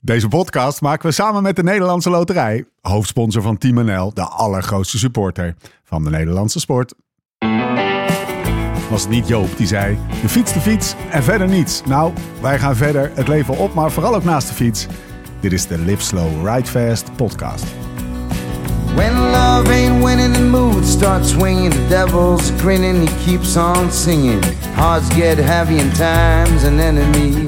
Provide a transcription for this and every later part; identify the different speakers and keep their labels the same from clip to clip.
Speaker 1: Deze podcast maken we samen met de Nederlandse Loterij, hoofdsponsor van Team NL, de allergrootste supporter van de Nederlandse sport. Was het niet Joop die zei: de fiets, de fiets en verder niets? Nou, wij gaan verder het leven op, maar vooral ook naast de fiets. Dit is de Live Slow Ride Fast podcast.
Speaker 2: When love ain't winning, the mood starts swinging. The devil's grinning, he keeps on singing. Hearts get heavy, and time's an enemy.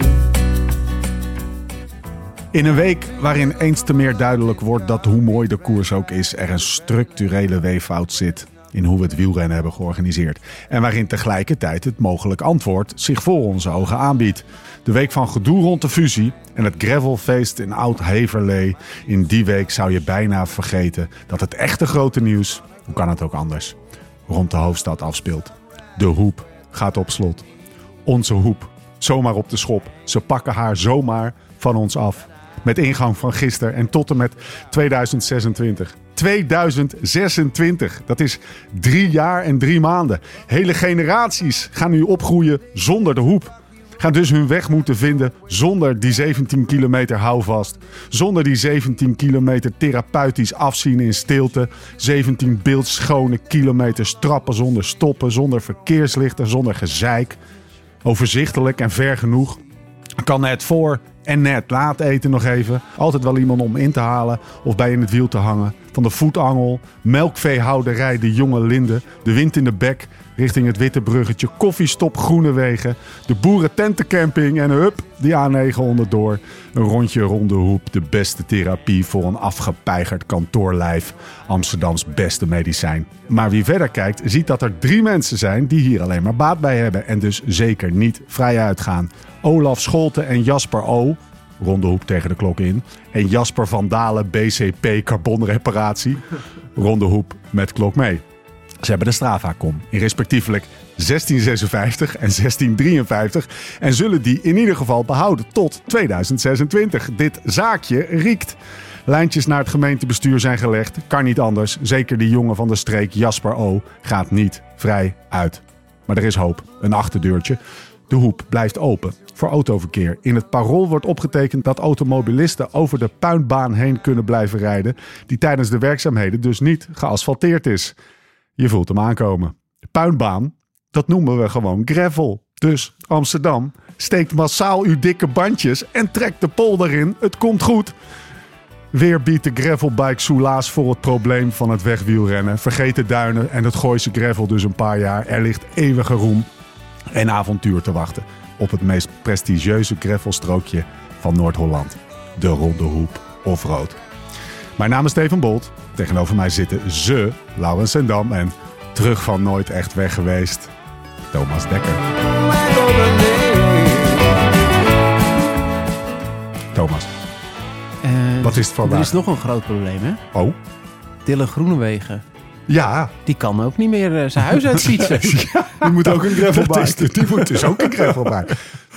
Speaker 1: In een week waarin eens te meer duidelijk wordt dat hoe mooi de koers ook is, er een structurele weeffout zit in hoe we het wielrennen hebben georganiseerd. En waarin tegelijkertijd het mogelijk antwoord zich voor onze ogen aanbiedt. De week van gedoe rond de fusie en het gravelfeest in Oud-Heverlee. In die week zou je bijna vergeten dat het echte grote nieuws, hoe kan het ook anders, rond de hoofdstad afspeelt. De hoep gaat op slot. Onze hoep, zomaar op de schop. Ze pakken haar zomaar van ons af. Met ingang van gisteren en tot en met 2026. 2026, dat is drie jaar en drie maanden. Hele generaties gaan nu opgroeien zonder de hoep. Gaan dus hun weg moeten vinden zonder die 17 kilometer houvast. Zonder die 17 kilometer therapeutisch afzien in stilte. 17 beeldschone kilometers trappen zonder stoppen, zonder verkeerslichten, zonder gezeik. Overzichtelijk en ver genoeg. Kan het voor en net laat eten nog even. Altijd wel iemand om in te halen of bij in het wiel te hangen. Van de voetangel, melkveehouderij De Jonge Linde, de wind in de bek richting het Witte Bruggetje, koffiestop Groenewegen, de boerententencamping en hup, die A9 onderdoor. Een rondje ronde hoep, de beste therapie voor een afgepeigerd kantoorlijf. Amsterdams beste medicijn. Maar wie verder kijkt, ziet dat er drie mensen zijn die hier alleen maar baat bij hebben en dus zeker niet vrij uitgaan. Olaf Scholte en Jasper O. Ronde hoep tegen de klok in. En Jasper van Dalen, BCP Carbonreparatie. Ronde hoep met klok mee. Ze hebben de Strava-com in respectievelijk 1656 en 1653 en zullen die in ieder geval behouden tot 2026. Dit zaakje riekt. Lijntjes naar het gemeentebestuur zijn gelegd. Kan niet anders. Zeker die jongen van de streek Jasper O. gaat niet vrij uit. Maar er is hoop. Een achterdeurtje. De hoep blijft open voor autoverkeer. In het parool wordt opgetekend dat automobilisten over de puinbaan heen kunnen blijven rijden, die tijdens de werkzaamheden dus niet geasfalteerd is. Je voelt hem aankomen. De puinbaan, dat noemen we gewoon gravel. Dus Amsterdam, steekt massaal uw dikke bandjes en trekt de polder in. Het komt goed. Weer biedt de gravelbike soelaas voor het probleem van het wegwielrennen. Vergeet de duinen en het Gooise gravel dus een paar jaar. Er ligt eeuwige roem en avontuur te wachten op het meest prestigieuze gravelstrookje van Noord-Holland. De Ronde Hoep Offroad. Mijn naam is Steven Bolt. Tegenover mij zitten ze, Laurens en Dam en terug van nooit echt weg geweest, Thomas Dekker. Thomas,
Speaker 3: Eh,
Speaker 1: Wat is het vandaag?
Speaker 3: Er is nog een groot probleem, hè?
Speaker 1: oh,
Speaker 3: Dille Groenewegen.
Speaker 1: ja,
Speaker 3: Die kan ook niet meer eh, zijn huis uit fietsen.
Speaker 1: die moet ook een gravelbike.
Speaker 4: Dat
Speaker 1: Is,
Speaker 4: is
Speaker 1: die moet dus ook een gravelbike.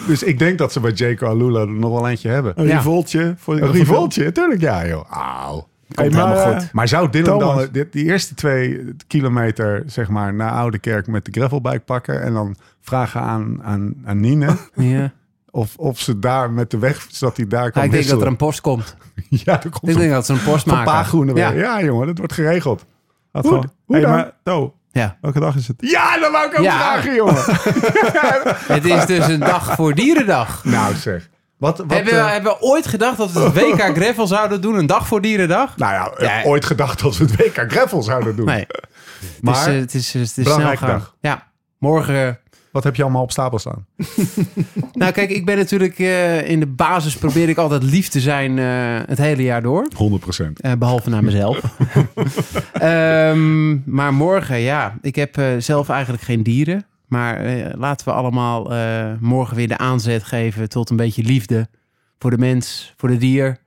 Speaker 1: Dus ik denk dat ze bij Jaco Alula er nog wel eentje hebben.
Speaker 4: Een
Speaker 3: Ja.
Speaker 4: rivoltje. Voor
Speaker 1: Een rivoltje, tuurlijk, ja joh. Auw.
Speaker 4: Hey,
Speaker 3: Komt
Speaker 4: maar,
Speaker 3: helemaal
Speaker 4: eh,
Speaker 3: goed.
Speaker 1: Maar zou Dylan
Speaker 4: Thomas.
Speaker 1: dan die, die eerste twee kilometer zeg maar, naar Oude Kerk met de gravelbike pakken en dan vragen aan, aan, aan Nine
Speaker 3: ja.
Speaker 1: of, of ze daar met de weg, zodat hij daar kan
Speaker 3: Ah, ik denk dat er
Speaker 1: wisselen?
Speaker 3: een post komt.
Speaker 1: Ja, er komt
Speaker 3: Ik
Speaker 1: een
Speaker 3: denk dat ze een post
Speaker 1: een
Speaker 3: maken.
Speaker 1: paar groene
Speaker 3: ja.
Speaker 1: weer. Ja. jongen, dat wordt geregeld.
Speaker 4: Had
Speaker 1: Hoe-
Speaker 4: gewoon-
Speaker 1: hoe
Speaker 4: Hey,
Speaker 1: dan?
Speaker 4: maar To,
Speaker 3: Ja.
Speaker 4: welke dag is het?
Speaker 1: Ja, dat wou ik ook
Speaker 3: Ja.
Speaker 1: vragen, jongen.
Speaker 3: Het is dus een dag voor Dierendag.
Speaker 1: nou zeg. Wat, wat,
Speaker 3: hebben, we,
Speaker 1: eh,
Speaker 3: hebben we ooit gedacht dat we het WK Gravel zouden doen, een dag voor Dierendag?
Speaker 1: nou ja, eh,
Speaker 3: Ja.
Speaker 1: ooit gedacht dat we het WK Gravel zouden doen.
Speaker 3: Nee.
Speaker 1: Maar
Speaker 3: dus, eh, het is, het is snel
Speaker 1: belangrijke
Speaker 3: gaan.
Speaker 1: dag.
Speaker 3: Ja. Morgen eh,
Speaker 1: wat heb je allemaal op stapel staan?
Speaker 3: Nou, kijk, ik ben natuurlijk eh, in de basis probeer ik altijd lief te zijn eh, het hele jaar door.
Speaker 1: 100%.
Speaker 3: Eh, behalve naar mezelf. Ehm, maar morgen, ja. Ik heb eh, zelf eigenlijk geen dieren. Maar eh, laten we allemaal eh, morgen weer de aanzet geven tot een beetje liefde voor de mens, voor de dier.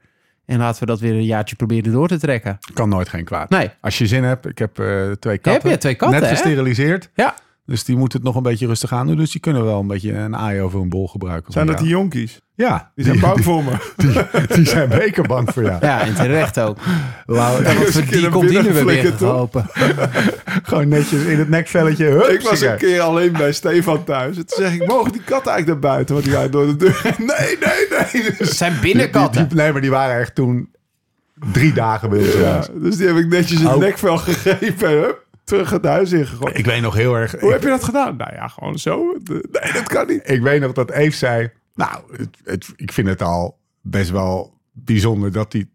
Speaker 3: En laten we dat weer een jaartje proberen door te trekken.
Speaker 1: Kan nooit geen kwaad.
Speaker 3: Nee.
Speaker 1: Als je zin hebt, ik heb eh, twee katten.
Speaker 3: Heb je twee katten,
Speaker 1: Net
Speaker 3: hè?
Speaker 1: gesteriliseerd.
Speaker 3: Ja.
Speaker 1: Dus die moet het nog een beetje rustig aan doen. Dus die kunnen wel een beetje een aai over een bol gebruiken.
Speaker 5: Zijn
Speaker 1: Maar
Speaker 5: dat
Speaker 1: ja.
Speaker 5: die jonkies?
Speaker 1: Ja,
Speaker 5: Die zijn
Speaker 1: die,
Speaker 5: bang voor me.
Speaker 1: die, die zijn beker bang voor jou.
Speaker 3: Ja, en terecht ook.
Speaker 1: Lau-
Speaker 3: Ja, want
Speaker 5: eens
Speaker 3: voor
Speaker 5: een keer
Speaker 3: die
Speaker 5: naar
Speaker 3: komt die nu
Speaker 5: binnen
Speaker 3: weer Oh,
Speaker 5: flikkerd, hoor.
Speaker 3: binnengelopen.
Speaker 1: Gewoon netjes in het nekvelletje. Hup,
Speaker 5: Ik was een keer alleen bij Stefan thuis. En toen zeg ik, mogen die katten eigenlijk naar buiten? Want die gaan door de deur. Nee, nee, nee.
Speaker 3: Het
Speaker 5: Dus,
Speaker 3: zijn
Speaker 1: Die, die,
Speaker 3: binnenkatten.
Speaker 1: die- nee, maar die waren echt toen drie dagen bij ons.
Speaker 5: ja, dus die heb ik netjes het
Speaker 1: Oh.
Speaker 5: nekvel gegeven. En hup, terug het huis ingegooid.
Speaker 1: Ik weet nog heel erg...
Speaker 5: Hoe
Speaker 1: Ik,
Speaker 5: heb je dat gedaan? Nou ja, gewoon zo. Nee, dat kan niet.
Speaker 1: ik weet nog dat Eve zei... Nou, het, het- ik vind het al best wel bijzonder dat die...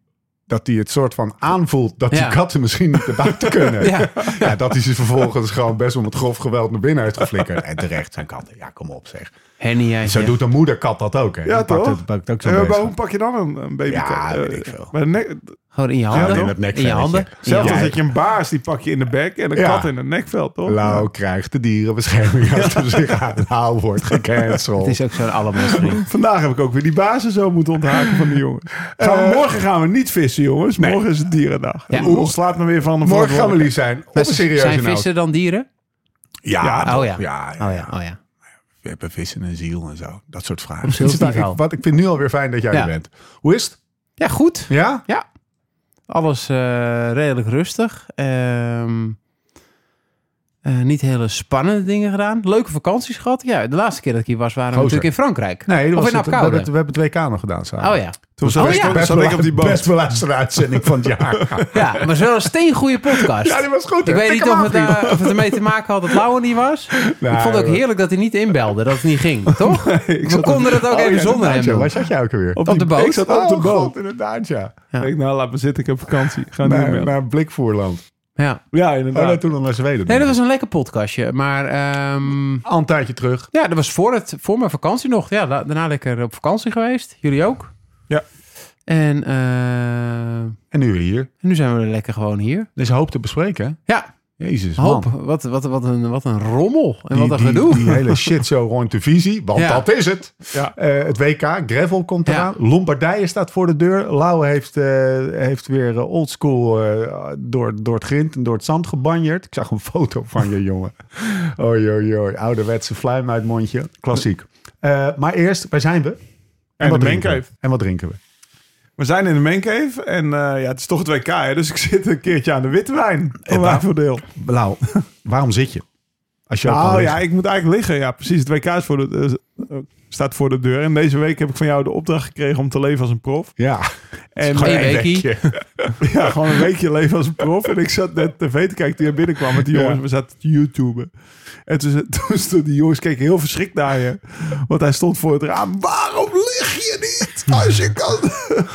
Speaker 1: Dat hij het soort van aanvoelt dat
Speaker 3: Ja.
Speaker 1: die katten misschien niet naar buiten kunnen.
Speaker 3: Ja.
Speaker 1: Ja, dat is ze vervolgens gewoon best om het grof geweld naar binnen uitgeflikkerd. En terecht zijn katten. Ja, kom op zeg.
Speaker 3: Henny, jij
Speaker 1: Zo
Speaker 3: zegt.
Speaker 1: doet een moederkat dat ook. Hè?
Speaker 5: Ja,
Speaker 1: Die pakt
Speaker 5: toch?
Speaker 1: het- pakt ook zo'n
Speaker 5: En
Speaker 1: beest
Speaker 5: waarom
Speaker 1: aan.
Speaker 5: pak je dan een, een baby?
Speaker 1: Ja,
Speaker 5: eh,
Speaker 1: weet ik veel.
Speaker 5: Maar nek,
Speaker 3: Gewoon in je
Speaker 1: Ja,
Speaker 3: handen.
Speaker 1: in het nekvelletje.
Speaker 3: je handen. In je
Speaker 5: zelfs
Speaker 1: Ja.
Speaker 5: als
Speaker 3: handen.
Speaker 5: dat je een baas, die pak je in de bek en een
Speaker 1: Ja.
Speaker 5: kat in het nekveld, toch?
Speaker 1: Lau krijgt de dierenbescherming achter zich aan. Lau wordt gecanceld.
Speaker 3: Het is ook zo'n allemaal vriend.
Speaker 5: Vandaag heb ik ook weer die bazen zo moeten onthaken van die jongen. Gaan we- morgen gaan we niet vissen, jongens. Morgen is het dierendag.
Speaker 3: Ja.
Speaker 5: Oeh, slaat me weer van de
Speaker 1: Morgen gaan we lief zijn. Op een serieuze
Speaker 3: Zijn
Speaker 1: noot.
Speaker 3: vissen dan dieren?
Speaker 1: Ja,
Speaker 5: Ja,
Speaker 1: toch?
Speaker 3: oh ja.
Speaker 1: Ja,
Speaker 3: Oh ja, oh ja.
Speaker 1: We hebben vissen en ziel en zo. Dat soort vragen.
Speaker 3: Op
Speaker 1: Het is
Speaker 3: Sylvie
Speaker 1: eigenlijk- wat, ik vind nu alweer fijn dat jij
Speaker 3: Ja.
Speaker 1: er bent. Hoe is het?
Speaker 3: Ja, goed.
Speaker 1: Ja?
Speaker 3: Ja. Alles eh, redelijk rustig. Ehm, eh, niet hele spannende dingen gedaan. Leuke vakanties gehad. Ja, de laatste keer dat ik hier was, waren we
Speaker 1: Gozer.
Speaker 3: natuurlijk in Frankrijk.
Speaker 1: Nee, dat
Speaker 3: of
Speaker 1: was
Speaker 3: in
Speaker 1: het, we,
Speaker 3: Apeldoorn.
Speaker 1: hebben het, we hebben het WK nog gedaan samen.
Speaker 3: Oh ja.
Speaker 5: Toen zat
Speaker 3: Oh
Speaker 5: ik,
Speaker 3: ja.
Speaker 5: toen
Speaker 1: Best,
Speaker 5: zat
Speaker 1: wel
Speaker 5: ik op die boot.
Speaker 1: best beluisterde uitzending van het jaar.
Speaker 3: Ja, maar het was wel een steengoede podcast.
Speaker 1: Ja, die was goed. hè?
Speaker 3: ik weet
Speaker 1: Tik
Speaker 3: niet
Speaker 1: hem
Speaker 3: of
Speaker 1: aan,
Speaker 3: het,
Speaker 1: vriend.
Speaker 3: daar- of het ermee te maken had dat Lauwe niet was. ik vond het ook
Speaker 1: joh.
Speaker 3: heerlijk dat hij niet inbelde, dat het niet ging, toch? We konden het ook
Speaker 1: Oh,
Speaker 3: even
Speaker 1: ja,
Speaker 3: zonder hem
Speaker 1: inderdaad, joh.
Speaker 3: doen.
Speaker 1: Waar zat jij ook alweer?
Speaker 3: op de boot.
Speaker 5: Ik zat op de
Speaker 1: Oh,
Speaker 5: boot.
Speaker 1: God, inderdaad, ja.
Speaker 3: Ja.
Speaker 5: Ik denk, nou, laat me zitten. Ik heb vakantie. Ik Ga niet
Speaker 1: Naar,
Speaker 5: meer.
Speaker 1: naar Blikvoerland.
Speaker 3: Ja.
Speaker 5: ja,
Speaker 1: Oh,
Speaker 5: inderdaad.
Speaker 1: nee, toen nog naar Zweden.
Speaker 3: Nee, dat was een lekker podcastje. Maar ehm,
Speaker 1: Al een tijdje terug.
Speaker 3: ja, dat was voor, het, voor mijn vakantie nog. Ja, da- daarna lekker op vakantie geweest. Jullie ook.
Speaker 5: Ja.
Speaker 3: En eh,
Speaker 1: En nu weer hier.
Speaker 3: nu zijn we lekker gewoon hier.
Speaker 1: Er is hoop te bespreken, hè?
Speaker 3: Ja,
Speaker 1: Jezus,
Speaker 3: hoop.
Speaker 1: man.
Speaker 3: Wat, wat, wat, een, wat een rommel en
Speaker 1: Die-
Speaker 3: wat een
Speaker 1: die,
Speaker 3: gedoe.
Speaker 1: Die hele shit zo rond de visie, want
Speaker 3: Ja.
Speaker 1: dat is het.
Speaker 5: Ja.
Speaker 1: Eh, het WK, Gravel komt
Speaker 3: Ja.
Speaker 1: eraan. Lombardije staat voor de deur. Lau heeft, eh, heeft weer eh, oldschool eh, door, door het grind en door het zand gebanjerd. Ik zag een foto van je, jongen. Oei, oei, oei. Ouderwetse fluim uit mondje. Klassiek. Eh, maar eerst, waar zijn we? En,
Speaker 5: En de
Speaker 1: drinken we?
Speaker 5: mancave.
Speaker 1: En wat drinken we?
Speaker 5: We zijn in de mancave en eh, ja, het is toch het WK, hè, dus ik zit een keertje aan de witte wijn. Van
Speaker 1: waar-
Speaker 5: mijn voordeel.
Speaker 1: Lau, waarom zit je? Als je al kan
Speaker 5: Nou ja,
Speaker 1: liggen.
Speaker 5: ik moet eigenlijk liggen. Ja, precies. Het WK is voor de, eh, staat voor de deur. En deze week heb ik van jou de opdracht gekregen om te leven als een prof.
Speaker 1: ja.
Speaker 5: En
Speaker 3: Gewoon
Speaker 5: eh,
Speaker 3: één weekie.
Speaker 5: ja, gewoon een weekje leven als een prof. En ik zat net tv te kijken toen jij binnenkwam met die jongens.
Speaker 1: Ja.
Speaker 5: We zaten te YouTuben. En toen, toen stonden die jongens keken heel verschrikt naar je. Want hij stond voor het raam. Waarom lig je niet? Als je kan.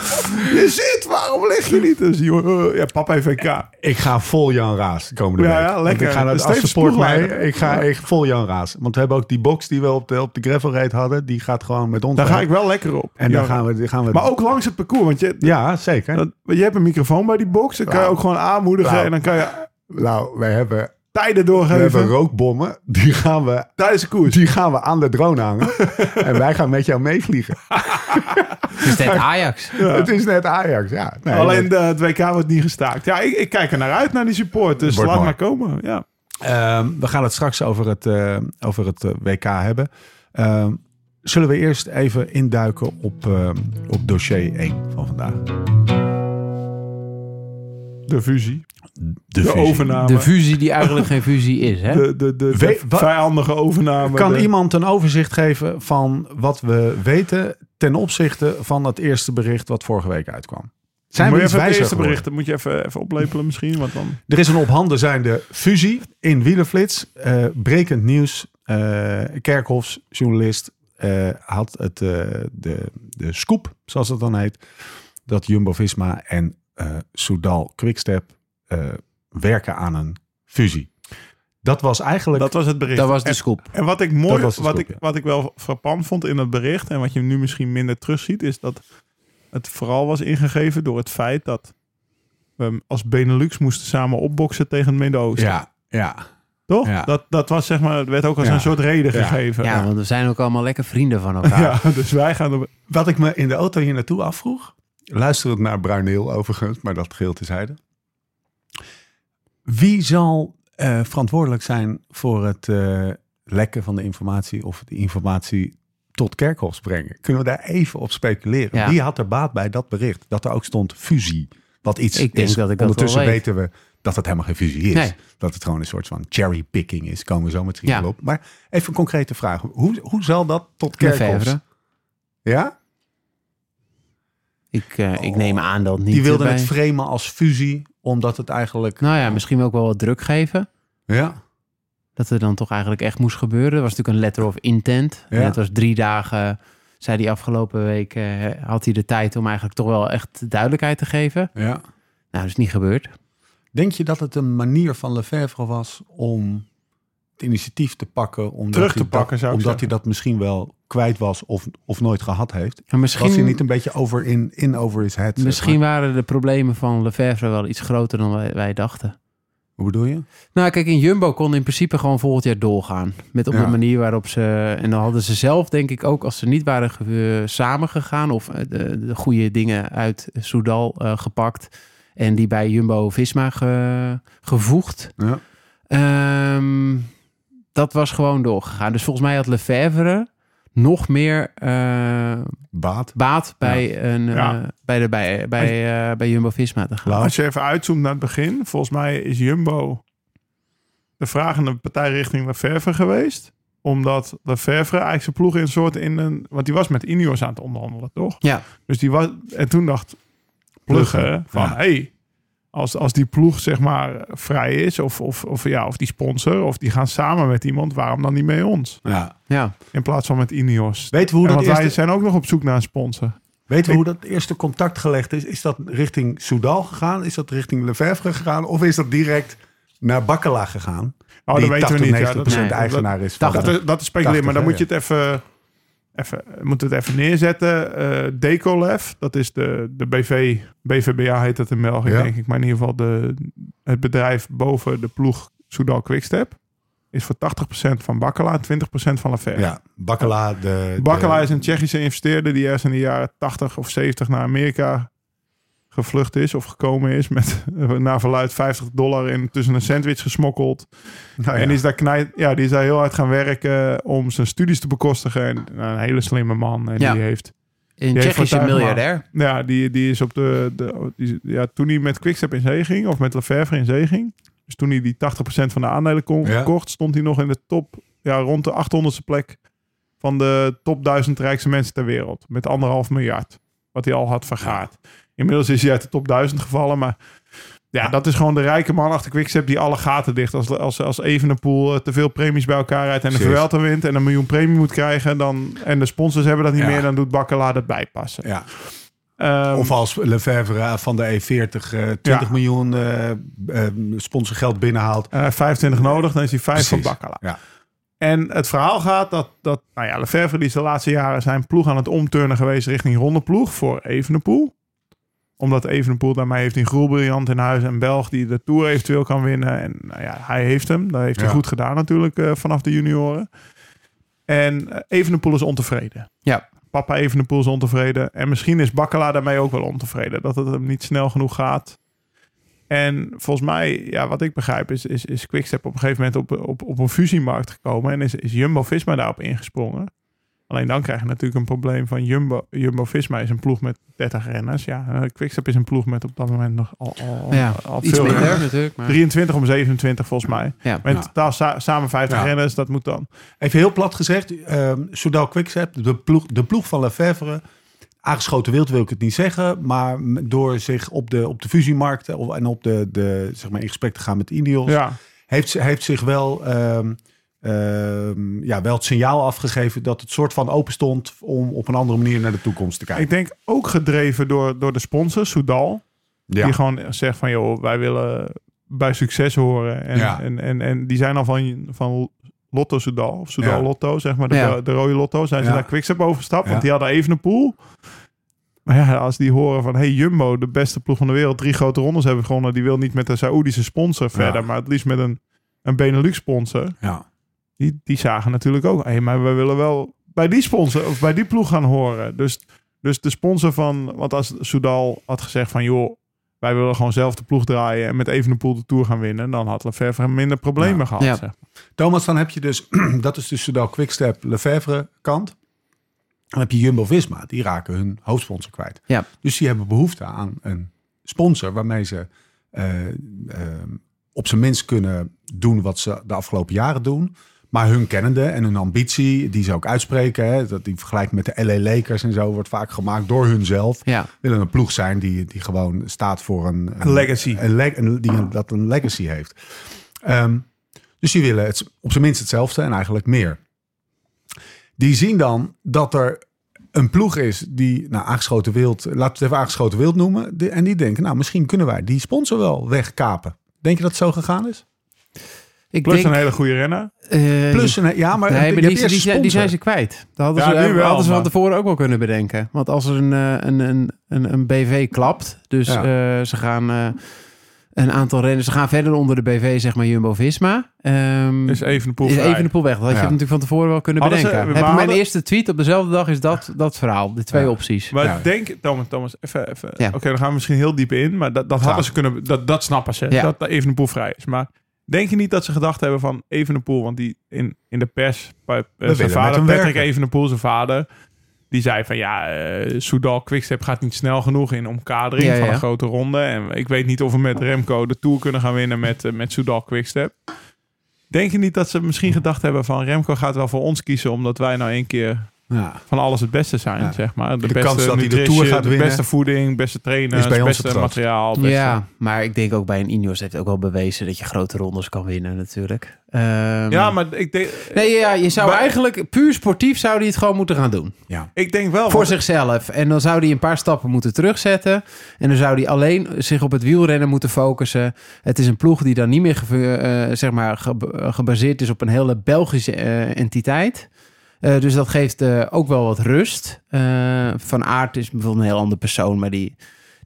Speaker 5: je zit, waarom lig je niet? Dus die jongen, eh, ja, papa heeft WK.
Speaker 1: Ik ga vol Jan Raas de komende
Speaker 5: Ja,
Speaker 1: week.
Speaker 5: ja,
Speaker 1: Want
Speaker 5: lekker.
Speaker 1: Ik ga naar het
Speaker 5: Steven
Speaker 1: Assenpoort mee.
Speaker 5: Spoelleider.
Speaker 1: Ik ga echt vol Jan Raas. Want we hebben ook die box die we op de, op de gravel raid hadden. Die gaat gewoon met ons.
Speaker 5: Daar
Speaker 1: mee.
Speaker 5: ga ik wel lekker op.
Speaker 1: En dan
Speaker 5: Ja.
Speaker 1: gaan we... die Gaan we
Speaker 5: Maar ook langs het parcours. Want je,
Speaker 1: Ja, zeker.
Speaker 5: Dat- want je hebt een microfoon bij die box. Dan kan je
Speaker 1: Ja.
Speaker 5: ook gewoon aanmoedigen.
Speaker 1: Ja.
Speaker 5: En dan kan je
Speaker 1: Nou, wij hebben,
Speaker 5: tijden
Speaker 1: we hebben
Speaker 5: doorgeven.
Speaker 1: rookbommen. Die gaan, we,
Speaker 5: Tijdens de koers.
Speaker 1: die gaan we aan de drone hangen. en wij gaan met jou meevliegen.
Speaker 3: Het is net Ajax.
Speaker 1: Het is net Ajax. Ja, Nee,
Speaker 5: Alleen de, het WK wordt niet gestaakt. Ja, ik, ik kijk er naar uit, naar die support. Dus
Speaker 1: Wordt
Speaker 5: laat
Speaker 1: mooi.
Speaker 5: maar komen. Ja.
Speaker 1: Ehm, we gaan het straks over het, eh, over het eh, WK hebben. Ehm, zullen we eerst even induiken op, ehm, op dossier 1 van vandaag?
Speaker 5: De fusie.
Speaker 1: De,
Speaker 5: De
Speaker 1: visie.
Speaker 5: overname.
Speaker 3: De
Speaker 5: De,
Speaker 3: fusie die eigenlijk geen fusie is, hè?
Speaker 5: de, de, de
Speaker 1: Weet- wat-
Speaker 5: vijandige overname.
Speaker 1: Kan
Speaker 5: de-
Speaker 1: iemand een overzicht geven van wat we weten ten opzichte van het eerste bericht wat vorige week uitkwam? Zijn
Speaker 5: moet
Speaker 1: we iets
Speaker 5: je even het
Speaker 1: wijzer
Speaker 5: eerste
Speaker 1: geworden?
Speaker 5: bericht, dat moet je even, even oplepelen misschien. Want dan...
Speaker 1: Er is een op handen zijnde fusie in Wielerflits. Eh brekend nieuws. Eh Kerkhoffs, journalist, eh, had het, eh, de, de scoop, zoals het dan heet, dat Jumbo-Visma en eh Soudal Quickstep eh, werken aan een fusie. Dat was eigenlijk...
Speaker 5: Dat was het bericht.
Speaker 3: Dat was de
Speaker 5: En-
Speaker 3: scoop.
Speaker 5: En wat ik mooi,
Speaker 1: Dat was de
Speaker 5: wat,
Speaker 1: scoop,
Speaker 5: ik, wat ik wel frappant vond in het bericht en wat je nu misschien minder terugziet, is dat het vooral was ingegeven door het feit dat we als Benelux moesten samen opboksen tegen het Midden-Oosten.
Speaker 1: ja, ja.
Speaker 5: Toch?
Speaker 1: Ja.
Speaker 5: Dat, dat was zeg maar, het werd ook als
Speaker 1: Ja.
Speaker 5: een soort reden
Speaker 1: Ja.
Speaker 5: gegeven.
Speaker 3: Ja, want we zijn ook allemaal lekker vrienden van elkaar.
Speaker 5: Ja, dus wij gaan er.
Speaker 1: Wat ik me in de auto hier naartoe afvroeg, luisterend naar Bruineel overigens, maar dat geheel tezijde. Wie zal eh, verantwoordelijk zijn voor het eh, lekken van de informatie of de informatie tot Kerkhoffs brengen. Kunnen we daar even op speculeren?
Speaker 3: Ja.
Speaker 1: Wie had er baat bij dat bericht? Dat er ook stond fusie. Wat iets
Speaker 3: Ik denk
Speaker 1: is.
Speaker 3: dat ik dat
Speaker 1: Ondertussen
Speaker 3: wel weet.
Speaker 1: weten we dat het helemaal geen fusie is.
Speaker 3: Nee.
Speaker 1: Dat het gewoon een soort van cherrypicking is. Komen we zo misschien
Speaker 3: Ja.
Speaker 1: wel op. Maar even een concrete vraag. Hoe, hoe zal dat tot Kerkhoffs?
Speaker 3: Lefevre.
Speaker 1: Ja?
Speaker 3: Ik, eh, ik neem aan dat niet.
Speaker 1: Oh. Die wilden
Speaker 3: bij-
Speaker 1: het framen als fusie, omdat het eigenlijk...
Speaker 3: Nou ja, misschien ook wel wat druk geven.
Speaker 1: Ja.
Speaker 3: Dat er dan toch eigenlijk echt moest gebeuren. Er was natuurlijk een letter of intent.
Speaker 1: Ja.
Speaker 3: En dat was drie dagen, zei hij afgelopen week, eh, had hij de tijd om eigenlijk toch wel echt duidelijkheid te geven.
Speaker 1: ja.
Speaker 3: Nou, dat is niet gebeurd.
Speaker 1: Denk je dat het een manier van Lefebvre was om het initiatief te pakken? Omdat
Speaker 5: Terug te
Speaker 1: hij dat-
Speaker 5: pakken, zou ik
Speaker 1: Omdat
Speaker 5: zeggen.
Speaker 1: hij dat misschien wel kwijt was of, of nooit gehad heeft.
Speaker 3: Maar
Speaker 1: Was hij
Speaker 3: misschien,
Speaker 1: niet een beetje over in, in over his head? zeg
Speaker 3: misschien
Speaker 1: maar?
Speaker 3: waren de problemen van Lefebvre wel iets groter dan wij, wij dachten.
Speaker 1: Hoe bedoel je?
Speaker 3: Nou, kijk, in Jumbo kon in principe gewoon volgend jaar doorgaan. Met op
Speaker 1: Ja.
Speaker 3: de manier waarop ze... En dan hadden ze zelf, denk ik ook, als ze niet waren ge- eh, samengegaan... of eh, de, de goede dingen uit Soudal eh, gepakt... en die bij Jumbo-Visma ge- gevoegd...
Speaker 1: Ja.
Speaker 3: Ehm, dat was gewoon doorgegaan. Dus volgens mij had Lefebvre nog meer eh,
Speaker 1: Baat.
Speaker 3: baat bij, een, eh,
Speaker 5: Ja.
Speaker 3: bij, de, bij, bij, eh, bij Jumbo-Visma te gaan.
Speaker 1: Lau.
Speaker 5: Als je even uitzoomt naar het begin, volgens mij is Jumbo de vragende partij richting Lefevre geweest. Omdat Lefevre eigenlijk zijn ploeg in soort in een. Want die was met Ineos aan het onderhandelen, toch?
Speaker 3: Ja.
Speaker 5: Dus die was. En toen dacht
Speaker 1: Plugge,
Speaker 5: Plugge van
Speaker 1: ja.
Speaker 5: hey, als, als die ploeg zeg maar vrij is, of, of, of, ja, of die sponsor, of die gaan samen met iemand, waarom dan niet mee ons?
Speaker 1: Ja.
Speaker 3: Ja.
Speaker 5: In plaats van met Ineos.
Speaker 1: Weet we hoe
Speaker 5: En
Speaker 1: dat
Speaker 5: want wij
Speaker 1: eerste,
Speaker 5: zijn ook nog op zoek naar een sponsor.
Speaker 1: weten we hoe dat eerste contact gelegd is? Is dat richting Soudal gegaan? Is dat richting Lefebvre gegaan? Of is dat direct naar Bakkela gegaan?
Speaker 5: Oh,
Speaker 1: die
Speaker 5: dat weten we
Speaker 1: 80,
Speaker 5: niet. Ja, dat,
Speaker 1: 90%
Speaker 3: Nee, dat-
Speaker 1: eigenaar is. van
Speaker 3: dat-
Speaker 1: de-
Speaker 5: Dat is, dat is speculeren,
Speaker 1: 80,
Speaker 5: maar dan
Speaker 1: hè,
Speaker 5: moet je het even, even, moet het even neerzetten. Eh Decolef, dat is de, de BV, BVBA heet dat in België,
Speaker 1: Ja.
Speaker 5: denk ik. Maar in ieder geval de, het bedrijf boven de ploeg Soudal Quickstep. Is voor 80% van Bakkela en 20% van Lafayette.
Speaker 1: ja, Bakkela. De,
Speaker 5: Bakkela
Speaker 1: de-
Speaker 5: is een Tsjechische investeerder die ergens in de jaren 80 of 70 naar Amerika gevlucht is of gekomen is met naar verluid 50 dollar in tussen een sandwich gesmokkeld.
Speaker 1: Nou ja.
Speaker 5: En die is, daar knijt, ja, die is daar heel hard gaan werken om zijn studies te bekostigen. En nou, een hele slimme man. En
Speaker 3: Ja.
Speaker 5: die heeft.
Speaker 3: Een
Speaker 5: heeft
Speaker 3: Tsjechische
Speaker 5: Fortuyn
Speaker 3: miljardair.
Speaker 5: Ja, die, die is op de. de die- ja, toen hij met Quickstep in zee ging, of met Lefebvre in zee ging. Dus toen hij die 80% van de aandelen kon,
Speaker 1: Ja.
Speaker 5: kocht, stond hij nog in de top. Ja, rond de 800ste plek van de top 1000 rijkste mensen ter wereld. Met anderhalf miljard. Wat hij al had vergaard. Inmiddels is hij uit de top 1000 gevallen, maar. Ja, dat is gewoon de rijke man achter Quickstep die alle gaten dicht. Als, als, als Evenepoel eh, te veel premies bij elkaar rijdt en de
Speaker 1: Precies.
Speaker 5: Vuelta wint en een miljoen premie moet krijgen... Dan, en de sponsors hebben dat niet
Speaker 1: Ja.
Speaker 5: meer, dan doet Bakkela dat bijpassen.
Speaker 1: Ja.
Speaker 5: Ehm,
Speaker 1: Of als Lefebvre van de E40 eh, 20
Speaker 5: Ja.
Speaker 1: miljoen eh, eh, sponsorgeld binnenhaalt.
Speaker 5: eh, 25 nodig, dan is hij 5 van
Speaker 1: Precies.
Speaker 5: Bakkala.
Speaker 1: Ja.
Speaker 5: En het verhaal gaat dat, dat nou ja, Lefebvre die is de laatste jaren zijn ploeg aan het omturnen geweest richting rondeploeg voor Evenepoel. Omdat Evenepoel daarmee heeft een groelbriljant in huis en Belg die de Tour eventueel kan winnen. En nou ja, hij heeft hem. Dat heeft hij
Speaker 1: Ja.
Speaker 5: goed gedaan natuurlijk eh, vanaf de junioren. En eh, Evenepoel is ontevreden.
Speaker 3: Ja.
Speaker 5: Papa Evenepoel is ontevreden. En misschien is Bakkela daarmee ook wel ontevreden. Dat het hem niet snel genoeg gaat. En volgens mij, ja, wat ik begrijp, is, is, is Quickstep op een gegeven moment op, op, op een fusiemarkt gekomen. En is, is Jumbo Visma daarop ingesprongen. Alleen dan krijg je natuurlijk een probleem van Jumbo. Jumbo Visma is een ploeg met 30 renners. Ja, eh, Quickstep is een ploeg met op dat moment nog al, al,
Speaker 3: Ja,
Speaker 5: al
Speaker 3: Iets
Speaker 5: veel
Speaker 3: minder
Speaker 5: renners.
Speaker 3: natuurlijk. Maar...
Speaker 5: 23 om 27 volgens mij.
Speaker 3: Ja.
Speaker 5: Met
Speaker 1: Ja.
Speaker 5: totaal sa- samen 50
Speaker 1: Ja.
Speaker 5: renners, dat moet dan.
Speaker 1: Even heel plat gezegd, ehm Soudal Quickstep, de ploeg, de ploeg van Lefebvre. Aangeschoten wild wil ik het niet zeggen, maar m- door zich op de, op de fusiemarkt of- en op de, de, zeg maar in gesprek te gaan met Ineos,
Speaker 5: Ja,
Speaker 1: heeft, ze- heeft zich wel, ehm, ehm, ja, wel het signaal afgegeven dat het soort van open stond om op een andere manier naar de toekomst te kijken.
Speaker 5: ik denk ook gedreven door, door de sponsor, Soudal.
Speaker 1: Ja.
Speaker 5: Die gewoon zegt van, joh, wij willen bij succes horen. En,
Speaker 1: Ja.
Speaker 5: en, en, en die zijn al van, van Lotto Soudal, of Soudal
Speaker 1: Ja.
Speaker 5: Lotto, zeg maar, de,
Speaker 3: Ja.
Speaker 5: de rode Lotto. Zijn ze
Speaker 1: Ja.
Speaker 5: naar Quickstep overgestapt,
Speaker 1: Ja.
Speaker 5: want die hadden even een pool. Maar ja, als die horen van, hey Jumbo, de beste ploeg van de wereld, drie grote rondes hebben gewonnen. Die wil niet met een Saoedische sponsor verder, maar het liefst met een, een Benelux sponsor.
Speaker 1: Ja.
Speaker 5: Die, die zagen natuurlijk ook, hey, maar we willen wel bij die sponsor of bij die ploeg gaan horen. Dus, dus de sponsor van, want als Soudal had gezegd van, joh, wij willen gewoon zelf de ploeg draaien en met Evenepoel de Tour gaan winnen. Dan had Lefebvre minder problemen
Speaker 1: Ja.
Speaker 5: gehad.
Speaker 3: Ja.
Speaker 5: zeg maar.
Speaker 1: Thomas, dan heb je dus, dat is dus Soudal Quickstep Lefevre kant. Dan heb je Jumbo-Visma, die raken hun hoofdsponsor kwijt.
Speaker 3: Ja.
Speaker 1: Dus die hebben behoefte aan een sponsor waarmee ze eh, eh, op zijn minst kunnen doen wat ze de afgelopen jaren doen. Maar hun kennende en hun ambitie, die ze ook uitspreken, hè, dat die vergelijking met de LA Lakers en zo wordt vaak gemaakt door hunzelf.
Speaker 3: Ja.
Speaker 1: Willen een ploeg zijn die, die gewoon staat voor een, een
Speaker 5: legacy.
Speaker 1: Een leg- een- die een- dat een legacy heeft. Ehm, dus die willen het, op zijn minst hetzelfde en eigenlijk meer. Die zien dan dat er een ploeg is die, nou, aangeschoten wild, laten we het even aangeschoten wild noemen. die- en die denken, nou, misschien kunnen wij die sponsor wel wegkapen. Denk je dat het zo gegaan is?
Speaker 3: Ik
Speaker 5: Plus
Speaker 3: denk,
Speaker 5: een hele goede renner.
Speaker 3: eh,
Speaker 1: Plus, een, ja, maar,
Speaker 3: nee,
Speaker 1: je
Speaker 3: maar
Speaker 1: hebt
Speaker 3: die,
Speaker 1: eerst
Speaker 3: die, zijn,
Speaker 1: sponsor.
Speaker 3: die zijn ze kwijt. Dat hadden
Speaker 5: Ja,
Speaker 3: ze,
Speaker 5: nu wel,
Speaker 3: hadden ze van
Speaker 5: maar-
Speaker 3: tevoren ook wel kunnen bedenken. Want als er een, eh, een, een, een, een BV klapt, dus
Speaker 1: Ja.
Speaker 3: eh, ze gaan eh, een aantal renners, ze gaan verder onder de BV, zeg maar Jumbo-Visma. Ehm,
Speaker 5: Is Evenepoel
Speaker 3: is
Speaker 5: vrij.
Speaker 3: even de poel weg. Dat had je
Speaker 1: Ja.
Speaker 3: natuurlijk van tevoren wel kunnen
Speaker 5: Hadden ze-
Speaker 3: bedenken.
Speaker 5: we
Speaker 3: Heb ik mijn
Speaker 5: hadden-
Speaker 3: eerste tweet op dezelfde dag is dat, dat verhaal. De twee
Speaker 1: Ja.
Speaker 3: opties.
Speaker 5: Maar
Speaker 1: Ja.
Speaker 5: denk, Thomas, Thomas even, even.
Speaker 3: Ja.
Speaker 5: oké, dan gaan we misschien heel diep in, maar dat, dat hadden ze kunnen, dat, dat snappen ze,
Speaker 3: Ja.
Speaker 5: dat Evenepoel vrij is. Maar denk je niet dat ze gedacht hebben van Evenepoel, want die in, in de pers, bij, eh,
Speaker 1: willen
Speaker 5: zijn
Speaker 1: met
Speaker 5: vader,
Speaker 1: hem
Speaker 5: Patrick
Speaker 1: werken.
Speaker 5: Evenepoel, zijn vader, die zei van ja, eh Soudal Quickstep gaat niet snel genoeg in omkadering
Speaker 3: Ja,
Speaker 5: van
Speaker 3: ja.
Speaker 5: een grote ronde. En ik weet niet of we met Remco de Tour kunnen gaan winnen met, eh, met Soudal Quickstep. Denk je niet dat ze misschien
Speaker 1: Hmm.
Speaker 5: gedacht hebben van Remco gaat wel voor ons kiezen omdat wij nou één keer
Speaker 1: Ja.
Speaker 5: van alles het beste zijn,
Speaker 1: Ja.
Speaker 5: zeg maar. De,
Speaker 1: De
Speaker 5: beste
Speaker 1: kans dat hij de
Speaker 5: nutrition,
Speaker 1: Tour gaat
Speaker 5: de
Speaker 1: winnen
Speaker 5: beste voeding, beste trainers,
Speaker 1: is bij ons het
Speaker 5: beste
Speaker 1: grootst.
Speaker 5: materiaal. Beste.
Speaker 3: Ja, maar ik denk ook bij een Ineos heeft ook wel bewezen dat je grote rondes kan winnen natuurlijk. Ehm,
Speaker 5: ja, maar ik denk,
Speaker 3: Nee, ja, je zou
Speaker 5: Maar-
Speaker 3: eigenlijk puur sportief zou die het gewoon moeten gaan doen.
Speaker 5: ik denk wel.
Speaker 3: Voor
Speaker 5: want-
Speaker 3: zichzelf. En dan zou die een paar stappen moeten terugzetten. En dan zou die alleen zich op het wielrennen moeten focussen. Het is een ploeg die dan niet meer geve- eh, zeg maar ge- eh, gebaseerd is op een hele Belgische eh, entiteit. Eh, dus dat geeft eh, ook wel wat rust. Eh, van Aert is bijvoorbeeld een heel ander persoon, maar die,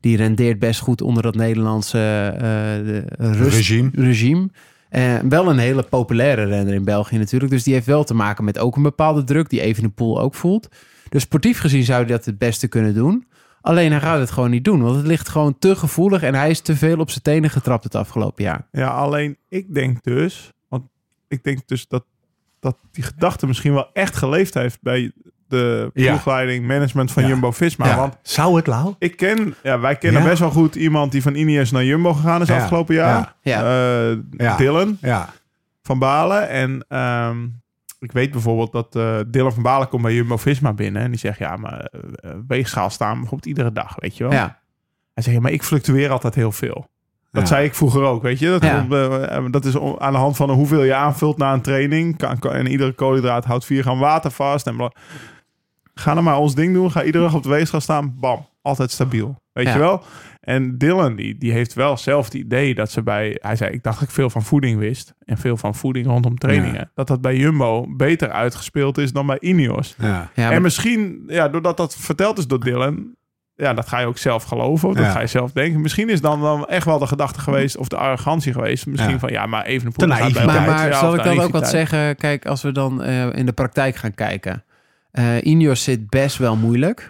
Speaker 3: die rendeert best goed onder dat Nederlandse eh, de rust-
Speaker 1: Regime.
Speaker 3: regime. Eh, wel een hele populaire renner in België natuurlijk. Dus die heeft wel te maken met ook een bepaalde druk die Evenepoel ook voelt. Dus sportief gezien zou hij dat het beste kunnen doen. Alleen hij gaat het gewoon niet doen, want het ligt gewoon te gevoelig en hij is te veel op zijn tenen getrapt het afgelopen jaar.
Speaker 5: Ja, alleen ik denk dus, want ik denk dus dat, dat die gedachte misschien wel echt geleefd heeft bij de
Speaker 1: Ja.
Speaker 5: ploegleiding, management van
Speaker 1: Ja.
Speaker 5: Jumbo-Visma.
Speaker 1: Ja.
Speaker 5: Want
Speaker 1: zou het Lau?
Speaker 5: ik ken, ja, wij kennen
Speaker 1: Ja.
Speaker 5: best wel goed iemand die van Ineos naar Jumbo gegaan is
Speaker 1: Ja.
Speaker 5: afgelopen jaar.
Speaker 3: Ja.
Speaker 5: Eh,
Speaker 1: Ja.
Speaker 5: Dylan.
Speaker 1: Ja.
Speaker 5: van Balen. En ehm, ik weet bijvoorbeeld dat eh Dylan van Balen komt bij Jumbo-Visma binnen. En die zegt, ja, maar eh, weegschaal staan bijvoorbeeld iedere dag, weet je wel.
Speaker 3: Ja,
Speaker 5: Hij zegt, ja, maar ik fluctueer altijd heel veel. Dat
Speaker 1: Ja.
Speaker 5: zei ik vroeger ook, weet je. Dat,
Speaker 3: Ja.
Speaker 5: eh, dat is om- aan de hand van hoeveel je aanvult na een training. Kan, kan- en iedere koolhydraat houdt 4 gram water vast. En bla. Ga dan maar ons ding doen. Ga iedere dag op de weegschaal staan. Bam. Altijd stabiel. Weet
Speaker 3: Ja.
Speaker 5: je wel? En Dylan, die, die heeft wel zelf het idee dat ze bij... Hij zei, ik dacht dat ik veel van voeding wist. En veel van voeding rondom trainingen. Dat dat bij Jumbo beter uitgespeeld is dan bij Ineos.
Speaker 1: Ja.
Speaker 3: ja,
Speaker 5: En
Speaker 3: maar-
Speaker 5: misschien, ja, doordat dat verteld is door Dylan, ja, dat ga je ook zelf geloven. Of dat
Speaker 1: Ja.
Speaker 5: ga je zelf denken. Misschien is dan, dan echt wel de gedachte geweest, of de arrogantie geweest. Misschien
Speaker 1: Ja.
Speaker 5: van, ja, maar even een
Speaker 1: Te naïviteit.
Speaker 3: maar,
Speaker 1: tijd,
Speaker 3: maar zal ik dan ook wat zeggen? Kijk, als we dan eh, in de praktijk gaan kijken. eh Ineos zit best wel moeilijk.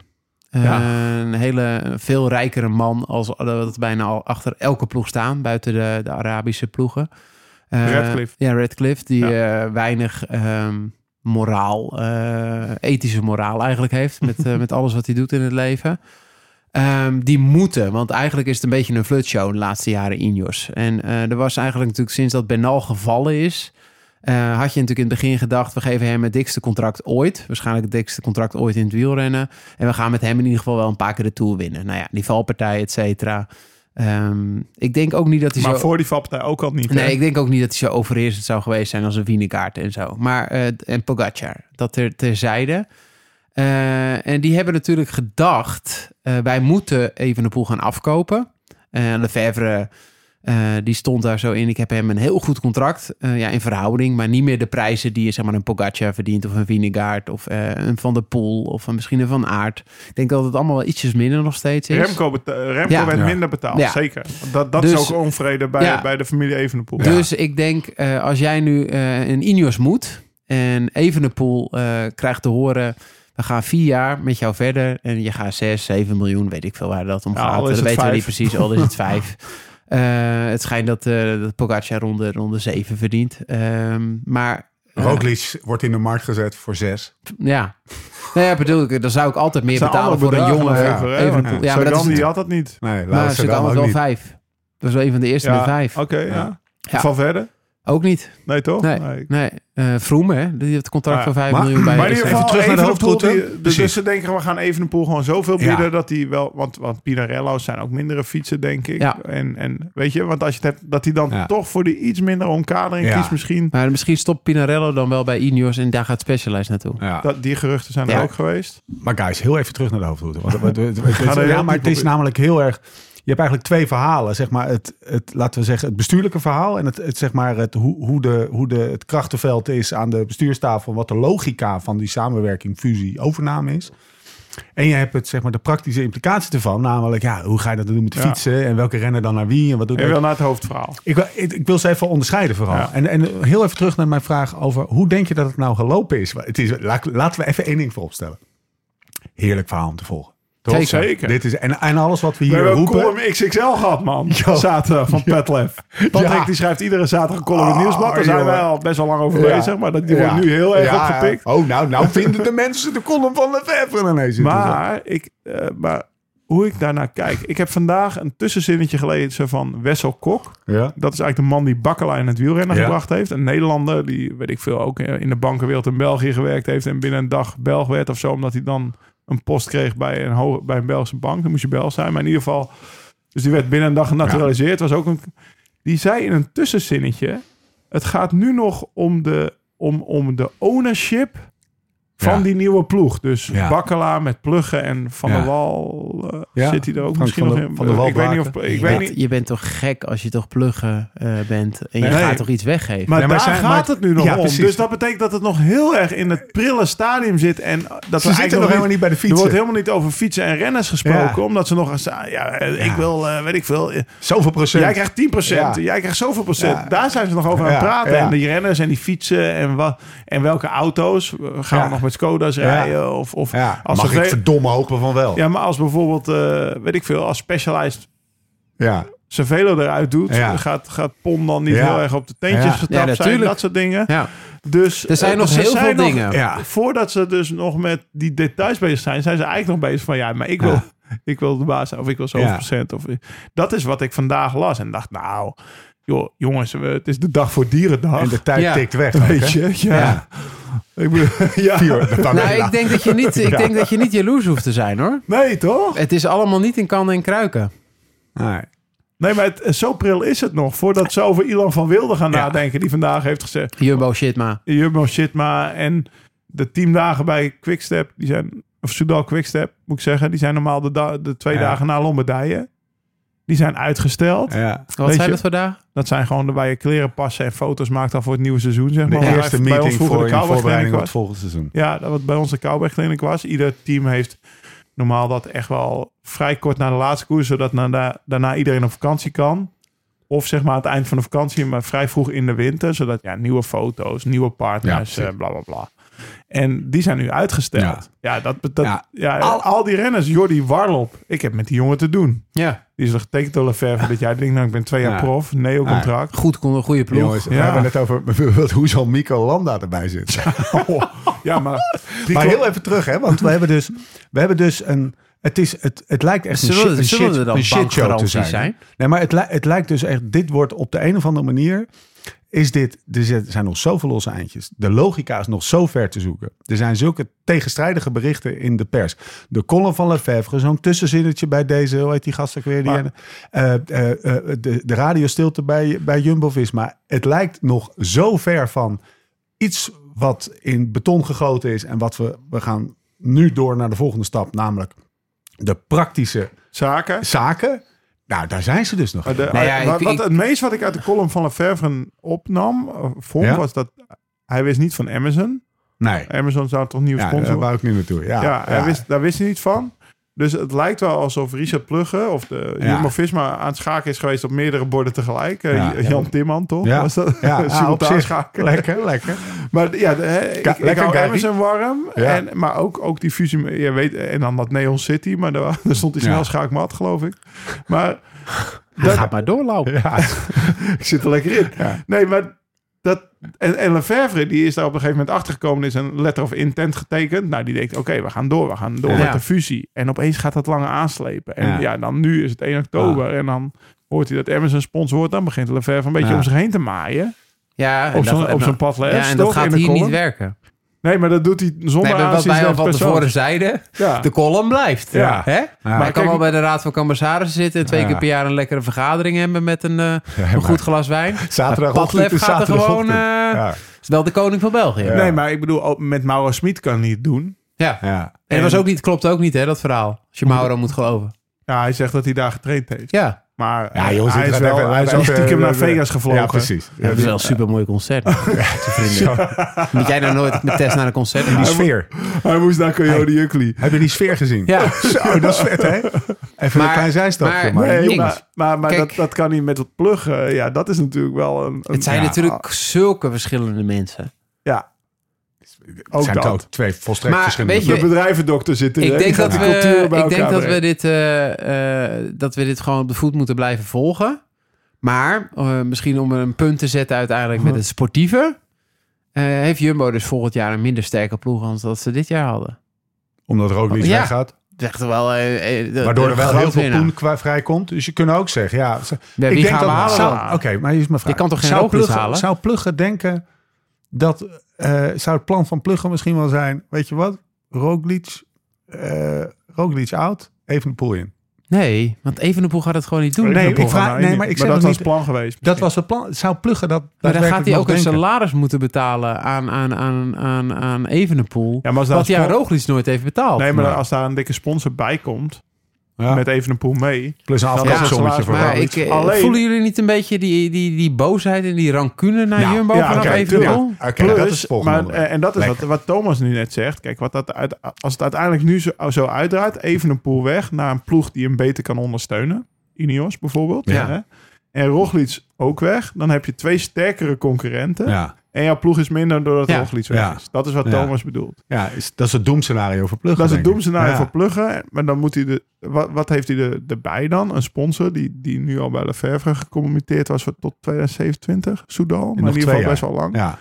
Speaker 3: Eh,
Speaker 5: Ja.
Speaker 3: Een hele een veel rijkere man als eh, dat bijna al achter elke ploeg staan, buiten de, de Arabische ploegen. Eh,
Speaker 5: Radcliffe.
Speaker 3: Ja, Radcliffe, die eh, weinig ehm, moraal, eh, ethische moraal eigenlijk heeft met, eh, met alles wat hij doet in het leven. Ehm, die moeten, want eigenlijk is het een beetje een flutshow de laatste jaren Ineos. En eh, er was eigenlijk natuurlijk sinds dat Benal gevallen is... eh, had je natuurlijk in het begin gedacht... we geven hem het dikste contract ooit. Waarschijnlijk het dikste contract ooit in het wielrennen. En we gaan met hem in ieder geval wel een paar keer de Tour winnen. Nou ja, die valpartij, et cetera. Ehm, ik denk ook niet dat hij
Speaker 5: Maar
Speaker 3: zo...
Speaker 5: voor die valpartij ook al niet. hè?
Speaker 3: Nee, ik denk ook niet dat hij zo overheersend zou geweest zijn als een Wienekaart en zo. Maar, eh, en Pogacar, dat ter, terzijde. Eh, en die hebben natuurlijk gedacht, eh, wij moeten even de poel gaan afkopen. Eh Lefebvre, eh, die stond daar zo in. Ik heb hem een heel goed contract, eh, ja, in verhouding. Maar niet meer de prijzen die je zeg maar, een Pogacar verdient... of een Wienegaard of eh, een Van der Poel of een, misschien een Van Aert. Ik denk dat het allemaal wel ietsjes minder nog steeds is.
Speaker 5: Remco, beta- Remco
Speaker 3: Ja.
Speaker 5: werd
Speaker 1: Ja.
Speaker 5: minder betaald,
Speaker 3: Ja.
Speaker 5: zeker. Dat, dat
Speaker 3: Dus-
Speaker 5: is ook onvrede bij,
Speaker 3: Ja.
Speaker 5: bij de familie Evenepoel.
Speaker 3: Dus ik denk, eh, als jij nu eh een Ineos moet en Evenepoel eh, krijgt te horen... we gaan vier jaar met jou verder en je gaat 6, 7 miljoen, weet ik veel waar dat om
Speaker 5: Ja,
Speaker 3: gaat.
Speaker 5: al is
Speaker 3: Dat
Speaker 5: het
Speaker 3: weten we
Speaker 5: vijf.
Speaker 3: niet precies, al is het vijf. Eh, het schijnt dat, eh dat Pogacar ronde, ronde 7 verdient. Ehm, maar eh,
Speaker 1: Roglic wordt in de markt gezet voor zes.
Speaker 3: ja. Nou ja, bedoel ik, dan zou ik altijd meer
Speaker 5: Zijn
Speaker 3: betalen
Speaker 5: alle
Speaker 3: voor een
Speaker 5: bedragen
Speaker 3: jongen.
Speaker 5: even, hè?
Speaker 3: Evenpoel.
Speaker 5: Want
Speaker 3: ja, maar dat
Speaker 5: Sagan,
Speaker 3: is
Speaker 5: die had dat niet.
Speaker 1: Nee,
Speaker 3: maar
Speaker 1: laat
Speaker 3: zit
Speaker 1: dan
Speaker 3: allemaal
Speaker 1: ook
Speaker 3: wel
Speaker 1: niet.
Speaker 3: vijf. Dat was een van de eerste
Speaker 5: Ja,
Speaker 3: met vijf.
Speaker 5: Oké, ja.
Speaker 3: Ja.
Speaker 5: Van verder?
Speaker 3: Ook niet.
Speaker 5: Nee, toch?
Speaker 3: Nee,
Speaker 5: Nee.
Speaker 3: nee. Eh, Vroom, hè? Die heeft het contract
Speaker 5: Ja,
Speaker 3: van 5
Speaker 1: maar-
Speaker 3: miljoen bij
Speaker 5: Ah, Maar in
Speaker 3: RKC.
Speaker 5: ieder geval,
Speaker 1: Even terug naar de
Speaker 5: Evenepoel,
Speaker 1: hoofdroute.
Speaker 5: die- de-
Speaker 1: Precies.
Speaker 5: Dus ze denken, we gaan Evenepoel gewoon zoveel
Speaker 1: Ja.
Speaker 5: bieden dat hij wel... Want, want Pinarello's zijn ook mindere fietsen, denk ik.
Speaker 3: Ja.
Speaker 5: En, en weet je, want als je het hebt, dat hij dan
Speaker 1: Ja.
Speaker 5: toch voor die iets minder omkadering
Speaker 1: Ja.
Speaker 5: kiest misschien.
Speaker 3: Maar misschien stopt Pinarello dan wel bij Ineos en daar gaat Specialized naartoe.
Speaker 1: Ja.
Speaker 5: Dat, die geruchten zijn
Speaker 3: Ja.
Speaker 5: er ook geweest.
Speaker 1: Maar guys, heel even terug naar de hoofdroute. Want, want- want- want-
Speaker 5: Ga er
Speaker 1: ja,
Speaker 5: heel
Speaker 1: maar
Speaker 5: diep
Speaker 1: het is
Speaker 5: op.
Speaker 1: namelijk heel erg... Je hebt eigenlijk twee verhalen. Zeg maar het, het, laten we zeggen, het bestuurlijke verhaal en het, het, zeg maar het, hoe, hoe, de, hoe de, het krachtenveld is aan de bestuurstafel. Wat de logica van die samenwerking, fusie, overname is. En je hebt het, zeg maar, de praktische implicatie ervan. Namelijk, ja, hoe ga je dat doen met de
Speaker 5: Ja.
Speaker 1: fietsen? En welke renner dan naar wie? En wat doet
Speaker 5: Je
Speaker 1: dat?
Speaker 5: wil naar het hoofdverhaal.
Speaker 1: Ik, wil- ik, ik wil ze even onderscheiden vooral.
Speaker 5: Ja.
Speaker 1: En, en heel even terug naar mijn vraag over hoe denk je dat het nou gelopen is? Het is laat- laten we even één ding vooropstellen. Heerlijk verhaal om te volgen.
Speaker 5: Toch?
Speaker 3: Zeker.
Speaker 5: Zeker.
Speaker 1: Dit is, en, en alles wat we hier
Speaker 5: We hebben een
Speaker 1: roepen.
Speaker 5: column XXL gehad, man. Zaterdag van Petlef. Patrick
Speaker 1: Ja.
Speaker 5: die schrijft iedere zaterdag een column in het
Speaker 1: Oh,
Speaker 5: nieuwsblad. Daar zijn
Speaker 1: jongen.
Speaker 5: wij al best wel lang over
Speaker 1: Ja.
Speaker 5: bezig. Maar dat, die
Speaker 1: Ja.
Speaker 5: wordt nu heel erg
Speaker 1: Ja,
Speaker 5: opgepikt.
Speaker 1: Oh, nou, nou vinden de mensen de column van Lefebvre ineens. interessant.
Speaker 5: Maar, ik, eh, maar hoe ik daarnaar kijk. Ik heb vandaag een tussenzinnetje gelezen van Wessel Kok.
Speaker 1: ja.
Speaker 5: Dat is eigenlijk de man die Bakkela in het wielrennen
Speaker 1: Ja.
Speaker 5: gebracht heeft. Een Nederlander die, weet ik veel, ook in de bankenwereld in België gewerkt heeft. En binnen een dag Belg werd of zo. Omdat hij dan een post kreeg bij een, ho- bij een Belgische bank. Dan moest je Belg zijn. Maar in ieder geval... Dus die werd binnen een dag genaturaliseerd. Was ook een, die zei in een tussenzinnetje... Het gaat nu nog om de, om, om de ownership van
Speaker 1: Ja.
Speaker 5: die nieuwe ploeg. Dus
Speaker 1: Ja.
Speaker 5: Bakkela met Pluggen en Van
Speaker 1: Ja.
Speaker 5: der Wal eh,
Speaker 1: Ja.
Speaker 5: zit hij er ook
Speaker 1: Frank
Speaker 5: misschien
Speaker 1: van
Speaker 5: nog
Speaker 1: der-
Speaker 5: in.
Speaker 1: van der Wal
Speaker 5: ik weet niet of...
Speaker 1: Baken.
Speaker 5: Ik
Speaker 3: je,
Speaker 5: weet
Speaker 3: bent,
Speaker 5: niet,
Speaker 3: je bent toch gek als je toch pluggen eh, bent en je
Speaker 5: Nee.
Speaker 3: gaat toch iets weggeven?
Speaker 5: Maar
Speaker 1: Nee, maar
Speaker 5: daar
Speaker 1: zijn-
Speaker 5: gaat
Speaker 1: maar-
Speaker 5: het nu nog
Speaker 1: Ja,
Speaker 5: om.
Speaker 1: precies.
Speaker 5: Dus dat betekent dat het nog heel erg in het prille stadium zit. En dat we
Speaker 1: Ze
Speaker 5: eigenlijk
Speaker 1: zitten nog helemaal niet bij de
Speaker 5: Er
Speaker 1: fietsen.
Speaker 5: wordt helemaal niet over fietsen en renners gesproken.
Speaker 1: Ja.
Speaker 5: Omdat ze nog eens... ah, Ja, eh, ik
Speaker 1: Ja.
Speaker 5: wil, eh, weet ik veel... eh,
Speaker 1: Zoveel procent.
Speaker 5: Jij krijgt 10
Speaker 1: Ja.
Speaker 5: Jij krijgt zoveel procent.
Speaker 1: Ja.
Speaker 5: Daar zijn ze nog over aan het
Speaker 1: Ja,
Speaker 5: praten.
Speaker 1: ja.
Speaker 5: En die renners en die fietsen. En, wat, en welke auto's. Eh, Gaan
Speaker 1: Ja.
Speaker 5: we nog met Skoda's rijden? Of, of
Speaker 1: ja.
Speaker 5: als
Speaker 1: Mag
Speaker 5: ze
Speaker 1: ik
Speaker 5: ve-
Speaker 1: verdomme hopen van wel.
Speaker 5: Ja, maar als bijvoorbeeld, eh, weet ik veel, als Specialized
Speaker 1: ja.
Speaker 5: zijn velo eruit doet,
Speaker 1: Ja.
Speaker 5: gaat, gaat Pom dan niet
Speaker 1: Ja.
Speaker 5: heel erg op de teentjes
Speaker 1: Ja.
Speaker 5: getapt
Speaker 3: Ja,
Speaker 5: zijn,
Speaker 3: natuurlijk.
Speaker 5: dat soort dingen.
Speaker 3: ja.
Speaker 5: Dus
Speaker 3: Er zijn
Speaker 5: eh,
Speaker 3: nog
Speaker 5: ze
Speaker 3: heel veel
Speaker 5: nog-
Speaker 3: dingen.
Speaker 1: Ja.
Speaker 5: Voordat ze dus nog met die details bezig zijn, zijn ze eigenlijk nog bezig van ja, maar ik wil,
Speaker 1: Ja.
Speaker 5: ik wil de baas zijn of ik wil zoveel
Speaker 1: Ja.
Speaker 5: procent. Of, dat is wat ik vandaag las en dacht, nou, joh, jongens, we- het is de dag voor dierendag.
Speaker 1: En de tijd
Speaker 3: Ja.
Speaker 1: tikt weg. ook,
Speaker 5: Weet
Speaker 1: hè?
Speaker 5: je, ja.
Speaker 1: Ja.
Speaker 5: Ik bedoel, ja.
Speaker 1: Vier, dat kan
Speaker 3: Nou,
Speaker 1: wel.
Speaker 3: ik denk, dat je niet, ik denk dat je niet jaloers hoeft te zijn hoor.
Speaker 5: Nee, toch?
Speaker 3: Het is allemaal niet in kannen en kruiken.
Speaker 1: Nee.
Speaker 5: Nee, maar het, zo pril is het nog. Voordat ze over Ilan van Wilde gaan
Speaker 1: Ja.
Speaker 5: nadenken, die vandaag heeft gezegd,
Speaker 3: Jumbo Shitma.
Speaker 5: Jumbo Shitma en de teamdagen bij Quickstep, die zijn, of Soudal Quickstep moet ik zeggen, die zijn normaal de, da- de twee
Speaker 1: Ja.
Speaker 5: dagen na Lombardije. Die zijn uitgesteld.
Speaker 1: Ja.
Speaker 3: Wat
Speaker 5: Weet
Speaker 3: zijn
Speaker 5: je-
Speaker 3: dat vandaag?
Speaker 5: Dat zijn gewoon de- waar je kleren passen en foto's maakt dan voor het nieuwe seizoen. Zeg
Speaker 1: De
Speaker 5: maar. Waar
Speaker 1: eerste
Speaker 5: bij ons
Speaker 1: meeting
Speaker 5: vroeger
Speaker 1: voor in
Speaker 5: Cowboys
Speaker 1: voorbereiding op het
Speaker 5: Clinic was.
Speaker 1: volgende seizoen.
Speaker 5: Ja, dat wat bij ons de Cowboy Clinic was. Ieder team heeft normaal dat echt wel vrij kort na de laatste koers, zodat na da- daarna iedereen op vakantie kan. Of zeg maar aan het eind van de vakantie, maar vrij vroeg in de winter, zodat ja, nieuwe foto's, nieuwe partners,
Speaker 1: Ja,
Speaker 5: eh, bla bla bla. En die zijn nu uitgesteld. Ja, dat, dat, ja.
Speaker 1: Ja.
Speaker 5: al, al die renners, Jordi Warlop, ik heb met die jongen te doen.
Speaker 3: Ja,
Speaker 5: Die is nog getekend door Lefebvre, dat jij denkt, nou ik ben twee jaar
Speaker 1: Ja.
Speaker 5: prof, neo-contract.
Speaker 3: goed, kon een goede ploeg.
Speaker 1: Jongens, we
Speaker 5: Ja.
Speaker 1: hebben het over bijvoorbeeld hoe zo'n Mico Landa erbij zit.
Speaker 5: Oh, Ja, maar, die
Speaker 1: maar
Speaker 5: klo-
Speaker 1: heel even terug, hè? Want we hebben dus, we hebben dus een. Het, is, het, het lijkt echt een
Speaker 3: Zullen-
Speaker 1: shit, een
Speaker 3: zullen
Speaker 1: shit-
Speaker 3: er dan
Speaker 1: een shitshow te
Speaker 3: bankgaranties
Speaker 1: zijn.
Speaker 3: zijn?
Speaker 1: Nee, maar het, li- het lijkt dus echt. Dit wordt op de een of andere manier. Is dit, er zit- zijn nog zoveel losse eindjes. De logica is nog zo ver te zoeken. Er zijn zulke tegenstrijdige berichten in de pers. De column van Lefebvre, zo'n tussenzinnetje bij deze, hoe heet die gast ook weer? Die,
Speaker 5: Maar-
Speaker 1: eh, eh, eh, de, de radiostilte bij, bij Jumbo-Visma. Het lijkt nog zo ver van iets wat in beton gegoten is en wat we, we gaan nu door naar de volgende stap, namelijk de praktische
Speaker 5: zaken.
Speaker 1: zaken. Nou, daar zijn ze dus nog.
Speaker 5: Maar de-
Speaker 1: niet.
Speaker 3: Nou ja,
Speaker 5: maar wat,
Speaker 3: ik- ik-
Speaker 5: het meest wat ik uit de column van Lefebvre opnam, eh, vond,
Speaker 1: Ja?
Speaker 5: was dat hij wist niet van Amazon.
Speaker 1: nee,
Speaker 5: Amazon zou toch nieuw
Speaker 1: ja, daar
Speaker 5: sponsor worden?
Speaker 1: wou ik nu naartoe. Ja,
Speaker 5: Ja, hij
Speaker 1: ja.
Speaker 5: Wist, daar wist hij niet van. Dus het lijkt wel alsof Richard Plugge of de
Speaker 1: Ja.
Speaker 5: Jumbo-Visma aan het schaken is geweest op meerdere borden tegelijk. Eh,
Speaker 1: Ja.
Speaker 5: Jan Timman, toch?
Speaker 1: Ja.
Speaker 5: Was dat?
Speaker 1: Ja, ah, op
Speaker 5: Simultaan
Speaker 1: zich.
Speaker 5: schaken.
Speaker 1: Lekker, lekker.
Speaker 5: Maar ja, de- hè, ik,
Speaker 1: Ka-
Speaker 5: ik
Speaker 1: lekker,
Speaker 5: hou
Speaker 1: Gary.
Speaker 5: Amazon warm.
Speaker 1: Ja.
Speaker 5: En, maar ook, ook die fusie. Je weet, en dan dat Neon City. Maar daar, daar stond hij
Speaker 1: Ja.
Speaker 5: snel schaakmat, geloof ik. Maar
Speaker 3: Hij gaat maar doorlopen.
Speaker 1: Ja,
Speaker 5: ik zit er lekker in.
Speaker 1: Ja.
Speaker 5: Nee, maar dat... En, en Lefevre, die is daar op een gegeven moment achtergekomen... is een letter of intent getekend. Nou, die denkt, oké, we gaan door. We gaan door
Speaker 1: Ja.
Speaker 5: met de fusie. En opeens gaat dat langer aanslepen. En
Speaker 1: Ja.
Speaker 5: ja, dan nu is het 1 oktober. En dan hoort hij dat Amazon sponsor wordt. Dan begint Lefevre een beetje
Speaker 1: Ja.
Speaker 5: om zich heen te maaien.
Speaker 3: Ja, en
Speaker 5: Op
Speaker 3: dat-
Speaker 5: zo'n-
Speaker 3: en
Speaker 5: op
Speaker 3: dat-
Speaker 5: zo'n pad les,
Speaker 3: Ja, en
Speaker 5: toch?
Speaker 3: dat gaat
Speaker 5: In de
Speaker 3: hier niet
Speaker 5: column?
Speaker 3: werken.
Speaker 5: Nee, maar dat doet hij zonder
Speaker 3: Nee, maar wat
Speaker 5: aanzien
Speaker 3: wij al
Speaker 5: van
Speaker 3: van
Speaker 5: persoon.
Speaker 3: tevoren zeiden,
Speaker 5: Ja.
Speaker 3: de column blijft.
Speaker 5: Ja.
Speaker 3: Hè? Maar
Speaker 5: Maar
Speaker 3: hij kan
Speaker 5: kijk-
Speaker 3: wel bij de Raad van Commissarissen zitten... en twee
Speaker 1: Ja.
Speaker 3: keer per jaar een lekkere vergadering hebben met een, eh, een goed glas wijn.
Speaker 1: zaterdagochtend
Speaker 3: Padlef
Speaker 1: is
Speaker 3: gaat er gewoon...
Speaker 1: zaterdagochtend.
Speaker 3: eh,
Speaker 1: Ja,
Speaker 3: is wel de koning van België. Ja.
Speaker 5: Nee, maar ik bedoel, ook met Mauro Smit kan hij het doen.
Speaker 3: Ja.
Speaker 1: ja.
Speaker 3: En dat was ook niet, klopt ook niet, hè, dat verhaal. Als je Mauro moet geloven.
Speaker 5: Ja, hij zegt dat hij daar getraind heeft.
Speaker 3: Ja.
Speaker 5: Maar
Speaker 1: Ja,
Speaker 5: eh,
Speaker 1: jongens,
Speaker 5: hij
Speaker 1: dit
Speaker 5: is
Speaker 1: gaat
Speaker 5: wel
Speaker 1: even-
Speaker 5: hij
Speaker 1: hij
Speaker 5: is wel
Speaker 1: is even-
Speaker 5: stiekem naar
Speaker 1: even-
Speaker 5: Vegas gevlogen.
Speaker 1: Ja, precies.
Speaker 3: dat is wel een supermooi concert. met je vrienden. Moet jij nou nooit met Tess naar een concert?
Speaker 1: Die
Speaker 3: Ja.
Speaker 1: sfeer.
Speaker 5: Hij moest naar Coyote Ugly.
Speaker 1: Heb je die sfeer gezien?
Speaker 3: Ja.
Speaker 1: Zo, dat is vet, hè? Even
Speaker 3: Maar-
Speaker 1: een klein zijstapje.
Speaker 3: maar-
Speaker 1: Maar,
Speaker 5: Nee,
Speaker 3: jongens.
Speaker 5: maar, maar, maar
Speaker 3: Kijk.
Speaker 5: dat, dat kan niet met het pluggen. Ja, dat is natuurlijk wel een... een-
Speaker 3: Het zijn
Speaker 5: ja,
Speaker 3: natuurlijk zulke verschillende mensen.
Speaker 5: Ja,
Speaker 1: het
Speaker 5: ook
Speaker 1: zijn
Speaker 5: dat.
Speaker 1: ook twee volstrekt
Speaker 3: Maar
Speaker 1: verschillende...
Speaker 3: weet je-
Speaker 5: De bedrijvendokter zit erin.
Speaker 3: Ik denk dat
Speaker 5: de
Speaker 3: we,
Speaker 5: cultuur bij
Speaker 3: ik denk
Speaker 5: elkaar
Speaker 3: dat we,
Speaker 5: brengt.
Speaker 3: dit, eh, eh, dat we dit gewoon op de voet moeten blijven volgen. Maar eh, misschien om een punt te zetten uiteindelijk
Speaker 1: Hm.
Speaker 3: met het sportieve... eh, heeft Jumbo dus volgend jaar een minder sterke ploeg... dan dat ze dit jaar hadden.
Speaker 1: Omdat er ook niets
Speaker 3: Ja.
Speaker 1: weggaat.
Speaker 3: Dat is echt wel... eh, eh, de-
Speaker 1: Waardoor
Speaker 3: de
Speaker 1: er wel
Speaker 3: grote
Speaker 1: heel veel
Speaker 3: winnaar.
Speaker 1: poen qua vrijkomt. Dus je kunt ook zeggen, ja... ze-
Speaker 3: Ja,
Speaker 1: ik
Speaker 3: wie
Speaker 1: denk
Speaker 3: gaan
Speaker 1: dat
Speaker 3: we halen
Speaker 1: zou-
Speaker 3: dan?
Speaker 1: Oké, maar hier is mijn vraag.
Speaker 3: Je kan toch geen
Speaker 1: zou
Speaker 3: rooklicht
Speaker 1: Plugge-
Speaker 3: halen?
Speaker 1: Zou Plugge denken dat... eh, zou het plan van Plugge misschien wel zijn... Weet je wat? Roglic, eh Roglic out, even de pool in.
Speaker 3: Nee, want Evenepoel gaat het gewoon niet doen.
Speaker 1: Nee, ik
Speaker 5: Programma
Speaker 1: vraag-
Speaker 5: één
Speaker 1: nee,
Speaker 5: niet.
Speaker 1: maar ik zeg
Speaker 5: dat
Speaker 1: nog
Speaker 5: was
Speaker 1: niet-
Speaker 5: plan geweest.
Speaker 1: Dat was het plan. Zou Plugge dat
Speaker 3: maar dan gaat hij ook een
Speaker 1: denken?
Speaker 3: salaris moeten betalen aan, aan, aan, aan, aan Evenepoel.
Speaker 5: Ja, maar als daar
Speaker 3: wat
Speaker 5: een
Speaker 3: hij aan
Speaker 5: spon-
Speaker 3: Roglic nooit heeft betaald.
Speaker 5: Nee, maar
Speaker 1: Ja.
Speaker 5: als daar een dikke sponsor bij komt,
Speaker 1: Ja.
Speaker 5: met even een pool mee.
Speaker 1: Plus een
Speaker 5: Ja,
Speaker 1: afkapsommetje
Speaker 5: salaris,
Speaker 1: voor
Speaker 3: maar
Speaker 1: Roglic.
Speaker 3: ik, eh,
Speaker 5: Alleen-
Speaker 3: voelen jullie niet een beetje die, die, die boosheid en die rancune naar
Speaker 1: Ja,
Speaker 3: Jumbo
Speaker 5: ja,
Speaker 3: vanaf
Speaker 5: oké,
Speaker 3: Evenepoel?
Speaker 1: tuurlijk. Oké, nou, dat is het volgende
Speaker 5: maar,
Speaker 1: onderwerp.
Speaker 5: eh, En dat is wat,
Speaker 1: Lekker.
Speaker 5: wat Thomas nu net zegt. Kijk, wat dat uit, als het uiteindelijk nu zo, zo uitdraait, even een pool weg naar een ploeg die hem beter kan ondersteunen. Ineos bijvoorbeeld.
Speaker 3: Ja.
Speaker 5: Hè? En Roglic ook weg. Dan heb je twee sterkere concurrenten.
Speaker 1: Ja,
Speaker 5: En jouw ploeg is minder doordat
Speaker 3: Ja.
Speaker 5: Roglic weg
Speaker 1: Ja.
Speaker 5: is. Dat is wat
Speaker 1: Ja.
Speaker 5: Thomas bedoelt.
Speaker 1: ja is, dat is het doemscenario voor Plugge.
Speaker 5: Dat is het
Speaker 1: denk ik.
Speaker 5: doemscenario
Speaker 1: Ja.
Speaker 5: voor pluggen. Maar dan moet hij de... Wat, wat heeft hij er- erbij dan? Een sponsor die, die nu al bij Lefevre gecommitteerd was voor tot 2027. Soudal. Maar in
Speaker 1: nog
Speaker 5: ieder geval
Speaker 1: twee
Speaker 5: best wel lang.
Speaker 1: Ja,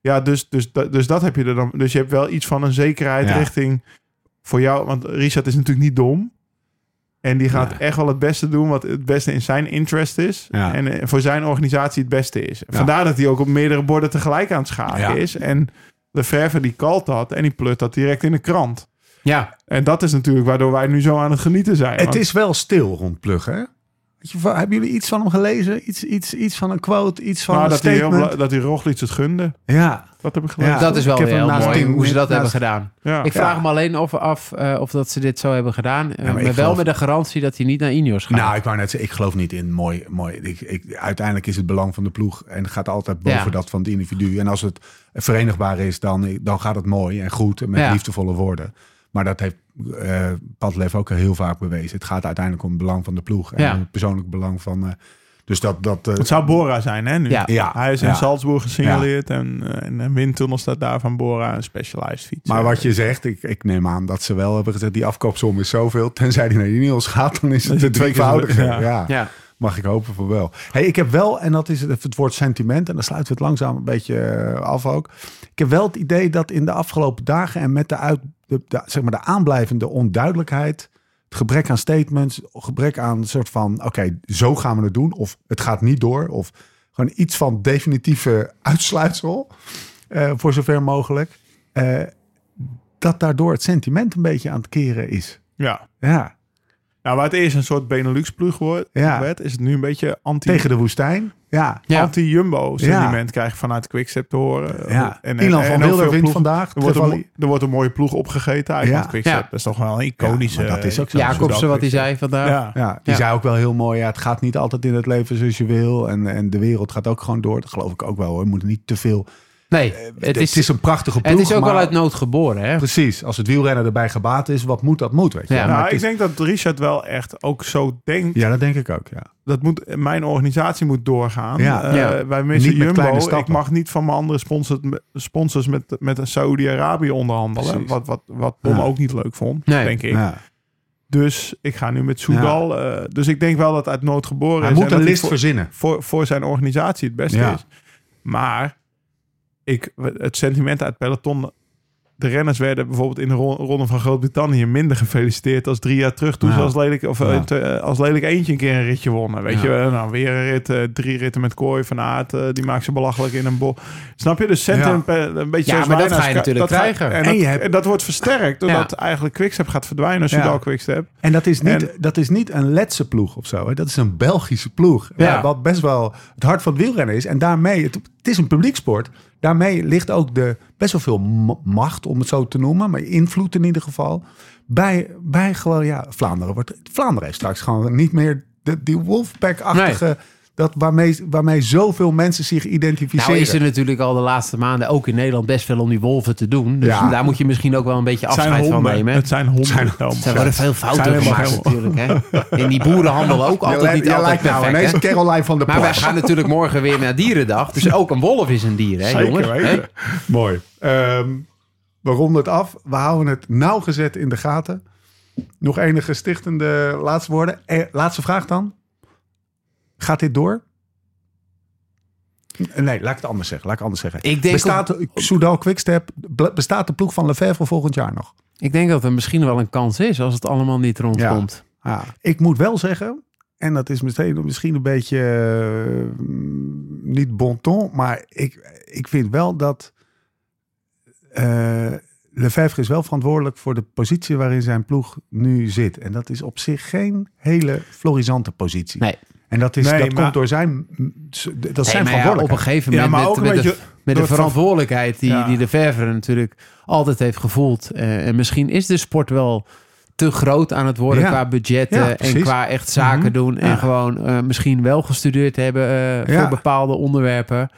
Speaker 5: Ja, dus, dus, da- dus dat heb je er dan. Dus je hebt wel iets van een zekerheid
Speaker 1: Ja.
Speaker 5: richting voor jou. Want Richard is natuurlijk niet dom. En die gaat
Speaker 1: Nee.
Speaker 5: echt wel het beste doen wat het beste in zijn interest is.
Speaker 1: Ja.
Speaker 5: En eh, voor zijn organisatie het beste is.
Speaker 1: Ja.
Speaker 5: Vandaar dat hij ook op meerdere borden tegelijk aan het schaken
Speaker 1: Ja.
Speaker 5: is. En de verver die kalt dat en die plut dat direct in de krant.
Speaker 3: Ja,
Speaker 5: En dat is natuurlijk waardoor wij nu zo aan het genieten zijn.
Speaker 1: Het
Speaker 5: Want-
Speaker 1: is wel stil rond Plugge, hè? Weet je, wa- hebben jullie iets van hem gelezen? Iets, iets, iets van een quote, iets van
Speaker 5: nou,
Speaker 1: een
Speaker 5: dat, hij heel,
Speaker 1: statement?
Speaker 5: bla- dat hij Roglic het gunde.
Speaker 1: ja,
Speaker 5: Dat heb ik
Speaker 1: Ja.
Speaker 5: gelezen.
Speaker 3: dat is wel
Speaker 1: Ik heb
Speaker 3: weer
Speaker 1: hem
Speaker 3: heel
Speaker 1: naast
Speaker 3: mooi
Speaker 1: Tim-
Speaker 3: hoe ze dat
Speaker 1: naast-
Speaker 3: hebben gedaan.
Speaker 5: Ja.
Speaker 3: Ik vraag
Speaker 1: Ja.
Speaker 3: me alleen of, af eh, of dat ze dit zo hebben gedaan. eh,
Speaker 1: maar
Speaker 3: maar
Speaker 1: ik
Speaker 3: wel
Speaker 1: geloof-
Speaker 3: met de garantie dat hij niet naar Ineos gaat.
Speaker 1: nou, ik wou net zeggen, ik geloof niet in mooi. mooi ik, ik, uiteindelijk is het belang van de ploeg en gaat altijd boven
Speaker 3: Ja.
Speaker 1: dat van het individu. En als het verenigbaar is, dan, dan gaat het mooi en goed en met
Speaker 3: Ja.
Speaker 1: liefdevolle woorden. Maar dat heeft eh Padlef ook heel vaak bewezen. Het gaat uiteindelijk om het belang van de ploeg en
Speaker 3: Ja.
Speaker 1: het persoonlijk belang van. eh, dus dat. dat eh,
Speaker 5: Het zou Bora zijn, hè? Nu.
Speaker 3: Ja.
Speaker 1: ja,
Speaker 5: Hij is in
Speaker 1: ja.
Speaker 5: Salzburg gesignaleerd en, eh, en een windtunnel staat daar van Bora, een specialized fiets.
Speaker 1: Maar wat je zegt, ik, ik neem aan dat ze wel hebben gezegd... die afkoopsom is zoveel, tenzij die naar Ineos gaat... dan is het de
Speaker 5: het twee keer
Speaker 1: tweevoudige.
Speaker 5: zo- ja.
Speaker 1: Ja.
Speaker 3: Ja.
Speaker 1: mag ik hopen voor wel. Hey, ik heb wel, en dat is het, het woord sentiment... en dan sluiten we het langzaam een beetje eh, af ook. Ik heb wel het idee dat in de afgelopen dagen... en met de, uit, de, de- zeg maar de aanblijvende onduidelijkheid... het gebrek aan statements, gebrek aan een soort van... oké, zo gaan we het doen, of het gaat niet door... of gewoon iets van definitieve uitsluitsel... eh, voor zover mogelijk... Eh, dat daardoor het sentiment een beetje aan het keren is.
Speaker 5: Ja.
Speaker 1: Ja.
Speaker 5: Nou, waar het eerst een soort Benelux-ploeg wordt,
Speaker 1: Ja.
Speaker 5: werd, is het nu een beetje anti,
Speaker 1: Tegen de woestijn. Ja.
Speaker 3: Ja.
Speaker 5: anti-Jumbo-sentiment krijg je vanuit Quickstep te horen. Eh,
Speaker 1: ja.
Speaker 5: En,
Speaker 1: Ilan van
Speaker 5: ook
Speaker 1: Wilder
Speaker 5: veel
Speaker 1: wint
Speaker 5: ploegen-
Speaker 1: vandaag.
Speaker 5: Er wordt, een,
Speaker 1: Trevally-
Speaker 5: mo- er wordt een mooie ploeg opgegeten uit
Speaker 1: Ja.
Speaker 5: Quickstep.
Speaker 3: Ja.
Speaker 5: Dat is toch wel een iconische...
Speaker 1: Ja, maar dat is ook zo.
Speaker 3: Jacobsen,
Speaker 5: Zodat-
Speaker 3: wat hij zei vandaag.
Speaker 5: Ja.
Speaker 1: ja, die
Speaker 3: Ja.
Speaker 1: zei ook wel heel mooi. Ja, het gaat niet altijd in het leven zoals je wil. En, en de wereld gaat ook gewoon door. Dat geloof ik ook wel hoor. Je moet er niet te veel
Speaker 3: Nee,
Speaker 1: Het
Speaker 3: het
Speaker 1: Eh, is,
Speaker 3: is, het is,
Speaker 1: een prachtige ploeg.
Speaker 3: ook
Speaker 1: maar-
Speaker 3: wel uit nood geboren, hè?
Speaker 1: Precies, als het wielrennen erbij gebaat is, wat moet dat moet, weet je.
Speaker 3: Ja,
Speaker 1: Ja,
Speaker 3: maar
Speaker 5: Nou, ik denk dat Richard wel echt ook zo denkt.
Speaker 1: dat denk ik ook, ja.
Speaker 5: Dat moet, mijn organisatie moet doorgaan.
Speaker 1: Ja.
Speaker 5: Eh,
Speaker 3: Ja.
Speaker 5: Wij missen
Speaker 1: Niet met kleine
Speaker 5: Jumbo. Ik
Speaker 1: stappen.
Speaker 5: mag niet van mijn andere sponsors, sponsors met, met Saudi-Arabië onderhandelen.
Speaker 1: Precies.
Speaker 5: Wat, wat, wat Tom
Speaker 1: Ja.
Speaker 5: ook niet leuk vond,
Speaker 3: Nee.
Speaker 5: denk ik.
Speaker 1: Ja.
Speaker 5: Dus ik ga nu met Soudal. eh, dus ik denk wel dat uit nood geboren
Speaker 1: Hij
Speaker 5: is.
Speaker 1: moet
Speaker 5: en dat
Speaker 1: een
Speaker 5: hij
Speaker 1: list
Speaker 5: voor,
Speaker 1: verzinnen.
Speaker 5: voor, voor zijn organisatie het beste
Speaker 1: Ja.
Speaker 5: is. Maar ik, het sentiment uit peloton... De renners werden bijvoorbeeld in de ron- ronde van Groot-Brittannië minder gefeliciteerd als drie jaar terug. Toen
Speaker 1: Ja.
Speaker 5: ze als lelijk, of, eh,
Speaker 1: Ja.
Speaker 5: te- eh, als lelijk eentje een keer een ritje wonnen. Weet
Speaker 1: Ja.
Speaker 5: je, eh, nou, weer een rit, eh, drie ritten met kooi van aard. die maakt ze belachelijk in een bol. Snap je? Dus sentiment eh, een beetje
Speaker 3: Ja,
Speaker 5: zoals
Speaker 3: maar dat
Speaker 5: Wijnands
Speaker 3: ga je
Speaker 5: ka-
Speaker 3: natuurlijk
Speaker 5: dat ga-
Speaker 3: krijgen.
Speaker 5: En,
Speaker 1: En
Speaker 5: dat,
Speaker 1: je hebt-
Speaker 5: en dat wordt versterkt doordat
Speaker 3: Ja.
Speaker 5: eigenlijk Quickstep gaat verdwijnen. Soudal Quickstep.
Speaker 1: En dat is niet,
Speaker 5: En-
Speaker 1: dat is niet een Letse ploeg of zo. Hè? Dat is een Belgische ploeg.
Speaker 3: Ja.
Speaker 1: Ja, Wat best wel het hart van het wielrennen is. En daarmee, het, het is een publieksport. Daarmee ligt ook de, best wel veel m- macht, om het zo te noemen. Maar invloed in ieder geval. Bij, bij gewoon, ja, Vlaanderen. Wordt, Vlaanderen heeft straks gewoon niet meer de, die Wolfpack-achtige... Dat waarmee, waarmee zoveel mensen zich identificeren.
Speaker 3: Nou is er natuurlijk al de laatste maanden ook in Nederland best veel om die wolven te doen. Dus
Speaker 1: Ja.
Speaker 3: daar moet je misschien ook wel een beetje
Speaker 5: Het zijn
Speaker 3: afscheid van
Speaker 5: honden.
Speaker 3: nemen. hè?
Speaker 5: Het zijn honden. Tom.
Speaker 3: Er worden veel
Speaker 5: Zijn
Speaker 3: fouten
Speaker 5: helemaal
Speaker 3: gemaakt
Speaker 5: geen-
Speaker 3: natuurlijk. Hè? En die boerenhandel ook
Speaker 1: Jij
Speaker 3: altijd
Speaker 1: lijkt-
Speaker 3: niet
Speaker 1: jij
Speaker 3: altijd
Speaker 1: lijkt nou
Speaker 3: perfect.
Speaker 1: ineens
Speaker 3: hè?
Speaker 1: Caroline van der
Speaker 3: Maar wij
Speaker 1: Plas.
Speaker 3: gaan natuurlijk morgen weer naar Dierendag. Dus ook een wolf is een dier, hè, jongens?
Speaker 1: weten.
Speaker 3: Hè?
Speaker 1: Mooi. Ehm, we ronden het af. We houden het nauwgezet in de gaten. Nog enige stichtende laatste woorden. Eh, laatste vraag dan. Gaat dit door? Eh, Nee, laat ik het anders zeggen. Laat ik het anders zeggen.
Speaker 3: Ik denk
Speaker 1: bestaat Soudal Quickstep, ble- bestaat de ploeg van Lefebvre volgend jaar nog?
Speaker 3: Ik denk dat er misschien wel een kans is als het allemaal niet rondkomt.
Speaker 1: Ja. Ik moet wel zeggen, en dat is meteen misschien een beetje eh, mm, niet bon ton, maar ik, ik vind wel dat eh Lefebvre is wel verantwoordelijk voor de positie waarin zijn ploeg nu zit. En dat is op zich geen hele florisante positie.
Speaker 3: Nee.
Speaker 1: En dat, is,
Speaker 5: Nee,
Speaker 1: dat
Speaker 5: maar-
Speaker 1: komt door zijn, dat
Speaker 3: Nee,
Speaker 1: zijn
Speaker 3: maar ja, op een
Speaker 1: verantwoordelijkheid.
Speaker 3: gegeven
Speaker 5: Ja,
Speaker 3: moment
Speaker 5: maar ook
Speaker 3: met,
Speaker 5: een
Speaker 3: met,
Speaker 5: beetje
Speaker 3: de, met
Speaker 5: door
Speaker 3: de
Speaker 5: het
Speaker 3: verantwoordelijkheid die,
Speaker 5: Ja.
Speaker 3: die de verver natuurlijk altijd heeft gevoeld. Eh, en misschien is de sport wel te groot aan het worden
Speaker 1: Ja.
Speaker 3: qua budgetten
Speaker 1: Ja,
Speaker 3: en
Speaker 1: precies.
Speaker 3: qua echt zaken
Speaker 5: Mhm.
Speaker 3: doen. En
Speaker 1: Ja.
Speaker 3: gewoon eh, misschien wel gestudeerd hebben eh,
Speaker 1: Ja.
Speaker 3: voor bepaalde onderwerpen.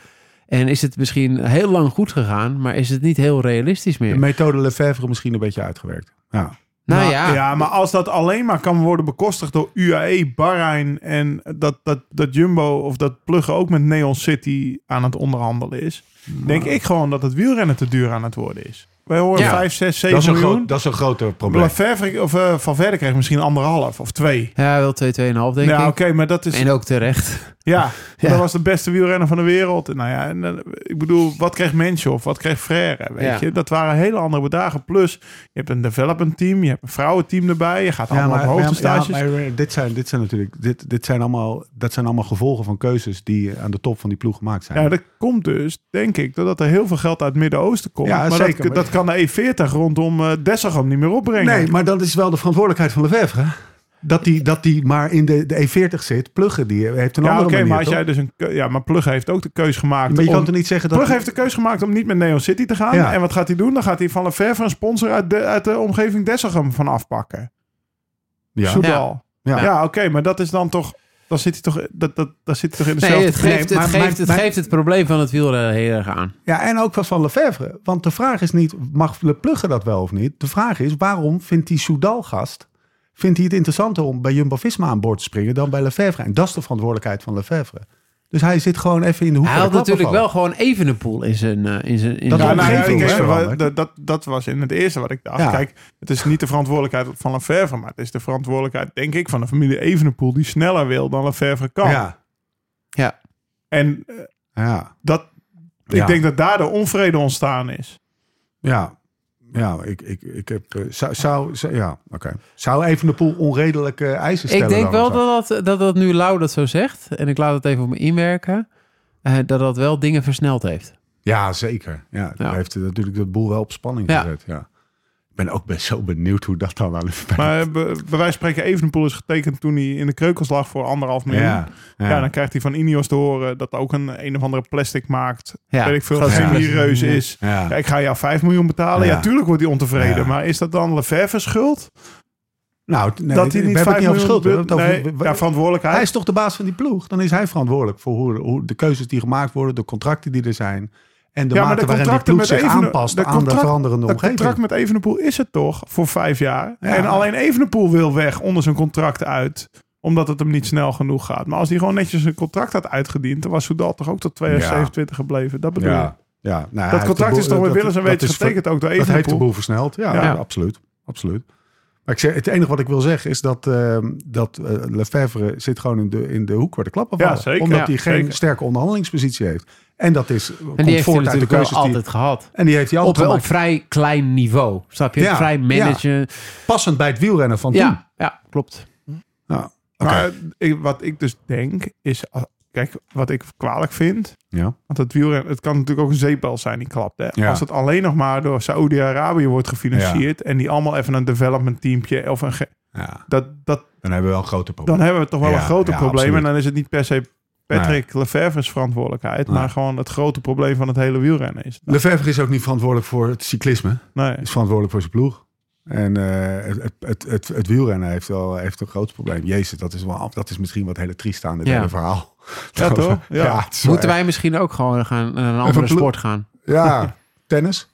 Speaker 3: En is het misschien heel lang goed gegaan, maar is het niet heel realistisch meer?
Speaker 1: de methode Lefebvre misschien een beetje uitgewerkt. Ja.
Speaker 3: nou
Speaker 5: Maar-
Speaker 3: ja,
Speaker 5: maar als dat alleen maar kan worden bekostigd door UAE, Bahrein en dat, dat, dat Jumbo of dat Plugge ook met Neon City aan het onderhandelen is, denk
Speaker 1: Nou.
Speaker 5: ik gewoon dat het wielrennen te duur aan het worden is. Wij horen
Speaker 3: Ja.
Speaker 5: 5, 6,
Speaker 1: Dat,
Speaker 5: 7
Speaker 1: is een
Speaker 5: miljoen.
Speaker 1: groot, dat is een groter probleem.
Speaker 5: Lafevre, of eh, Van Verder kreeg misschien anderhalf of twee.
Speaker 3: ja, wel 2, 2,5 denk ik.
Speaker 5: ja, oké, maar dat is...
Speaker 3: En ook terecht.
Speaker 5: Ja,
Speaker 3: Ja.
Speaker 5: dat was de beste wielrenner van de wereld. Nou ja, en, eh, ik bedoel, wat kreeg Menshoff? Wat kreeg Frère? Weet
Speaker 3: Ja.
Speaker 5: je? Dat waren hele andere bedragen. Plus, je hebt een development team, je hebt een vrouwenteam erbij. Je gaat allemaal op
Speaker 1: ja,
Speaker 5: hoogtestages.
Speaker 1: ja, maar dit zijn, dit zijn natuurlijk, dit, dit zijn allemaal, dat zijn allemaal gevolgen van keuzes die aan de top van die ploeg gemaakt zijn.
Speaker 5: Ja, dat komt dus, denk ik, doordat er heel veel geld uit het Midden-Oosten komt.
Speaker 1: Ja,
Speaker 5: maar
Speaker 1: zeker,
Speaker 5: dat,
Speaker 1: maar-
Speaker 5: dat kan de E40 rondom eh Dessegam niet meer opbrengen.
Speaker 1: nee, maar dat is wel de verantwoordelijkheid van Lefebvre. Dat die, dat die maar in de, de E40 zit, pluggen die heeft een
Speaker 5: ja, oké,
Speaker 1: andere manier.
Speaker 5: maar als jij dus een keu- ja, maar Plug heeft ook de keus gemaakt.
Speaker 1: maar je kan
Speaker 5: om-
Speaker 1: toch niet zeggen dat...
Speaker 5: Plug heeft de keus gemaakt om niet met Neon City te gaan.
Speaker 1: Ja.
Speaker 5: En wat gaat hij doen? Dan gaat hij van Lefebvre een sponsor uit de, uit de omgeving Dessegam van afpakken.
Speaker 1: ja.
Speaker 5: Soudal.
Speaker 1: Ja.
Speaker 5: Ja,
Speaker 1: Ja.
Speaker 5: oké, maar dat is dan toch. Dan zit hij toch, dat, dat, daar zit hij toch in
Speaker 3: Nee,
Speaker 5: dezelfde.
Speaker 3: het
Speaker 1: Nee,
Speaker 3: geeft, het,
Speaker 1: maar
Speaker 3: geeft,
Speaker 1: mijn-
Speaker 3: het,
Speaker 1: mijn-
Speaker 3: geeft het probleem van het wielrennen heel erg aan.
Speaker 1: ja, en ook wat van Lefebvre. Want de vraag is niet, mag Le Pluggen dat wel of niet? De vraag is, waarom vindt die Soudal-gast... vindt hij het interessanter om bij Jumbo-Visma aan boord te springen... dan bij Lefebvre? En dat is de verantwoordelijkheid van Lefebvre. Dus hij zit gewoon even in de hoek
Speaker 3: Hij
Speaker 1: van
Speaker 3: had
Speaker 1: de klapper
Speaker 3: natuurlijk
Speaker 1: vallen.
Speaker 3: wel gewoon even een pool in zijn... eh, in zijn in
Speaker 1: Dat
Speaker 5: Ja,
Speaker 3: zijn-
Speaker 1: de
Speaker 5: nou, ja,
Speaker 1: omgeving
Speaker 5: kijk,
Speaker 1: is
Speaker 5: eh,
Speaker 1: veranderd.
Speaker 5: wa- dat, dat, dat was in het eerste wat ik dacht.
Speaker 1: Ja.
Speaker 5: Kijk, het is niet de verantwoordelijkheid van Lefebvre, maar het is de verantwoordelijkheid, denk ik, van de familie Evenepoel die sneller wil dan Lefebvre kan.
Speaker 1: Ja,
Speaker 3: ja.
Speaker 5: En eh,
Speaker 1: ja,
Speaker 5: dat,
Speaker 1: Ja.
Speaker 5: ik denk dat daar de onvrede ontstaan is.
Speaker 1: ja. Ja, ik, ik, ik heb... eh, Zou, zou, zou- ja, oké. Zou even de poel onredelijke eisen stellen?
Speaker 3: Ik denk
Speaker 1: dan
Speaker 3: wel
Speaker 1: of zo?
Speaker 3: dat dat, dat dat nu Lau dat zo zegt. En ik laat het even op me inwerken. eh, dat dat wel dingen versneld heeft.
Speaker 1: Ja, zeker. Ja, dat
Speaker 3: Ja.
Speaker 1: heeft eh, natuurlijk de boel wel op spanning
Speaker 3: Ja.
Speaker 1: gezet. Ja. Ik ben ook best zo benieuwd hoe dat dan aan de
Speaker 5: Maar eh, be- bij wijze van spreken, Evenepoel is getekend toen hij in de kreukels lag voor anderhalf miljoen. Ja. dan krijgt hij van Ineos te horen dat ook een een of andere plastic maakt.
Speaker 3: Ja,
Speaker 5: weet ik veel,
Speaker 3: grote
Speaker 5: geen
Speaker 3: plastic.
Speaker 5: reus is.
Speaker 1: Ja.
Speaker 5: Ja, ik ga jou 5 miljoen betalen.
Speaker 1: Ja.
Speaker 5: Ja, tuurlijk wordt hij ontevreden.
Speaker 1: Ja.
Speaker 5: Maar is dat dan Lefebvre schuld?
Speaker 1: Nou, nee,
Speaker 5: dat hij niet
Speaker 1: we hebben het
Speaker 5: 5
Speaker 1: niet
Speaker 5: miljoen...
Speaker 1: over schuld. we hebben
Speaker 5: be-
Speaker 1: het
Speaker 5: nee,
Speaker 1: over- we-
Speaker 5: ja, verantwoordelijkheid.
Speaker 1: Hij is toch de baas van die ploeg? Dan is hij verantwoordelijk voor hoe, hoe de keuzes die gemaakt worden, de contracten die er zijn. En de
Speaker 5: Ja, maar
Speaker 1: mate
Speaker 5: de
Speaker 1: waarin die
Speaker 5: contracten
Speaker 1: ploeg
Speaker 5: met
Speaker 1: zich
Speaker 5: Evene-
Speaker 1: aanpast
Speaker 5: de
Speaker 1: aan de
Speaker 5: contract-
Speaker 1: veranderende
Speaker 5: Dat
Speaker 1: omgeving.
Speaker 5: contract met Evenepoel is het toch voor vijf jaar. En alleen Evenepoel wil weg onder zijn contract uit. Omdat het hem niet snel genoeg gaat. Maar als hij gewoon netjes zijn contract had uitgediend... dan was Soudal toch ook tot 2027 gebleven. Dat bedoel ik.
Speaker 6: Ja.
Speaker 1: ja, nou, hij
Speaker 5: Dat
Speaker 1: heeft de
Speaker 5: contract
Speaker 1: boel-
Speaker 5: is toch
Speaker 1: dat-
Speaker 5: met Willens en
Speaker 1: dat
Speaker 5: Weten
Speaker 1: is ver-
Speaker 5: getekend ook door
Speaker 1: Dat heeft de
Speaker 5: Evenepoel.
Speaker 1: boel versneld. Ja,
Speaker 5: Ja.
Speaker 1: absoluut. absoluut. Maar ik zeg, het enige wat ik wil zeggen is dat, ehm dat eh, Lefebvre zit gewoon in de, in de hoek waar de klappen
Speaker 5: Ja,
Speaker 1: vallen.
Speaker 5: zeker.
Speaker 1: Omdat
Speaker 5: Ja,
Speaker 1: hij geen
Speaker 5: zeker.
Speaker 1: sterke onderhandelingspositie heeft. En dat is, eh,
Speaker 3: En
Speaker 1: komt
Speaker 3: die heeft hij
Speaker 1: voort uit de
Speaker 3: natuurlijk wel
Speaker 1: keuzes die...
Speaker 3: altijd gehad.
Speaker 1: En die heeft hij
Speaker 3: Op,
Speaker 1: altijd
Speaker 3: op
Speaker 1: gemaakt.
Speaker 3: vrij klein niveau. Snap je?
Speaker 1: Ja,
Speaker 3: vrij
Speaker 1: ja.
Speaker 3: managen. Ja,
Speaker 1: Passend bij het wielrennen van toen.
Speaker 3: ja, klopt.
Speaker 1: Nou,
Speaker 5: Maar ik- wat ik dus denk is... ah, Kijk, wat ik kwalijk vind...
Speaker 1: ja.
Speaker 5: Want het wielren, het kan natuurlijk ook een zeepbel zijn die klapt. Hè?
Speaker 1: Ja.
Speaker 5: Als het alleen nog maar door Saoedi-Arabië wordt gefinancierd en die allemaal even een development teampje of een ge-
Speaker 1: ja,
Speaker 5: dat, dat,
Speaker 1: dan hebben we wel een grote probleem.
Speaker 5: dan hebben we toch wel
Speaker 1: Ja,
Speaker 5: een groter
Speaker 1: ja,
Speaker 5: probleem.
Speaker 1: absoluut.
Speaker 5: En dan is het niet per se Patrick Lefevre's verantwoordelijkheid,
Speaker 1: Nee.
Speaker 5: maar gewoon het grote probleem van het hele wielrennen is. het.
Speaker 1: Lefebvre is ook niet verantwoordelijk voor het cyclisme.
Speaker 5: Nee.
Speaker 1: is verantwoordelijk voor zijn ploeg. En eh, het, het, het, het wielrennen heeft wel heeft een groot probleem. Jezus, dat is, wel, af- dat is misschien wat hele triest aan dit
Speaker 3: Ja.
Speaker 1: hele verhaal.
Speaker 5: Ja, toch? Ja.
Speaker 1: het is wel
Speaker 3: Moeten wij misschien ook gewoon gaan naar een andere
Speaker 1: ploeg-
Speaker 3: sport gaan?
Speaker 1: echt- Ja, tennis?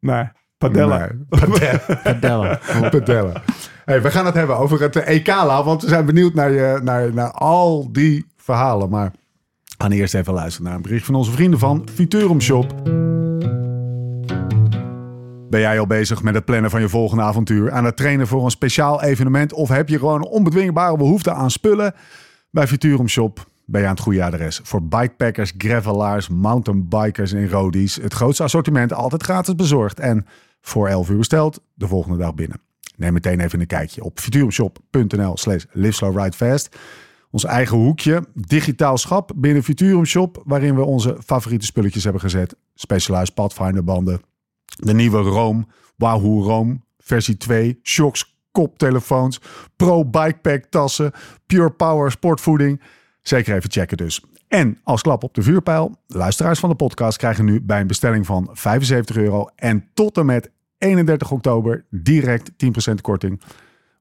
Speaker 5: Nee. Padella.
Speaker 1: Nee, padellen.
Speaker 3: Padellen.
Speaker 1: padellen. Hey, we gaan het hebben over het eh, EK, Lau, want we zijn benieuwd naar, je, naar, naar al die verhalen. Maar we gaan eerst even luisteren naar een bericht van onze vrienden van Futurum Shop. Ben jij al bezig met het plannen van je volgende avontuur? Aan het trainen voor een speciaal evenement? Of heb je gewoon een onbedwingbare behoefte aan spullen? Bij Futurum Shop ben je aan het goede adres. Voor bikepackers, gravelaars, mountainbikers en roadies. Het grootste assortiment altijd gratis bezorgd. En voor 11 uur besteld, de volgende dag binnen. Neem meteen even een kijkje op futurumshop.nl slash liveslowridefast. Ons eigen hoekje, digitaal schap binnen Futurum Shop... waarin we onze favoriete spulletjes hebben gezet. Specialized Pathfinder banden, de nieuwe Roam, Wahoo Roam, versie 2, shocks, koptelefoons, pro bikepack tassen, pure power sportvoeding. Zeker even checken dus. En als klap op de vuurpijl, luisteraars van de podcast krijgen nu bij een bestelling van 75 euro en tot en met 31 oktober direct 10% korting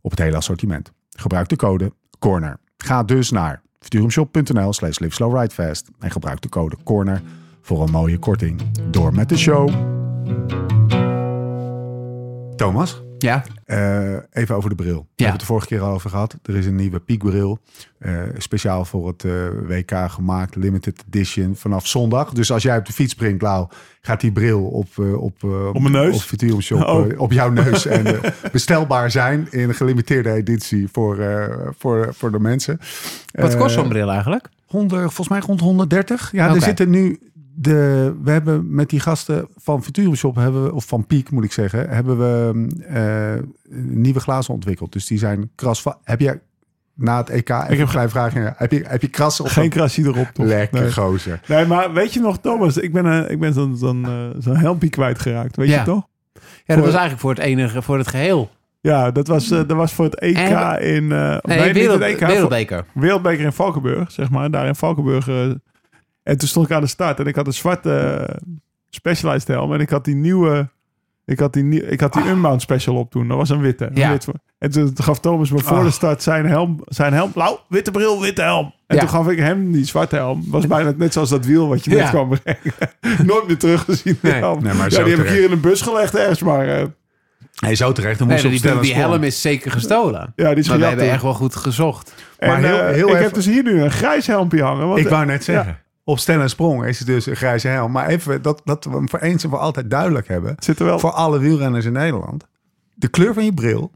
Speaker 1: op het hele assortiment. Gebruik de code CORNER. Ga dus naar futurumshop.nl slash liveslowridefast en gebruik de code CORNER voor een mooie korting. Door met de show! Thomas,
Speaker 3: Ja,
Speaker 1: eh, even over de bril. We hebben het de vorige keer al over gehad. Er is een nieuwe piekbril. eh, speciaal voor het eh, WK gemaakt. Limited edition vanaf zondag. Dus als jij op de fiets springt, Lau, gaat die bril op... eh, op, eh, op
Speaker 5: mijn neus?
Speaker 1: Op Futurum Shop,
Speaker 5: Oh.
Speaker 1: eh, op jouw neus. en eh, bestelbaar zijn in een gelimiteerde editie voor, eh, voor, voor de mensen.
Speaker 3: wat kost
Speaker 1: Eh,
Speaker 3: zo'n bril eigenlijk?
Speaker 1: 100, volgens mij rond 130. Ja, er
Speaker 3: Oké.
Speaker 1: zitten nu de. We hebben met die gasten van Futurum Shop hebben we, of van Piek moet ik zeggen, hebben we eh, nieuwe glazen ontwikkeld. Dus die zijn kras van. Heb jij na het EK? Even ik heb een kleine vraag. Ja, Heb je, heb je krassen op?
Speaker 5: Geen krasje erop, toch?
Speaker 1: Lekker
Speaker 5: Nee.
Speaker 1: gozer.
Speaker 5: Nee, maar weet je nog, Thomas, ik ben, eh, ik ben zo'n zo'n eh, zo'n helmpje kwijtgeraakt, weet
Speaker 3: Ja.
Speaker 5: je toch?
Speaker 3: Ja, dat
Speaker 5: voor-
Speaker 3: was eigenlijk voor het enige, voor het geheel.
Speaker 5: Ja, dat was, eh, dat was voor het EK
Speaker 3: En-
Speaker 5: in... eh,
Speaker 3: Nee,
Speaker 5: niet het
Speaker 3: wereld,
Speaker 5: EK, voor-
Speaker 3: wereldbeker.
Speaker 5: Wereldbeker in Valkenburg, zeg maar. Daar in Valkenburg. eh, en toen stond ik aan de start en ik had een zwarte eh, Specialized helm. En ik had die nieuwe... Ik had die, nie- ik had die Unbound Special op toen. Dat was een witte. Een
Speaker 3: Ja.
Speaker 5: wit- en toen gaf Thomas me voor de start zijn helm. Zijn helm. Blauw, witte bril, witte helm. En
Speaker 3: Ja.
Speaker 5: toen gaf ik hem die zwarte helm. Was bijna net zoals dat wiel wat je net
Speaker 3: Ja.
Speaker 5: kwam brengen. Nooit meer teruggezien. die
Speaker 3: Nee.
Speaker 5: helm.
Speaker 1: Nee, maar
Speaker 5: ja,
Speaker 1: zo
Speaker 5: die heb ik
Speaker 1: terecht.
Speaker 5: hier in een bus gelegd ergens. Maar eh,
Speaker 1: Hey, zo terecht. Dan
Speaker 3: Nee,
Speaker 1: moest je
Speaker 3: die,
Speaker 1: op
Speaker 3: die,
Speaker 1: Stellenstorm.
Speaker 3: helm is zeker gestolen.
Speaker 5: ja, die is
Speaker 3: Maar we
Speaker 5: gejat
Speaker 3: hebben
Speaker 5: toen.
Speaker 3: echt wel goed gezocht.
Speaker 5: En,
Speaker 1: Maar heel-
Speaker 5: eh,
Speaker 1: heel
Speaker 5: ik
Speaker 1: even-
Speaker 5: heb dus hier nu een grijs helmpje hangen. Want,
Speaker 1: Ik wou net zeggen. Op stel en sprong is het dus een grijze helm. Maar even dat, dat we hem voor eens en voor altijd duidelijk hebben.
Speaker 5: eh, zit er wel...
Speaker 1: Voor alle wielrenners in Nederland. De kleur van je bril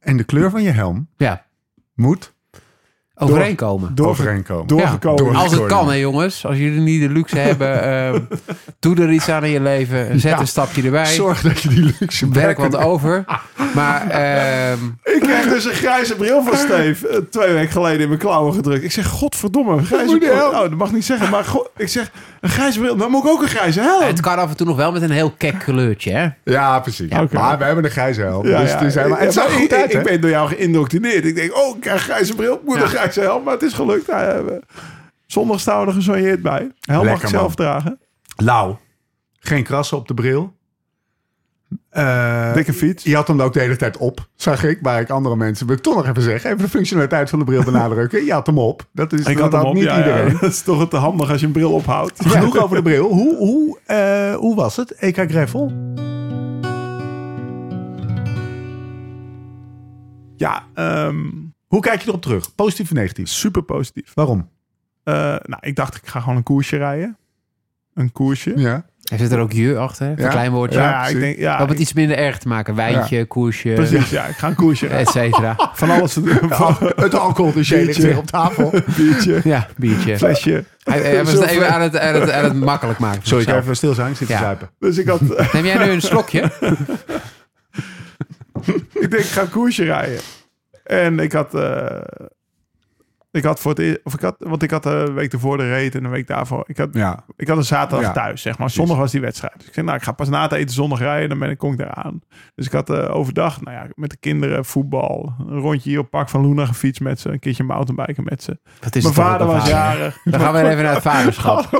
Speaker 1: en de kleur van je helm
Speaker 3: Ja,
Speaker 1: moet
Speaker 3: overeenkomen.
Speaker 1: overeenkomen.
Speaker 5: Doorgekomen.
Speaker 1: door-
Speaker 3: Als het
Speaker 1: Doorgekomen.
Speaker 3: kan, hè jongens. Als jullie niet de luxe hebben, ehm, doe er iets aan in je leven. Zet een stapje erbij.
Speaker 1: Zorg dat je die luxe
Speaker 3: Werk
Speaker 1: merken-
Speaker 3: wat over. Maar ehm,
Speaker 5: Ik kreeg dus een grijze bril van Steve eh, twee weken geleden in mijn klauwen gedrukt. Ik zeg, godverdomme, een grijze
Speaker 1: moet je
Speaker 5: bril.
Speaker 1: helm?
Speaker 5: Oh, dat mag ik niet zeggen, maar go- ik zeg, een grijze bril, dan moet ik ook een grijze helm.
Speaker 3: het kan af en toe nog wel met een heel kek kleurtje. Hè?
Speaker 1: Ja, precies.
Speaker 5: Oké.
Speaker 1: Maar we hebben een grijze helm. dus het is helemaal...
Speaker 5: Ja,
Speaker 1: en het zag
Speaker 5: maar
Speaker 1: er goed
Speaker 5: ik,
Speaker 1: uit,
Speaker 5: ik,
Speaker 1: hè?
Speaker 5: ben door jou geïndoctrineerd. Ik denk, oh, ik krijg een grijze bril, ik moet een grijze helm, maar het is gelukt. Eh, we- zondag staan we er gesoigneerd bij. Helm mag
Speaker 1: Lekker,
Speaker 5: ik zelf
Speaker 1: man.
Speaker 5: dragen.
Speaker 1: Lauw. Geen krassen op de bril.
Speaker 5: Eh,
Speaker 4: Dikke fiets.
Speaker 1: Je had hem ook de hele tijd op, zag ik, waar ik andere mensen... Wil ik toch nog even zeggen, even de functionaliteit van de bril benadrukken. Je had hem op. Dat is
Speaker 5: ik had
Speaker 1: dat
Speaker 5: hem op.
Speaker 1: niet
Speaker 5: ja, ja.
Speaker 1: iedereen.
Speaker 5: dat is toch het handig als je een bril ophoudt.
Speaker 1: Genoeg over de bril. Hoe, hoe, eh, hoe was het? EK Greffel?
Speaker 5: Ja, ehm,
Speaker 1: Hoe kijk je erop terug? Positief of negatief?
Speaker 5: super positief.
Speaker 1: Waarom?
Speaker 5: Eh, nou, ik dacht, ik ga gewoon een koersje rijden. Een koersje.
Speaker 1: Ja.
Speaker 3: Er zit er ook je achter, hè? een
Speaker 1: Ja.
Speaker 3: klein woordje.
Speaker 5: Ja,
Speaker 1: precies.
Speaker 5: ik denk, ja,
Speaker 3: Om
Speaker 5: ik-
Speaker 3: het iets minder erg te maken. Wijntje, koersje,
Speaker 5: precies. Ja, ik ga een koersje rijden.
Speaker 3: et cetera.
Speaker 5: Van alles. Van
Speaker 1: Het alcohol dus ligt
Speaker 5: Biertje.
Speaker 1: weer op tafel.
Speaker 5: biertje,
Speaker 3: Ja, biertje.
Speaker 5: flesje.
Speaker 3: Hij, hij was even aan het, aan het, aan het makkelijk maken. voor
Speaker 1: Sorry, ik ga
Speaker 3: zichzelf.
Speaker 1: even stil zijn. Ik zit te
Speaker 3: Ja.
Speaker 1: zuipen.
Speaker 5: Dus ik had,
Speaker 3: Neem jij nu een slokje?
Speaker 5: ik denk, ik ga een koersje rijden. En ik had, eh, ik had voor het eerst, of ik had, want ik had de week ervoor de reet en de week daarvoor. Ik had,
Speaker 1: Ja.
Speaker 5: ik had een zaterdag
Speaker 1: Ja.
Speaker 5: thuis, zeg maar. Zondag was die wedstrijd. Dus ik zei, nou, ik ga pas na het eten zondag rijden, dan ben ik, kom ik eraan. Dus ik had eh, overdag, nou ja, met de kinderen voetbal, een rondje hier op Park van Loenen gefietst met ze, een keertje mountainbiken met ze.
Speaker 3: Wat is het toch
Speaker 5: Mijn vader
Speaker 3: wat een
Speaker 5: was
Speaker 3: verhaal, hè?
Speaker 5: jarig.
Speaker 3: Dan gaan we even naar het vaderschap.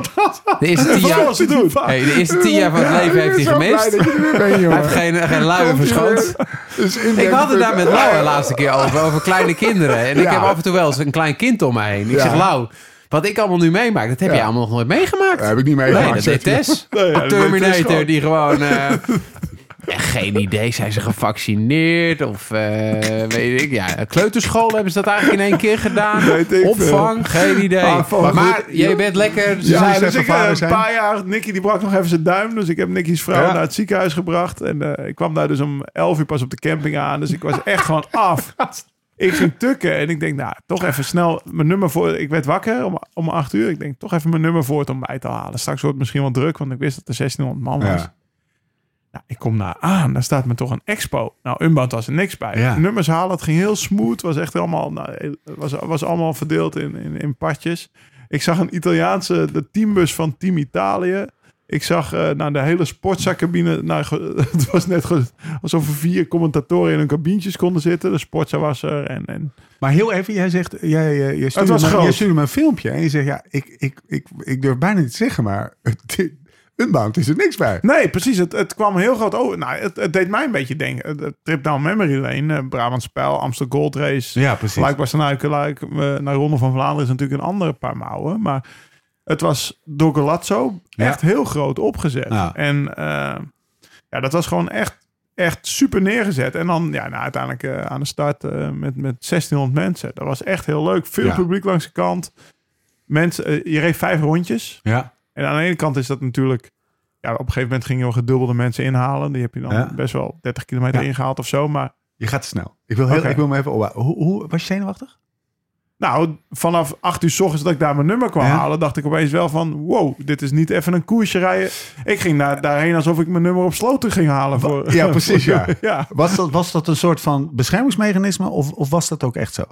Speaker 3: De eerste tien
Speaker 5: Wat
Speaker 3: jaar,
Speaker 5: was te doen?
Speaker 3: hey, de eerste tien jaar van het leven heeft hij gemist. Hij heeft geen, geen luien verschoond.
Speaker 1: Dus
Speaker 3: Ik had het daar met Lau de laatste keer over, over kleine kinderen. En ik
Speaker 1: Ja.
Speaker 3: heb af en toe wel eens een klein kind om me heen. Ik
Speaker 1: Ja.
Speaker 3: zeg, Lau, wat ik allemaal nu meemaak, dat heb jij allemaal nog nooit meegemaakt.
Speaker 1: Dat heb ik niet
Speaker 3: nee,
Speaker 1: meegemaakt.
Speaker 3: dat deed Tess.
Speaker 5: Nee, ja, dat
Speaker 3: De
Speaker 5: deed Tess
Speaker 3: Terminator,
Speaker 5: gewoon.
Speaker 3: die gewoon... eh, ja, geen idee, zijn ze gevaccineerd of eh, weet ik. Ja, kleuterschool hebben ze dat eigenlijk in één keer gedaan.
Speaker 5: Weet ik
Speaker 3: Opvang, geen idee.
Speaker 5: Ah, van-
Speaker 3: maar jij bent lekker, ze
Speaker 5: Ja,
Speaker 3: zijn
Speaker 5: dus
Speaker 1: even
Speaker 5: ik eh,
Speaker 1: vader
Speaker 5: een
Speaker 1: zijn.
Speaker 5: paar jaar... Nicky die brak nog even zijn duim. Dus ik heb Nicky's vrouw
Speaker 1: Ja.
Speaker 5: naar het ziekenhuis gebracht. En eh, ik kwam daar dus om 11 uur pas op de camping aan. Dus ik was echt gewoon af. Ik ging tukken en ik denk, nou, toch even snel mijn nummer voor. Ik werd wakker om, om 8 uur. Ik denk, toch even mijn nummer voort om bij te halen. Straks wordt het misschien wel druk, want ik wist dat er 1600 man was.
Speaker 1: Ja.
Speaker 5: Nou, ik kom daar aan, daar staat me toch een expo. Nou, Unbound was er niks bij.
Speaker 1: Ja.
Speaker 5: Nummers halen, het ging heel smooth. Was echt allemaal, nou, was, was allemaal verdeeld in, in, in padjes. Ik zag een Italiaanse, de teambus van Team Italië. Ik zag eh nou, de hele sportzacabine. Nou, ge- het was net ge- alsof er vier commentatoren in hun cabientjes konden zitten. De sportza was er. En, en...
Speaker 1: Maar heel even, jij zegt, jij, jij, jij stuurde
Speaker 5: was
Speaker 1: me-
Speaker 5: groot.
Speaker 1: jij stuurde me een filmpje en je zegt, ja, ik, ik, ik, ik durf bijna niet te zeggen, maar dit, Unbound is er niks bij.
Speaker 5: Nee, precies. Het, het kwam heel groot over. Nou, het, het deed mij een beetje denken. De trip down memory lane. eh, Brabant Spel, Amsterdam Gold Race.
Speaker 1: Ja, precies.
Speaker 5: Luik was Luik, eh, naar Ronde van Vlaanderen is natuurlijk een andere paar mouwen. Maar het was door Galazzo echt heel groot opgezet.
Speaker 1: Ja.
Speaker 5: En eh, ja, dat was gewoon echt, echt super neergezet. En dan ja, nou, uiteindelijk eh, aan de start eh, met, met 1600 mensen. Dat was echt heel leuk. Veel
Speaker 1: Ja.
Speaker 5: publiek langs de kant. Mensen, eh, je reed vijf rondjes.
Speaker 1: Ja.
Speaker 5: En aan de ene kant is dat natuurlijk... Ja, op een gegeven moment gingen we gedubbelde mensen inhalen. Die heb je dan
Speaker 1: Ja.
Speaker 5: best wel 30 kilometer
Speaker 1: Ja.
Speaker 5: ingehaald of zo. Maar
Speaker 1: Je gaat te snel. Ik wil, heel,
Speaker 5: Oké.
Speaker 1: ik wil me even opbouwen. Hoe, hoe, was je zenuwachtig?
Speaker 5: nou, vanaf 8 uur s ochtends dat ik daar mijn nummer kwam
Speaker 1: Ja.
Speaker 5: halen... dacht ik opeens wel van... wow, dit is niet even een koersje rijden. Ik ging daar, daarheen alsof ik mijn nummer op sloten ging halen. Voor,
Speaker 1: Ja, precies, ja.
Speaker 5: ja,
Speaker 1: Was dat, was dat een soort van beschermingsmechanisme of, of was dat ook echt zo?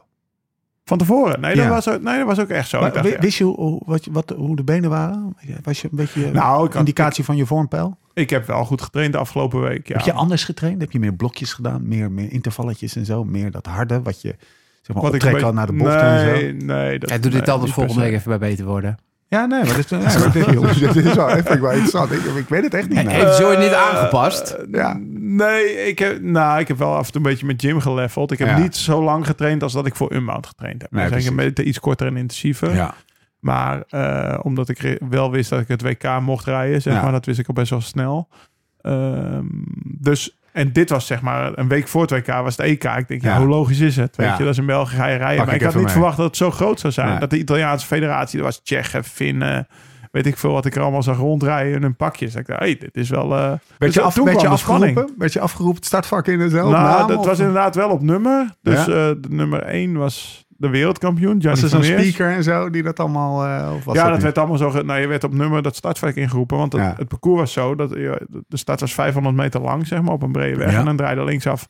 Speaker 5: van tevoren. Nee,
Speaker 1: Ja.
Speaker 5: dat was ook, nee, dat was ook echt zo.
Speaker 1: Maar
Speaker 5: ik dacht,
Speaker 1: wi-
Speaker 5: ja.
Speaker 1: Wist je hoe, wat, je- wat, hoe de benen waren? Was je een beetje eh,
Speaker 5: Nou, ik had-
Speaker 1: indicatie van je vormpeil?
Speaker 5: ik heb wel goed getraind de afgelopen week. Ja.
Speaker 1: Heb je anders getraind? Heb je meer blokjes gedaan? Meer, meer intervalletjes en zo? Meer dat harde wat je zeg maar,
Speaker 5: Wat ik een
Speaker 1: optrekt al naar de bocht en zo?
Speaker 5: nee, nee, dat,
Speaker 3: Hij doet dit
Speaker 5: nee,
Speaker 3: anders
Speaker 5: niet per
Speaker 3: volgende
Speaker 5: se.
Speaker 3: week even bij beter worden.
Speaker 1: Ja, nee, maar dat is, ja, maar dit, dit is wel, vind ik wel interessant. Ik, ik weet het echt niet. meer.
Speaker 3: Heeft Joy niet
Speaker 5: Eh,
Speaker 3: aangepast?
Speaker 1: Eh, Ja.
Speaker 5: Nee, ik heb, nou, ik heb wel af en toe een beetje met Jim geleveld. Ik heb
Speaker 1: Ja.
Speaker 5: niet zo lang getraind als dat ik voor Unbound getraind heb.
Speaker 1: Nee,
Speaker 5: dus ik
Speaker 1: precies.
Speaker 5: heb iets korter en intensiever. Maar eh, omdat ik re- wel wist dat ik het WK mocht rijden, zeg
Speaker 1: Ja.
Speaker 5: maar, dat wist ik al best wel snel. Ehm, dus, en dit was zeg maar een week voor het WK was het EK. Ik denk, ja,
Speaker 1: Ja.
Speaker 5: hoe logisch is het? Weet
Speaker 1: Ja.
Speaker 5: je, dat is in België ga je rijden.
Speaker 1: Pak
Speaker 5: maar
Speaker 1: ik
Speaker 5: ik had
Speaker 1: even
Speaker 5: niet
Speaker 1: mee.
Speaker 5: verwacht dat het zo groot zou zijn.
Speaker 1: Nee.
Speaker 5: Dat de Italiaanse federatie, er was Tsjechen, Finnen, weet ik veel wat ik er allemaal zag rondrijden in hun pakjes. Dat ik dacht, hey, dit is wel... eh
Speaker 1: Werd,
Speaker 5: dus
Speaker 1: je
Speaker 5: dat-
Speaker 1: af,
Speaker 5: toen
Speaker 1: werd, je
Speaker 5: kwam de spanning.
Speaker 1: afgeroepen? werd je afgeroepen? het Startvak in dezelfde
Speaker 5: Nou,
Speaker 1: naam?
Speaker 5: dat
Speaker 1: of-
Speaker 5: was inderdaad wel op nummer. Dus
Speaker 1: Ja?
Speaker 5: eh, de nummer 1 was de wereldkampioen, Gianni
Speaker 1: was er zo'n
Speaker 5: Vermeers.
Speaker 1: speaker en zo die dat allemaal... eh, of was
Speaker 5: ja, dat,
Speaker 1: niet?
Speaker 5: werd allemaal zo. ge- Nou, je werd op nummer dat startvak ingeroepen. Want het,
Speaker 1: Ja.
Speaker 5: het parcours was zo. Dat, je- de start was 500 meter lang, zeg maar, op een brede weg.
Speaker 1: Ja.
Speaker 5: En dan draaide linksaf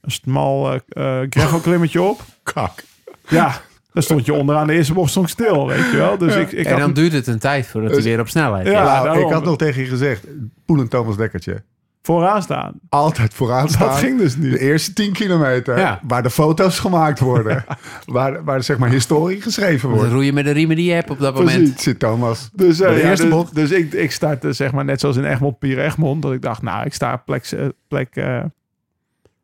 Speaker 5: een smal eh eh, gravelklimmetje op.
Speaker 1: Kak.
Speaker 5: Ja, dan stond je onderaan de eerste bocht stond ik stil, weet je wel. Dus ik, ik
Speaker 3: En
Speaker 5: had
Speaker 3: dan duurt het een tijd voordat hij weer op snelheid
Speaker 5: Ja.
Speaker 3: is.
Speaker 1: Nou,
Speaker 5: daarom.
Speaker 1: ik had nog tegen je gezegd, poelend Thomas Dekkertje.
Speaker 5: vooraan staan.
Speaker 1: Altijd vooraan staan.
Speaker 5: Dat ging dus niet.
Speaker 1: De eerste 10 kilometer,
Speaker 5: Ja.
Speaker 1: waar de foto's gemaakt worden. Waar, waar zeg maar historie geschreven
Speaker 3: Dan
Speaker 1: wordt.
Speaker 3: roeien met de riemen die je hebt op dat moment.
Speaker 1: Precies, zit Thomas.
Speaker 5: Dus, eh,
Speaker 1: Bij de
Speaker 5: ja,
Speaker 1: eerste
Speaker 5: dus,
Speaker 1: bocht.
Speaker 5: dus ik, ik startte zeg maar net zoals in Egmond, Pier Egmond. Dat ik dacht, nou, ik sta op plek, z- eh, plek eh,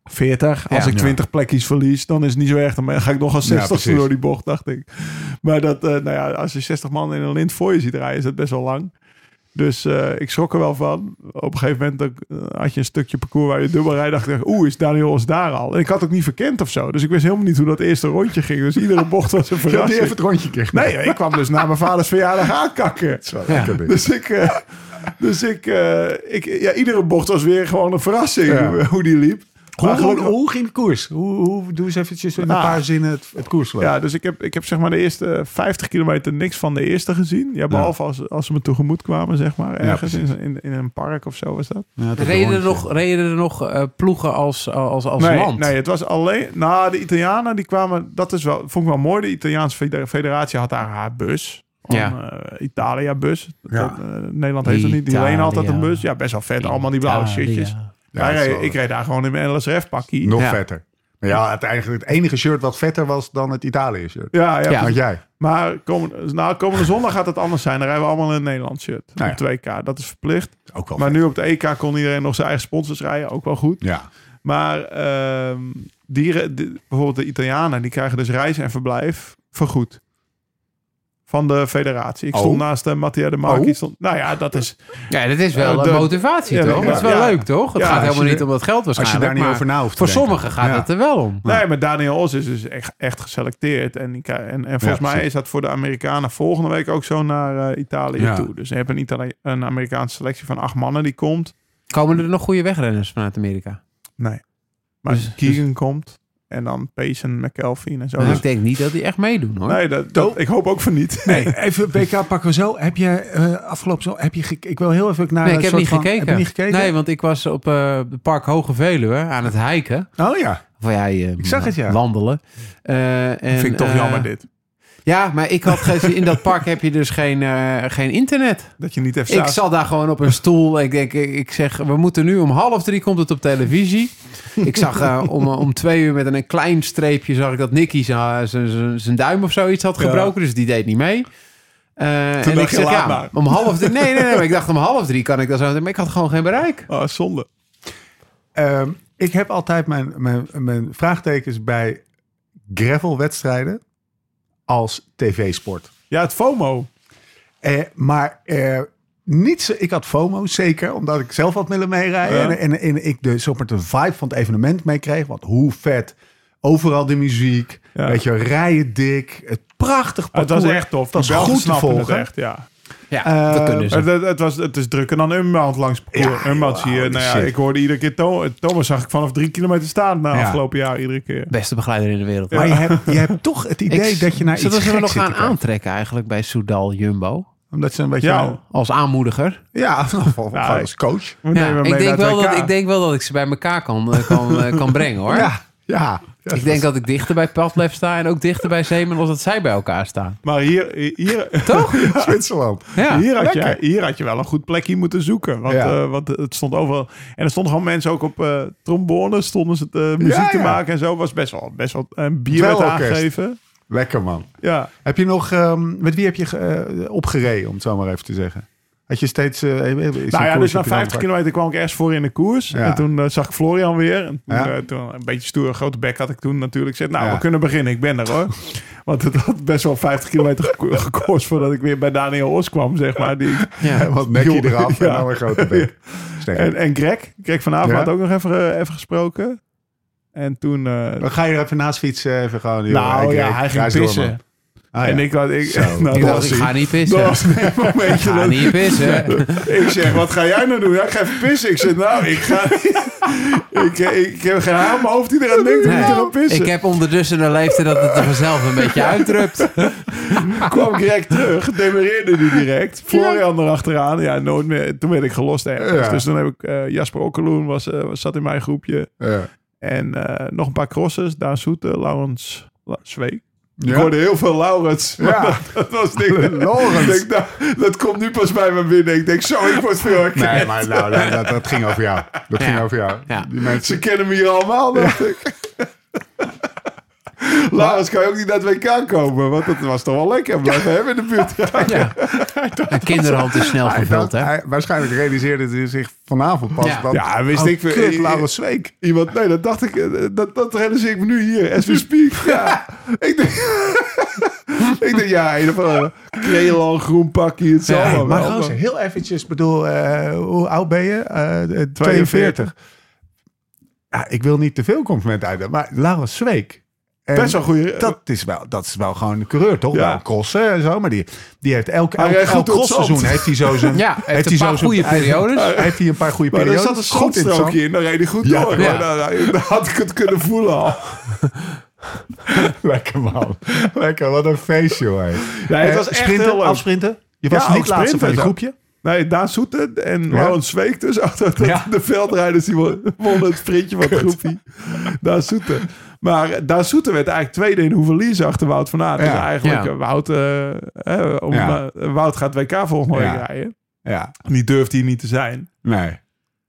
Speaker 5: 40. Als
Speaker 3: Ja.
Speaker 5: ik 20 plekjes verlies, dan is het niet zo erg. Dan ga ik nog als
Speaker 1: Ja,
Speaker 5: 60
Speaker 1: precies.
Speaker 5: door die bocht, dacht ik. Maar dat, eh, nou ja, als je 60 man in een lint voor je ziet rijden, is dat best wel lang. Dus eh, ik schrok er wel van. Op een gegeven moment dan, eh, had je een stukje parcours waar je dubbel rijdt. Dacht ik, oeh, is Daniel is daar al? En ik had ook niet verkend of zo. Dus ik wist helemaal niet hoe dat eerste rondje ging. Dus iedere bocht was een
Speaker 1: Je had niet
Speaker 5: verrassing.
Speaker 1: even het rondje keer.
Speaker 5: Nee, ik kwam dus na mijn vaders verjaardag aankakken.
Speaker 1: lekker dit.
Speaker 5: Dus ik, eh, dus ik, eh, ik ja, iedere bocht was weer gewoon een verrassing
Speaker 1: Ja.
Speaker 5: hoe, hoe die liep.
Speaker 7: Hoe,
Speaker 5: Maar
Speaker 7: hoe,
Speaker 5: gelukkig-
Speaker 7: hoe ging de koers? Hoe, hoe, doe eens eventjes in een
Speaker 5: Ah.
Speaker 7: paar zinnen het, het koersverloop.
Speaker 5: ja, dus ik heb, ik heb zeg maar de eerste 50 kilometer niks van de eerste gezien. Ja, behalve als, als ze me tegemoet kwamen, zeg maar. Ergens in, in, in een park of zo was dat.
Speaker 3: Reden er nog, reden er nog eh, ploegen als, als, als
Speaker 5: nee,
Speaker 3: land?
Speaker 5: nee, het was alleen... Nou, de Italianen die kwamen... Dat is wel, vond ik wel mooi. De Italiaanse feder- federatie had daar haar bus.
Speaker 3: Ja.
Speaker 5: Italia-bus. Dat, eh, Nederland heeft het niet. Die
Speaker 3: Italia.
Speaker 5: alleen altijd een bus. Ja, best wel vet. Allemaal die blauwe shirtjes.
Speaker 1: Ja,
Speaker 5: Wij
Speaker 1: dat is
Speaker 5: reden-
Speaker 1: wel-
Speaker 5: ik reed daar gewoon in mijn LSRF-pakkie.
Speaker 1: Nog
Speaker 3: Ja.
Speaker 1: vetter. Maar ja, het, eigenlijk het enige shirt wat vetter was dan het Italië-shirt.
Speaker 5: Ja, ja.
Speaker 3: Ja.
Speaker 1: Had jij.
Speaker 5: Maar komende, nou, komende zondag gaat het anders zijn. Dan rijden we allemaal in een Nederlands shirt.
Speaker 1: Nou ja.
Speaker 5: Op 2K, dat is verplicht.
Speaker 1: Ook wel
Speaker 5: Maar
Speaker 1: vet.
Speaker 5: nu op de EK kon iedereen nog zijn eigen sponsors rijden. Ook wel goed.
Speaker 1: Ja,
Speaker 5: Maar ehm, dieren, de- bijvoorbeeld de Italianen, die krijgen dus reis en verblijf vergoed. Van de federatie. Ik stond
Speaker 1: Oh.
Speaker 5: naast eh, Mattia de Marchi.
Speaker 1: Oh.
Speaker 5: Stond, nou ja, dat is...
Speaker 3: Ja, dat is wel
Speaker 5: Eh,
Speaker 3: een
Speaker 5: de-
Speaker 3: motivatie,
Speaker 5: ja,
Speaker 3: toch?
Speaker 5: ja.
Speaker 3: dat is wel
Speaker 5: Ja.
Speaker 3: leuk, toch? Het
Speaker 5: Ja,
Speaker 3: gaat
Speaker 5: als
Speaker 3: helemaal
Speaker 1: je
Speaker 3: niet
Speaker 1: er-
Speaker 3: om dat geld
Speaker 1: als je
Speaker 3: waarschijnlijk.
Speaker 1: daar niet
Speaker 3: maar
Speaker 1: over na hoeft te
Speaker 3: Voor
Speaker 1: denken.
Speaker 3: sommigen gaat
Speaker 1: Ja.
Speaker 3: het er wel om.
Speaker 5: Nee, maar Daniel Os is dus echt, echt geselecteerd. En, die, krijg- en, en volgens mij
Speaker 1: precies.
Speaker 5: is dat voor de Amerikanen volgende week ook zo naar eh, Italië
Speaker 7: Ja.
Speaker 5: toe. Dus je hebt een, Itali- een Amerikaanse selectie van acht mannen die komt.
Speaker 3: Komen er nog goede wegrenners vanuit Amerika?
Speaker 5: Maar
Speaker 3: Dus-
Speaker 5: Keegan komt en dan Payson, McElveen en zo.
Speaker 3: Nou,
Speaker 5: Dus-
Speaker 3: ik denk niet dat die echt meedoen, hoor.
Speaker 5: nee, dat, dat- ik hoop ook van niet.
Speaker 7: Nee, even BK pakken we zo. Heb je eh, afgelopen zo, heb je gek- ik wil heel even naar
Speaker 3: Nee,
Speaker 1: nou,
Speaker 7: een
Speaker 3: ik heb
Speaker 7: soort
Speaker 3: niet
Speaker 7: van-
Speaker 3: gekeken.
Speaker 7: Heb je niet gekeken?
Speaker 3: Nee, want ik was op eh, het Park Hoge Veluwe aan het hiken.
Speaker 7: Oh ja.
Speaker 3: Of ja, je,
Speaker 7: Ik zag het, ja.
Speaker 3: wandelen. Eh, en,
Speaker 5: vind ik toch
Speaker 3: eh,
Speaker 5: jammer dit.
Speaker 3: Ja, maar ik had gezien, in dat park heb je dus geen, eh, geen internet.
Speaker 5: Dat je niet even
Speaker 3: Ik
Speaker 5: staat.
Speaker 3: zat daar gewoon op een stoel. Ik denk, ik, ik zeg, we moeten nu om half drie komt het op televisie. Ik zag eh, om, om twee uur met een klein streepje zag ik dat Nicky zijn- eh, zijn zijn- zijn duim of zoiets had gebroken. Dus die deed niet mee. Eh, en ik
Speaker 5: dacht je,
Speaker 3: zeg,
Speaker 5: laat
Speaker 3: ja,
Speaker 5: maar.
Speaker 3: om half drie. Nee, nee, nee. maar ik dacht om half drie kan ik dat zo. Maar ik had gewoon geen bereik.
Speaker 5: Oh, zonde.
Speaker 1: Ehm, ik heb altijd mijn, mijn, mijn vraagtekens bij gravelwedstrijden als tv-sport.
Speaker 5: Ja, het FOMO.
Speaker 1: Eh, maar eh, niet zo, ik had FOMO, zeker, omdat ik zelf wat willen meerijden.
Speaker 5: Ja.
Speaker 1: En, en, en ik de, zeg maar, de vibe van het evenement meekreeg. Want hoe vet. Overal de muziek.
Speaker 5: Ja. Ah,
Speaker 1: Weet je, rijden dik. Het prachtig
Speaker 5: Het
Speaker 1: parcours.
Speaker 5: was echt tof.
Speaker 1: Dat is
Speaker 5: Die Belgen
Speaker 1: goed te
Speaker 5: snappen het
Speaker 1: volgen.
Speaker 5: echt, ja.
Speaker 3: Ja, dat
Speaker 1: Eh,
Speaker 3: kunnen ze.
Speaker 5: Het, het, het was, het is drukker dan Unbound langs het parcours.
Speaker 1: Ja,
Speaker 5: Unbound
Speaker 1: joh,
Speaker 5: zie je,
Speaker 1: holy
Speaker 5: nou ja,
Speaker 1: shit.
Speaker 5: ik hoorde iedere keer Thomas, Thomas zag ik vanaf drie kilometer staan na
Speaker 1: Ja.
Speaker 5: afgelopen jaar iedere keer.
Speaker 3: Beste begeleider in de wereld.
Speaker 1: Maar je hebt, je hebt toch het idee
Speaker 3: Ik-
Speaker 1: dat je naar
Speaker 3: Zullen
Speaker 1: iets
Speaker 3: we ze
Speaker 1: geks
Speaker 3: nog
Speaker 1: zit te
Speaker 3: gaan
Speaker 1: kijken.
Speaker 3: aantrekken eigenlijk bij Soudal Jumbo?
Speaker 1: Omdat ze een beetje...
Speaker 5: Jou.
Speaker 3: Als aanmoediger.
Speaker 1: Ja, of- of- of
Speaker 5: Ja,
Speaker 1: als coach.
Speaker 5: We nemen hem
Speaker 3: ik,
Speaker 5: mee
Speaker 3: denk
Speaker 5: naar het
Speaker 3: wel dat,
Speaker 5: WK.
Speaker 3: ik denk wel dat ik ze bij elkaar kan, eh, kan, eh, kan brengen hoor.
Speaker 1: Ja, ja. Ja,
Speaker 3: Ik denk dat ik dichter bij Padlef sta en ook dichter bij Zeeman als dat zij bij elkaar staan.
Speaker 5: Maar hier, hier,
Speaker 3: Toch?
Speaker 1: Zwitserland.
Speaker 3: Ja.
Speaker 5: hier, had je,
Speaker 1: lekker.
Speaker 5: hier had je wel een goed plekje moeten zoeken. Want,
Speaker 1: Ja.
Speaker 5: eh, want het stond overal. En er stonden gewoon mensen ook op eh trombone. Stonden ze eh, muziek
Speaker 1: Ja,
Speaker 5: te
Speaker 1: ja.
Speaker 5: maken en zo. Was best wel, best wel een bier werd
Speaker 1: Dweilorkest.
Speaker 5: aangegeven.
Speaker 1: Lekker man.
Speaker 5: Ja.
Speaker 1: Heb je nog, ehm, met wie heb je ge- eh, opgereden, om het zo maar even te zeggen? Had je steeds... eh, is een
Speaker 5: Nou ja,
Speaker 1: koers
Speaker 5: dus na
Speaker 1: op je
Speaker 5: 50
Speaker 1: hand?
Speaker 5: kilometer kwam ik ergens voor in de koers.
Speaker 1: Ja.
Speaker 5: En toen eh, zag ik Florian weer. En toen,
Speaker 1: Ja.
Speaker 5: eh, toen een beetje stoere grote bek had ik toen natuurlijk. Ik zei, nou,
Speaker 1: Ja.
Speaker 5: we kunnen beginnen. Ik ben er hoor. Want het had best wel 50 kilometer geko- gekost voordat ik weer bij Daniel Os kwam, zeg maar. Die,
Speaker 3: Ja.
Speaker 1: Want nekje
Speaker 5: Joh,
Speaker 1: eraf en
Speaker 5: ja.
Speaker 1: dan een grote bek. Sterk.
Speaker 5: en, en Greg. Greg van Aven
Speaker 1: Ja.
Speaker 5: had ook nog even, eh, even gesproken. En toen... eh,
Speaker 1: dan ga je er even naast fietsen. Even gewoon, joh,
Speaker 5: nou
Speaker 1: ik-
Speaker 5: ja,
Speaker 1: ik- ga
Speaker 5: hij ging
Speaker 1: eens door,
Speaker 5: pissen.
Speaker 1: man. Ah,
Speaker 5: En
Speaker 1: ja.
Speaker 5: ik, had- ik,
Speaker 1: Zo.
Speaker 5: nou,
Speaker 1: Ik
Speaker 5: dat
Speaker 3: Ik dacht,
Speaker 5: was-
Speaker 3: ik ga niet
Speaker 5: dat
Speaker 3: pissen.
Speaker 5: was een
Speaker 3: Ik
Speaker 5: momentje
Speaker 3: ga
Speaker 5: dat-
Speaker 3: niet pissen.
Speaker 5: Ik zeg, wat ga jij nou doen? Ja, ik ga even pissen. Ik zeg, nou, ik ga ik, ik heb geen haar op mijn hoofd die eraan denkt dat
Speaker 3: Nee.
Speaker 5: ik eraan pissen.
Speaker 3: Ik heb ondertussen een leeftijd dat het er vanzelf een beetje uitdrukt.
Speaker 5: kwam Greg terug, demereerde die direct. Florian erachteraan. Ja, nooit meer. Toen werd ik gelost ergens.
Speaker 1: Ja.
Speaker 5: Dus toen heb ik eh, Jasper Okkeloen was, eh, was- zat in mijn groepje.
Speaker 1: Ja.
Speaker 5: En eh, nog een paar crossers. Daan Soete, Laurens La- Zweek.
Speaker 1: Ja.
Speaker 5: Ik hoorde heel veel Laurens. maar
Speaker 1: Ja.
Speaker 5: Dat, dat was niks.
Speaker 1: Laurens.
Speaker 5: Ik denk, nou, dat komt nu pas bij me binnen. Ik denk, zo, ik word veel herkend.
Speaker 1: Nee, maar nou, nou, dat, dat ging over jou. Dat ging over jou.
Speaker 3: Ja.
Speaker 1: Die mensen.
Speaker 5: Ze kennen me hier allemaal, dacht ik. Laurens kan je ook niet naar het WK komen, want dat was toch wel lekker. Blijven hebben in de buurt.
Speaker 3: Ja. Een kinderhand is snel
Speaker 1: Hij
Speaker 3: gevuld,
Speaker 1: dacht,
Speaker 3: hè?
Speaker 1: hij- waarschijnlijk realiseerde hij zich vanavond pas.
Speaker 3: Ja.
Speaker 1: Dat,
Speaker 5: Ja, wist ik veel.
Speaker 1: Oh, kut,
Speaker 5: I-
Speaker 1: Laurens Zweek.
Speaker 5: Iemand, nee, dat dacht ik, eh, dat, dat realiseer ik me nu hier, as we speak. Ja. ik denk, ik denk, ja, in ieder geval, Krelan, groen pakje, het zal
Speaker 3: Ja,
Speaker 5: allemaal
Speaker 8: maar
Speaker 5: wel.
Speaker 8: gozer, heel eventjes, bedoel, eh, hoe oud ben je? Eh, eh,
Speaker 5: 42.
Speaker 8: 42. Ja, ik wil niet te veel complimenten uit, maar Laura Zweek. En
Speaker 5: Best wel een goeie. eh,
Speaker 8: Dat is wel, dat is wel gewoon een coureur, toch?
Speaker 5: Ja.
Speaker 8: Ja. crossen en zo, maar die, die heeft elk,
Speaker 5: Hij
Speaker 8: elk,
Speaker 5: rijdt
Speaker 8: elk
Speaker 5: goed op
Speaker 8: crossseizoen
Speaker 5: zand.
Speaker 8: heeft hij zo zijn...
Speaker 3: Ja, hij heeft
Speaker 8: hij
Speaker 3: een paar
Speaker 8: zo zijn-
Speaker 3: goede periodes.
Speaker 8: Heeft hij een paar goede
Speaker 5: maar er
Speaker 8: periodes.
Speaker 5: zat een
Speaker 8: Goed in het zand.
Speaker 5: zandstrookje in, dan reed hij goed
Speaker 8: Ja.
Speaker 5: door.
Speaker 3: Ja.
Speaker 5: hoor. Dan, dan- dan had ik het kunnen voelen al.
Speaker 1: Lekker man. Lekker, wat een feestje hoor.
Speaker 5: Nee, het
Speaker 8: Eh,
Speaker 5: was echt
Speaker 8: sprinten,
Speaker 5: heel leuk.
Speaker 8: afsprinten. Je was
Speaker 5: Ja, ook
Speaker 8: niet laatste van
Speaker 5: sprinten
Speaker 8: je
Speaker 5: zo.
Speaker 8: groepje.
Speaker 5: Nee, Daan Soeten en Laurens Zweek dus. achter dat- De veldrijders die won- wonnen het sprintje van het groepje. Daan Soeten. Maar eh, Daan Soeten werd eigenlijk tweede in Hoeverlies achter Wout van Aert. Dus
Speaker 1: Ja.
Speaker 5: eigenlijk
Speaker 3: Ja.
Speaker 5: eh, Wout, eh, eh, om,
Speaker 1: Ja.
Speaker 5: eh, Wout gaat WK volgende week
Speaker 1: Ja.
Speaker 5: rijden.
Speaker 1: Ja,
Speaker 5: Die durfde hij niet te zijn.
Speaker 1: nee.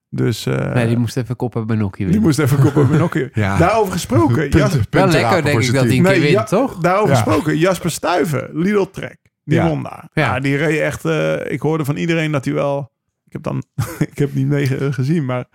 Speaker 5: Dus eh,
Speaker 3: Nee,
Speaker 5: die,
Speaker 3: die moest even koppen bij Nokia winnen.
Speaker 5: moest even koppen met Nokia.
Speaker 1: Ja.
Speaker 5: Daarover gesproken.
Speaker 1: Punten-
Speaker 5: Jas-
Speaker 1: punten
Speaker 3: lekker,
Speaker 1: rapen
Speaker 3: denk
Speaker 1: voor
Speaker 3: ik,
Speaker 1: zijn
Speaker 3: dat
Speaker 1: team.
Speaker 3: die- keer wint,
Speaker 5: Ja,
Speaker 3: toch?
Speaker 5: Daarover
Speaker 1: Ja.
Speaker 5: gesproken, Jasper Stuyven, Lidl Trek, die
Speaker 1: Ja.
Speaker 5: won daar.
Speaker 3: Ja.
Speaker 5: Ja. die reed echt, eh, ik hoorde van iedereen dat hij wel, ik heb dan, ik heb niet mee eh, gezien, maar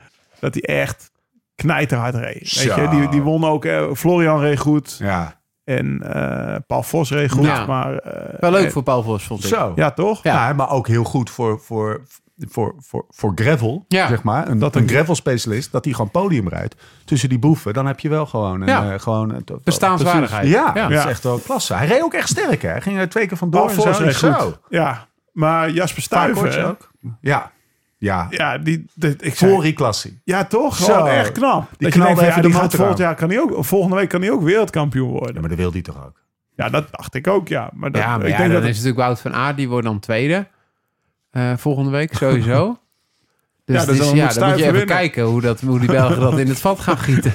Speaker 5: dat hij echt knijterhard reed. Weet
Speaker 1: Zo.
Speaker 5: je, die, die won ook, eh, Florian reed goed
Speaker 1: Ja.
Speaker 5: en eh, Paul Vos reed goed,
Speaker 3: Ja.
Speaker 5: maar... eh,
Speaker 3: Wel leuk
Speaker 5: eh,
Speaker 3: voor Paul Vos, vond ik.
Speaker 1: Zo.
Speaker 5: Ja, toch?
Speaker 3: Ja.
Speaker 1: Ja, maar ook heel goed voor, voor, voor, voor, voor gravel,
Speaker 3: Ja.
Speaker 1: zeg maar. Een,
Speaker 5: Dat
Speaker 1: een
Speaker 5: een-
Speaker 1: gravel specialist, dat die gewoon podium rijdt tussen die boeven. Dan heb je wel gewoon een...
Speaker 3: Ja.
Speaker 1: eh, gewoon een
Speaker 3: Bestaanswaardigheid.
Speaker 1: ja,
Speaker 3: Ja.
Speaker 1: dat is
Speaker 5: Ja.
Speaker 1: echt wel klasse. Hij reed ook echt sterk, hè. Hij ging er twee keer
Speaker 5: Paul
Speaker 1: vandoor en
Speaker 5: Vos
Speaker 1: zo.
Speaker 5: reed
Speaker 1: Zo.
Speaker 5: goed. Ja, maar Jasper
Speaker 1: Paardkoortje
Speaker 5: Stuyven,
Speaker 1: ook. Ja. Ja.
Speaker 5: ja, die, de- ik zei-
Speaker 1: Voor die klassie.
Speaker 5: ja toch?
Speaker 1: Zo.
Speaker 5: Gewoon echt knap. Die
Speaker 1: knalde even
Speaker 5: ja,
Speaker 1: de
Speaker 5: die
Speaker 1: mat
Speaker 5: gaat
Speaker 1: eraan.
Speaker 5: volgend jaar kan hij ook, volgende week kan hij ook wereldkampioen worden.
Speaker 1: Ja, maar dat wil die toch ook?
Speaker 5: Ja, dat dacht ik ook, ja. Maar, dat,
Speaker 3: ja, maar
Speaker 5: ik
Speaker 3: ja,
Speaker 5: denk
Speaker 3: dan
Speaker 5: dat
Speaker 3: is natuurlijk Wout van Aert, die wordt dan tweede eh, volgende week sowieso. Dus
Speaker 5: Ja,
Speaker 3: ja,
Speaker 5: dus dan
Speaker 3: is,
Speaker 5: moet
Speaker 3: ja, dan moet
Speaker 5: Stuyven
Speaker 3: je even
Speaker 5: winnen.
Speaker 3: kijken hoe, dat, hoe die Belgen dat in het vat gaan gieten.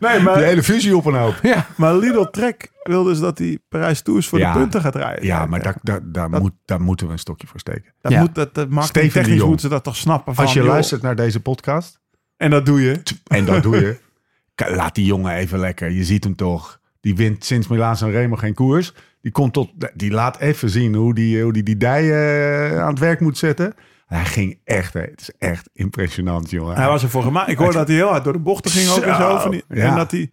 Speaker 5: Nee, maar,
Speaker 1: hele fusie op een hoop.
Speaker 3: Ja,
Speaker 5: maar Lidl Trek wil dus dat hij Parijs Tours voor
Speaker 1: Ja.
Speaker 5: de punten gaat rijden.
Speaker 1: Ja, maar daar, daar, daar, moet, daar moeten we een stokje voor steken.
Speaker 5: dat
Speaker 3: Ja.
Speaker 5: moet, dat, dat
Speaker 1: Steven de
Speaker 5: marketingtechnisch
Speaker 1: Jong.
Speaker 5: moeten ze dat toch snappen. Van,
Speaker 1: Als je
Speaker 5: joh,
Speaker 1: luistert naar deze podcast,
Speaker 5: En dat doe je.
Speaker 1: en dat doe je, k- laat die jongen even lekker. Je ziet hem toch. Die wint sinds Milaan en Remo geen koers. Die, komt tot, die laat even zien hoe die, hoe die, die dijen eh, aan het werk moet zetten. Hij ging echt, hè, het is echt impressionant, jongen.
Speaker 5: Hij was ervoor gemaakt. Ik hoorde dat hij heel hard door de bochten ging ook en
Speaker 1: Zo,
Speaker 5: zo. Van die-
Speaker 1: ja.
Speaker 5: En dat hij...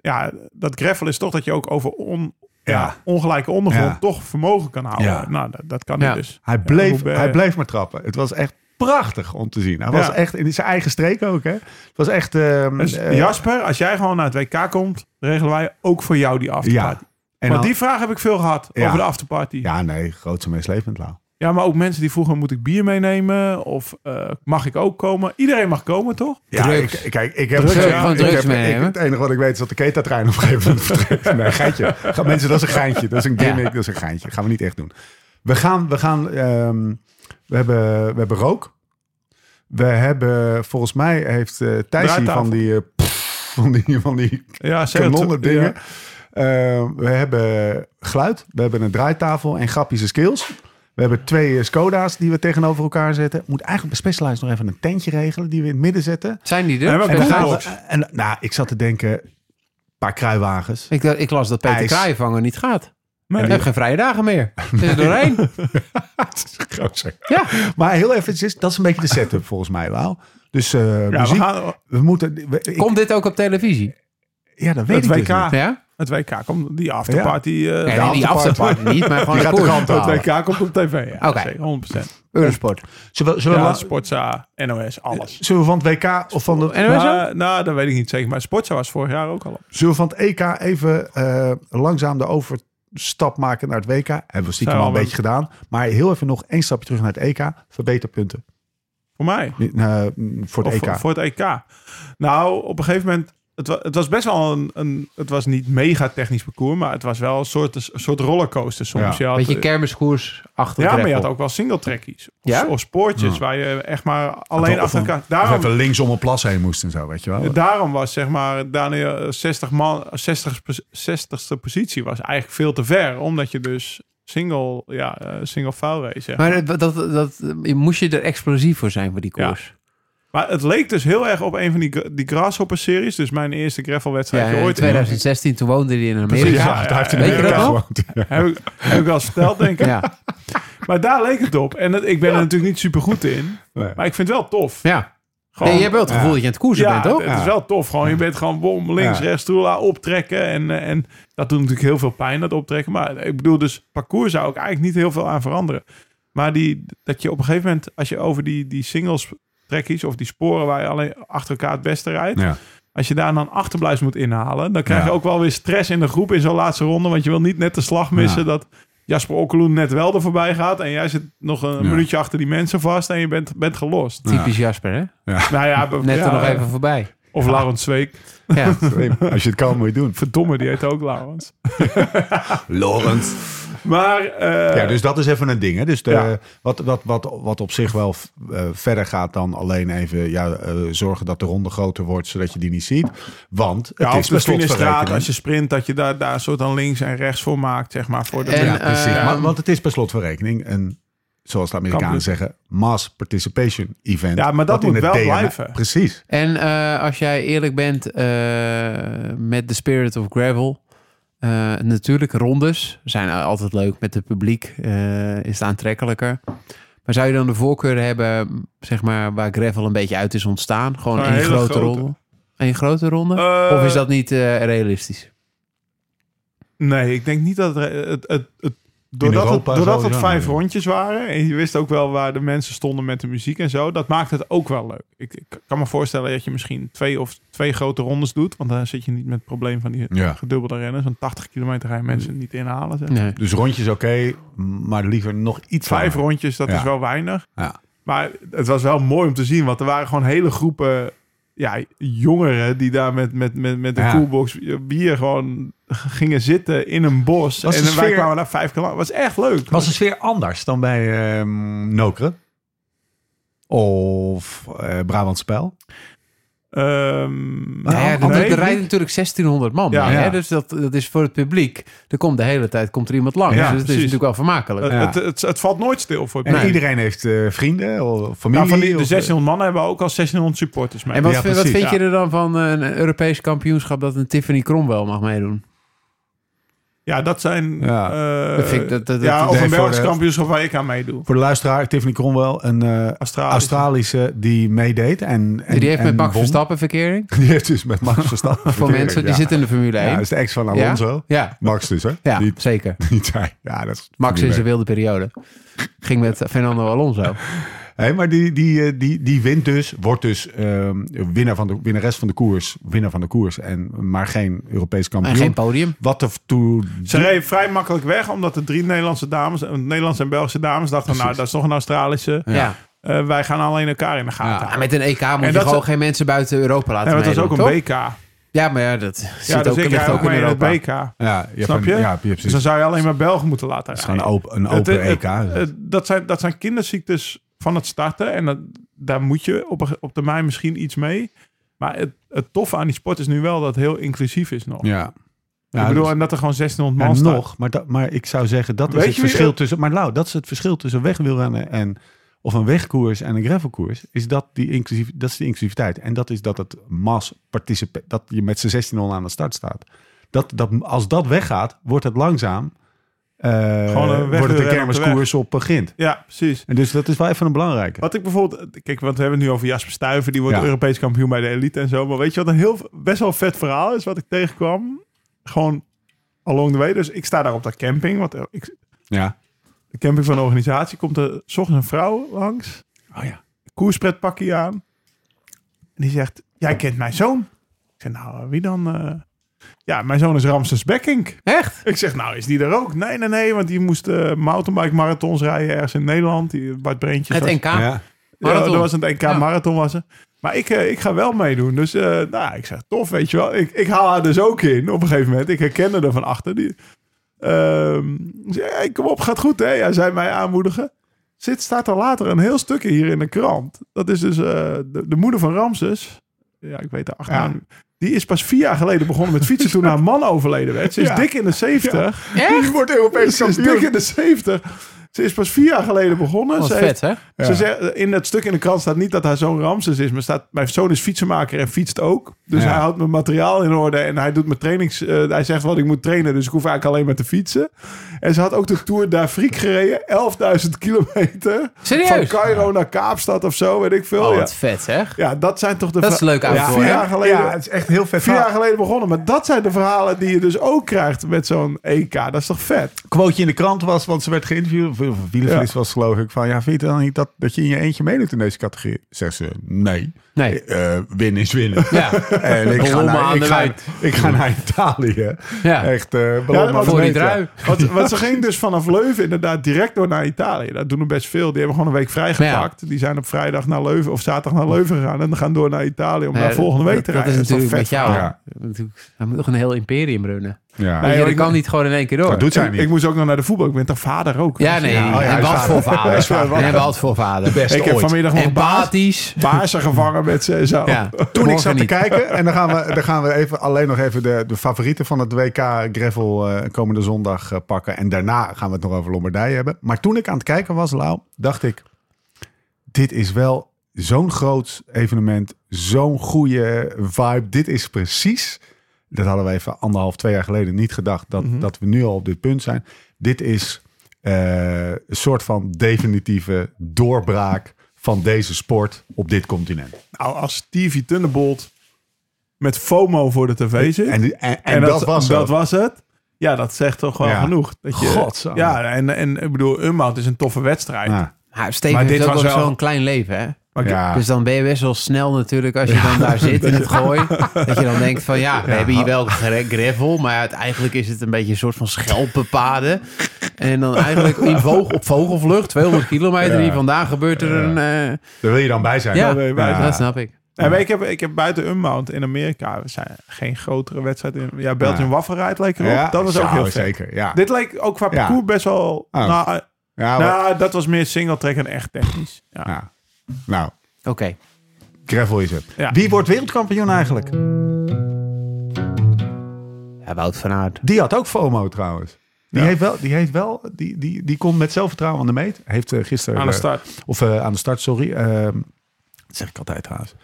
Speaker 5: Ja, dat gravel is toch dat je ook over on, ja.
Speaker 1: Ja.
Speaker 5: ongelijke ondergrond
Speaker 1: Ja.
Speaker 5: toch vermogen kan houden.
Speaker 1: Ja.
Speaker 5: Nou, dat, dat kan
Speaker 3: Ja.
Speaker 5: hij dus.
Speaker 1: Hij bleef,
Speaker 5: Roubaix.
Speaker 1: hij bleef maar trappen. Het was echt prachtig om te zien. Hij was
Speaker 5: Ja.
Speaker 1: echt in zijn eigen streek ook. Hè. Het was echt... ehm,
Speaker 5: Dus
Speaker 1: eh,
Speaker 5: Jasper, als jij gewoon naar het WK komt, regelen wij ook voor jou die
Speaker 1: ja.
Speaker 5: afterparty.
Speaker 1: En
Speaker 5: maar
Speaker 1: dan-
Speaker 5: die vraag heb ik veel gehad
Speaker 1: Ja.
Speaker 5: over de afterparty.
Speaker 1: ja, nee, grootste meeslepend lauw.
Speaker 5: Ja, maar ook mensen die vroegen, moet ik bier meenemen? Of eh, mag ik ook komen? Iedereen mag komen, toch?
Speaker 1: Ja,
Speaker 3: Drugs.
Speaker 1: Ik, kijk, ik heb
Speaker 3: Drugs,
Speaker 1: ik-
Speaker 3: gewoon
Speaker 1: ik
Speaker 3: drugs
Speaker 1: heb-
Speaker 3: meenemen.
Speaker 1: ik- Het enige wat ik weet is dat de Keta-trein op een gegeven moment vertrekt. Nee, geintje. Ga, mensen, dat is een geintje. Dat is een gimmick,
Speaker 3: Ja.
Speaker 1: dat is een geintje. Gaan we niet echt doen. We gaan, we gaan, ehm, we hebben, we hebben rook. We hebben, volgens mij heeft eh Thijs hier
Speaker 5: Draaitafel.
Speaker 1: van die, eh, pff, van die, van die
Speaker 5: Ja, zeker.
Speaker 1: kanonnen dingen.
Speaker 5: Ja.
Speaker 1: Eh, we hebben geluid, we hebben een draaitafel en grappische skills. We hebben twee eh, Skoda's die we tegenover elkaar zetten. Moet eigenlijk bij Specialized nog even een tentje regelen die we in het midden zetten.
Speaker 3: zijn die
Speaker 5: Ja,
Speaker 3: er?
Speaker 5: maar
Speaker 1: En, dan
Speaker 5: Cool.
Speaker 1: gaan
Speaker 5: Box.
Speaker 1: we- en nou, ik zat te denken, een paar kruiwagens.
Speaker 3: Ik, dacht- ik las dat Peter
Speaker 1: IJs.
Speaker 3: Kraaienvanger niet gaat.
Speaker 5: Nee.
Speaker 3: Ik heb geen vrije dagen meer. Het is er doorheen.
Speaker 1: Het is groot zeg.
Speaker 3: Ja.
Speaker 1: Maar heel eventjes, dat is een beetje de setup volgens mij, Lau. Dus eh,
Speaker 5: Ja, we
Speaker 1: muziek, we,
Speaker 5: gaan,
Speaker 1: moeten... we- ik-
Speaker 3: Komt dit ook op televisie?
Speaker 1: ja, dat weet
Speaker 5: het
Speaker 1: ik dus
Speaker 5: WK,
Speaker 1: niet.
Speaker 3: Ja?
Speaker 5: het WK komt, die afterparty.
Speaker 3: Nee,
Speaker 5: eh, de
Speaker 3: die
Speaker 5: afterparty.
Speaker 3: afterparty niet, maar gewoon
Speaker 1: Die
Speaker 3: een
Speaker 1: gaat de
Speaker 3: koers
Speaker 1: kant uit,
Speaker 3: bepalen.
Speaker 5: Het WK komt op tv, ja.
Speaker 3: Oké.
Speaker 5: zeker, 100%.
Speaker 3: Eurosport.
Speaker 1: Zullen we, zullen we
Speaker 5: eh, Ja,
Speaker 1: la-
Speaker 5: Sportza, NOS, alles.
Speaker 1: zullen we van het WK of van, de,
Speaker 3: En zo?
Speaker 5: Maar, nou, dat weet ik niet zeker. Maar Sportza was vorig jaar ook al op.
Speaker 1: zullen we van het EK even eh, langzaam de overstap maken naar het WK? Hebben we stiekem
Speaker 5: Zijn we
Speaker 1: al een
Speaker 5: al
Speaker 1: beetje gedaan. Maar heel even nog één stapje terug naar het EK. Verbeterpunten
Speaker 5: Voor mij.
Speaker 1: eh, voor het
Speaker 5: Of
Speaker 1: EK.
Speaker 5: Voor, voor het EK. Nou, op een gegeven moment... het, wa- het was best wel een, een... Het was niet mega technisch parcours, maar het was wel een soort, een soort rollercoaster soms.
Speaker 1: Ja.
Speaker 5: Je had,
Speaker 3: Beetje kermiskoers achter
Speaker 5: ja,
Speaker 3: de
Speaker 5: maar je had
Speaker 3: greppel.
Speaker 5: ook wel singletrackies. Of,
Speaker 3: Ja?
Speaker 5: of spoortjes waar je echt maar alleen
Speaker 1: Of
Speaker 5: achter
Speaker 1: een-
Speaker 5: elkaar...
Speaker 1: Of
Speaker 5: Daarom,
Speaker 1: even links om een plas heen moest en zo, weet je wel.
Speaker 5: daarom was zeg maar Daniel 60 man, 60, 60ste positie was eigenlijk veel te ver. Omdat je dus single, ja, eh, single foul race. zeg
Speaker 3: Maar dat, dat, dat, moest je er explosief voor zijn voor die koers?
Speaker 5: Maar het leek dus heel erg op een van die, gra- die Grasshopper-series. Dus mijn eerste
Speaker 3: Ja,
Speaker 5: gravelwedstrijd
Speaker 3: in
Speaker 5: ooit.
Speaker 3: 2016, toen woonde hij in Amerika.
Speaker 5: Precies,
Speaker 1: ja, daar heeft hij in
Speaker 3: Weet je
Speaker 1: Amerika
Speaker 3: dat nog?
Speaker 1: gewoond. Ja.
Speaker 5: Heb ik, heb ik al eens verteld, denk ik.
Speaker 3: Ja,
Speaker 5: Maar daar leek het op. En het- ik ben er natuurlijk niet super goed in.
Speaker 1: Nee.
Speaker 5: Maar ik vind het wel tof.
Speaker 3: ja.
Speaker 5: Gewoon,
Speaker 3: nee, je hebt wel het gevoel dat je aan het koersen
Speaker 5: ja,
Speaker 3: bent, toch?
Speaker 5: het is wel tof. Gewoon, je bent gewoon bom, links,
Speaker 1: Ja.
Speaker 5: rechts, troela, optrekken. En, eh, en dat doet natuurlijk heel veel pijn, dat optrekken. Maar ik bedoel, dus parcours zou ik eigenlijk niet heel veel aan veranderen. Maar die, dat je op een gegeven moment, als je over die, die singles trekkies of die sporen waar je alleen achter elkaar het beste rijdt.
Speaker 1: Ja.
Speaker 5: Als je daar dan achterblijft moet inhalen, dan krijg je
Speaker 1: Ja.
Speaker 5: ook wel weer stress in de groep in zo'n laatste ronde. Want je wil niet net de slag missen
Speaker 1: Ja.
Speaker 5: dat Jasper Okkeloen net wel er voorbij gaat. En jij zit nog een
Speaker 1: Ja.
Speaker 5: minuutje achter die mensen vast en je bent, bent gelost.
Speaker 3: Typisch Jasper, hè?
Speaker 5: Nou ja,
Speaker 3: Net
Speaker 5: ja,
Speaker 3: er nog even voorbij.
Speaker 5: Of Laurens Zweek.
Speaker 3: Ja.
Speaker 1: Als je het kan, moet je het doen.
Speaker 5: Verdomme, die heet ook Laurens.
Speaker 1: Lorent.
Speaker 5: Maar eh,
Speaker 1: Ja, dus dat is even een ding. Hè? Dus de,
Speaker 5: Ja.
Speaker 1: wat, wat, wat, wat op zich wel eh, verder gaat dan alleen even ja, eh, zorgen dat de ronde groter wordt, zodat je die niet ziet. Want het
Speaker 5: ja,
Speaker 1: is
Speaker 5: of
Speaker 1: per
Speaker 5: misschien in straat,
Speaker 1: slotverrekening.
Speaker 5: als je sprint, dat je daar, daar soort aan links en rechts voor maakt, zeg maar. Voor de
Speaker 3: En,
Speaker 1: ja, precies.
Speaker 3: eh,
Speaker 1: Maar- want het is per slotverrekening een, zoals de Amerikanen
Speaker 5: Kampioen.
Speaker 1: zeggen, mass participation event.
Speaker 5: Ja, maar dat
Speaker 1: Wat in
Speaker 5: moet
Speaker 1: het
Speaker 5: wel
Speaker 1: DNA
Speaker 5: blijven.
Speaker 1: Precies.
Speaker 3: En eh, als jij eerlijk bent eh, met de Spirit of Gravel. eh, natuurlijk, rondes zijn altijd leuk met het publiek. eh, is het aantrekkelijker. Maar zou je dan de voorkeur hebben, zeg maar, waar gravel een beetje uit is ontstaan? Gewoon
Speaker 5: Een
Speaker 3: één
Speaker 5: hele
Speaker 3: grote,
Speaker 5: grote.
Speaker 3: ronde? Eén grote ronde?
Speaker 5: Eh,
Speaker 3: of is dat niet eh, realistisch?
Speaker 5: Nee, ik denk niet dat het... het, het, het doordat
Speaker 1: Europa
Speaker 5: het, doordat het
Speaker 1: sowieso,
Speaker 5: vijf
Speaker 1: ja.
Speaker 5: rondjes waren en je wist ook wel waar de mensen stonden met de muziek en zo, dat maakt het ook wel leuk. Ik, ik kan me voorstellen dat je misschien twee of twee grote rondes doet, want dan zit je niet met het probleem van die
Speaker 1: Ja.
Speaker 5: gedubbelde renners. Want 80 kilometer ga je
Speaker 1: Hmm.
Speaker 5: mensen niet inhalen. Zeg.
Speaker 3: Nee.
Speaker 1: Dus rondjes oké, maar liever nog iets
Speaker 5: Vijf
Speaker 1: langer.
Speaker 5: rondjes, dat
Speaker 1: Ja.
Speaker 5: is wel weinig.
Speaker 1: Ja.
Speaker 5: Maar het was wel mooi om te zien, want er waren gewoon hele groepen ja, jongeren die daar met, met, met, met een
Speaker 1: Ja.
Speaker 5: koelbox bier gewoon gingen zitten in een bos.
Speaker 1: Was de
Speaker 5: en wij
Speaker 1: sfeer-
Speaker 5: kwamen daar vijf kilometer. was echt leuk.
Speaker 1: Was de sfeer anders dan bij ehm Nokeren? Of eh Brabant Spel?
Speaker 5: Ehm,
Speaker 3: Nou ja,
Speaker 5: nee,
Speaker 3: er- er
Speaker 5: niet.
Speaker 3: rijden natuurlijk 1600 man
Speaker 5: Ja,
Speaker 3: mee, hè?
Speaker 1: ja.
Speaker 3: Dus dat, dat is voor het publiek. Er komt de hele tijd komt er iemand langs.
Speaker 5: Ja,
Speaker 3: dus het is
Speaker 5: precies.
Speaker 3: natuurlijk wel vermakelijk.
Speaker 5: het,
Speaker 1: Ja.
Speaker 5: het, het, het valt nooit stil voor het
Speaker 1: En
Speaker 5: publiek.
Speaker 1: iedereen heeft eh, vrienden of familie.
Speaker 5: Nou, van die, de
Speaker 1: of- eh,
Speaker 5: 1600 mannen hebben we ook al 1600 supporters mee.
Speaker 3: En wat,
Speaker 1: Ja,
Speaker 3: vind- wat
Speaker 1: precies.
Speaker 3: vind je er dan van eh, een Europees kampioenschap dat een Tiffany Cromwell mag meedoen?
Speaker 5: Ja, dat zijn...
Speaker 1: Ja.
Speaker 5: eh,
Speaker 3: Dat vind ik- dat- dat-
Speaker 5: ja,
Speaker 3: dat-
Speaker 5: of
Speaker 1: Nee,
Speaker 5: een
Speaker 1: voor
Speaker 5: Belgisch
Speaker 1: de-
Speaker 5: kampioenschap waar ik aan meedoe.
Speaker 1: Voor de luisteraar, Tiffany Cromwell, een eh,
Speaker 5: Australië.
Speaker 1: Australische die meedeed. En, en,
Speaker 3: die heeft
Speaker 1: en
Speaker 3: met Max
Speaker 1: won.
Speaker 3: Verstappen verkering.
Speaker 1: Die heeft dus met Max Verstappen.
Speaker 3: Voor mensen die zitten in de Formule 1.
Speaker 1: Ja,
Speaker 3: Ja,
Speaker 1: dat is de ex van Alonso.
Speaker 3: ja,
Speaker 1: Max dus, hè?
Speaker 3: ja,
Speaker 1: Die,
Speaker 3: zeker.
Speaker 1: die zei- ja, dat is
Speaker 3: Max in zijn
Speaker 1: Hé,
Speaker 3: wilde periode. Ging met eh, Fernando Alonso.
Speaker 1: maar die, die, eh, die, die wint dus, wordt dus ehm, winnaar van de, winnares van de koers. Winnaar van de koers, en, maar geen Europees
Speaker 3: En
Speaker 1: kampioen.
Speaker 3: geen podium.
Speaker 1: Wat er toe...
Speaker 5: Ze reden vrij makkelijk weg, omdat de drie Nederlandse dames, eh, Nederlandse en Belgische dames, dachten: nou, dat is toch een Australische.
Speaker 3: Ja.
Speaker 5: Eh, wij gaan alleen elkaar in de gaten.
Speaker 3: Ja,
Speaker 5: houden.
Speaker 3: met een EK moet
Speaker 5: En
Speaker 3: je
Speaker 5: dat
Speaker 3: gewoon
Speaker 5: ze-
Speaker 3: geen mensen buiten Europa laten
Speaker 5: Ja, want dat is
Speaker 3: meedoen,
Speaker 5: ook een
Speaker 3: toch?
Speaker 5: BK.
Speaker 3: Ja, maar ja, dat
Speaker 5: Ja,
Speaker 3: zit
Speaker 5: dus
Speaker 3: ook,
Speaker 5: ik
Speaker 3: ligt
Speaker 5: rij ook
Speaker 3: ook in
Speaker 5: mee in het
Speaker 3: Europa.
Speaker 5: BK.
Speaker 1: Ja, je
Speaker 5: Snap
Speaker 1: hebt
Speaker 5: je?
Speaker 1: Een, ja, precies.
Speaker 5: Dus dan zou je alleen maar Belgen moeten laten
Speaker 1: Het is
Speaker 5: rijden.
Speaker 1: gewoon een open, een
Speaker 5: Het-
Speaker 1: open dus.
Speaker 5: het-
Speaker 1: EK.
Speaker 5: het- dat, zijn, dat zijn kinderziektes van het starten. En dat, daar moet je op, een- op termijn misschien iets mee. Maar het, het toffe aan die sport is nu wel dat het heel inclusief is nog.
Speaker 1: ja.
Speaker 5: ik
Speaker 1: Ja,
Speaker 5: bedoel,
Speaker 1: dus-
Speaker 5: en dat er gewoon 1600
Speaker 1: Ja,
Speaker 5: man staat.
Speaker 1: nog, maar, dat, maar ik zou zeggen dat
Speaker 5: Weet
Speaker 1: is het
Speaker 5: je wie-
Speaker 1: verschil tussen. Maar Lau, dat is het verschil tussen wegwielrennen en of een wegkoers en een gravelkoers. Is dat die inclusief, dat is de inclusiviteit en dat is dat het mass participe, dat je met z'n 1600 aan de start staat. Dat, dat als dat weggaat, wordt het langzaam. eh,
Speaker 5: Gewoon een
Speaker 1: wordt het een
Speaker 5: wegwielrennen op de
Speaker 1: kermiskoers op begint.
Speaker 5: Ja, precies.
Speaker 1: En dus dat is wel even een belangrijke.
Speaker 5: Wat ik bijvoorbeeld... eh, Kijk, want we hebben het nu over Jasper Stuyven. Die wordt
Speaker 1: Ja.
Speaker 5: Europees kampioen bij de elite en zo. Maar weet je wat een heel, best wel vet verhaal is wat ik tegenkwam? Gewoon along the way. Dus ik sta daar op dat camping. Want eh, ik,
Speaker 1: Ja.
Speaker 5: de camping van de organisatie komt er 's ochtends een vrouw langs.
Speaker 1: Oh ja.
Speaker 5: Koerspretpakje aan. En die zegt, jij kent mijn zoon. Ik zeg, nou, wie dan? eh?" Ja, mijn zoon is Ramses Bekkink.
Speaker 3: Echt?
Speaker 5: Ik zeg, nou, is die er ook? Nee, nee, nee, want die moest eh mountainbike marathons rijden ergens in Nederland. Die Bart Breentjes
Speaker 3: Het
Speaker 5: was-
Speaker 3: NK?
Speaker 1: Ja.
Speaker 5: Ja,
Speaker 3: Marathon.
Speaker 5: dat was een NK
Speaker 3: Ja.
Speaker 5: marathon was er. Maar ik, eh, ik ga wel meedoen. Dus eh, nou, ik zeg tof, weet je wel. Ik, ik haal haar dus ook in op een gegeven moment. Ik herkende er van achter. Die, Ehm, ik zeg, hey, kom op, gaat goed hè. Ja, zij mij aanmoedigen. Zit, staat er later een heel stukje hier in de krant. Dat is dus eh, de, de moeder van Ramses. Ja, ik weet de achternaam. Die is pas vier jaar geleden begonnen met fietsen toen haar man overleden werd. Ze is
Speaker 6: Ja.
Speaker 5: dik in de zeventig.
Speaker 6: Die wordt Europees
Speaker 5: Ze is
Speaker 6: kampioen.
Speaker 5: dik in de zeventig. Ze is pas vier jaar geleden begonnen.
Speaker 3: Wat
Speaker 5: ze heeft
Speaker 3: vet, hè?
Speaker 5: ze zegt, eh, in dat stuk in de krant staat niet dat haar zoon Ramses is, maar staat, mijn zoon is fietsenmaker en fietst ook. Dus
Speaker 1: Ja.
Speaker 5: hij houdt mijn materiaal in orde en hij doet mijn trainings. eh, hij zegt wat ik moet trainen, dus ik hoef eigenlijk alleen maar te fietsen. En ze had ook de Tour d'Afrique gereden, 11.000 kilometer. Van
Speaker 3: Serieus?
Speaker 5: Cairo naar Kaapstad of zo, weet ik veel.
Speaker 3: Oh,
Speaker 5: ja.
Speaker 3: wat vet, zeg.
Speaker 5: ja, dat zijn toch de
Speaker 3: Dat is
Speaker 5: verha-
Speaker 3: leuk
Speaker 5: ja,
Speaker 3: avontuur,
Speaker 5: vier
Speaker 3: hè?
Speaker 5: jaar geleden.
Speaker 1: Ja, het is echt heel vet.
Speaker 5: Vier jaar
Speaker 1: verhaal.
Speaker 5: geleden begonnen, maar dat zijn de verhalen die je dus ook krijgt met zo'n EK. Dat is toch vet?
Speaker 1: quoteje in de krant was, want ze werd geïnterviewd. Of of wielerfilist was geloof ik. Van ja, vind je dan niet dat, dat je in je eentje meedoet in deze categorie? Zegt ze, nee.
Speaker 3: Nee.
Speaker 1: Eh, winnen is winnen.
Speaker 3: Ja.
Speaker 1: En ik ga,
Speaker 3: Rollen aan
Speaker 1: naar, ik,
Speaker 3: de
Speaker 1: ga,
Speaker 3: wijd.
Speaker 1: ik ga naar Italië.
Speaker 3: Ja.
Speaker 1: Echt, eh
Speaker 5: Ja,
Speaker 1: ja,
Speaker 5: maar
Speaker 3: Voor die drui.
Speaker 5: Want, want ze ging dus vanaf Leuven inderdaad direct door naar Italië. Dat doen er best veel. Die hebben gewoon een week vrijgepakt. Die zijn op vrijdag naar Leuven of zaterdag naar Leuven gegaan. En gaan door naar Italië om
Speaker 3: Nee,
Speaker 5: daar volgende week te
Speaker 3: Dat
Speaker 5: rijden.
Speaker 3: is
Speaker 5: toch
Speaker 3: natuurlijk met
Speaker 5: vet?
Speaker 3: jou.
Speaker 1: Ja.
Speaker 3: Natuurlijk, Hij moet nog een heel imperium runnen.
Speaker 1: Ja.
Speaker 3: Weet je,
Speaker 5: joh,
Speaker 3: dat
Speaker 5: ik-
Speaker 3: kan niet gewoon in één keer door.
Speaker 1: dat doet zij
Speaker 5: Ik,
Speaker 1: niet.
Speaker 5: ik moest ook nog naar de voetbal. Ik ben toch vader ook? Dus
Speaker 3: Ja, nee.
Speaker 5: Oh, Ja,
Speaker 1: ja,
Speaker 3: hij
Speaker 1: hij
Speaker 3: was
Speaker 1: is
Speaker 3: voor
Speaker 1: vader. Hij is
Speaker 3: vader.
Speaker 1: vader.
Speaker 3: Hij was voor vader.
Speaker 1: beste
Speaker 5: ik heb
Speaker 1: ooit.
Speaker 5: vanmiddag nog een baas, Oh,
Speaker 3: Empathisch.
Speaker 5: baasen gevangen met ze en zo.
Speaker 3: Ja.
Speaker 1: Toen ik
Speaker 3: Morgen
Speaker 1: zat te
Speaker 3: niet.
Speaker 1: kijken, en dan gaan we, dan gaan we even, alleen nog even de, de favorieten van het WK Gravel eh, komende zondag eh, pakken. En daarna gaan we het nog over Lombardije hebben. Maar toen ik aan het kijken was, Lau, dacht ik, dit is wel zo'n groot evenement, zo'n goede vibe. Dit is precies, dat hadden we even anderhalf, twee jaar geleden niet gedacht, dat,
Speaker 3: Mhm.
Speaker 1: dat we nu al op dit punt zijn. Dit is eh, een soort van definitieve doorbraak van deze sport op dit continent.
Speaker 5: Nou, als Stevie Thunderbolt met FOMO voor de tv zit.
Speaker 1: En, en, en, dat, was
Speaker 5: dat
Speaker 1: het.
Speaker 5: was het. Ja, dat zegt toch wel
Speaker 1: Ja.
Speaker 5: genoeg. Dat je,
Speaker 1: Godzo.
Speaker 5: Ja, en, en ik bedoel, Ummout is een toffe wedstrijd.
Speaker 1: Ja.
Speaker 3: Maar Steven
Speaker 5: Maar dit
Speaker 3: heeft ook
Speaker 5: was
Speaker 3: nog
Speaker 5: wel-
Speaker 3: zo'n klein leven, hè?
Speaker 5: Maar ik-
Speaker 1: Ja.
Speaker 3: Dus dan ben je best wel snel natuurlijk als je dan daar zit in het gooi. Dat je dan denkt van ja, we hebben hier wel gre- gravel, maar het- eigenlijk is het een beetje een soort van schelpenpaden. En dan eigenlijk in vog- op vogelvlucht, 200 kilometer hier vandaan gebeurt er een... eh,
Speaker 1: Daar wil je dan bij zijn.
Speaker 3: ja,
Speaker 1: Dan wil je bij
Speaker 3: ja,
Speaker 1: zijn.
Speaker 3: dat snap ik.
Speaker 5: Ja, maar ik, heb, ik heb buiten Unmount in Amerika we zijn geen grotere wedstrijd. In, ja, Belgium
Speaker 1: Ja.
Speaker 5: Waffenrijd leek erop.
Speaker 1: Ja,
Speaker 5: dat was ook
Speaker 1: zou
Speaker 5: heel vet.
Speaker 1: zeker. Ja.
Speaker 5: Dit leek ook qua
Speaker 1: Ja.
Speaker 5: parcours best wel...
Speaker 1: Oh.
Speaker 5: Nou, eh,
Speaker 1: ja, maar-
Speaker 5: nou, dat was meer singletrack en echt technisch. Ja.
Speaker 1: ja. Nou,
Speaker 3: Oké.
Speaker 1: gravel is het.
Speaker 5: Ja.
Speaker 1: Wie wordt wereldkampioen eigenlijk?
Speaker 3: Ja, Wout van Aert.
Speaker 1: Die had ook FOMO trouwens. Die heeft wel, die heeft wel, die, die, die komt met zelfvertrouwen aan de meet. Heeft eh, gisteren
Speaker 5: Aan de
Speaker 1: eh,
Speaker 5: start.
Speaker 1: of eh, aan de start, sorry. Ehm, dat zeg ik altijd haast.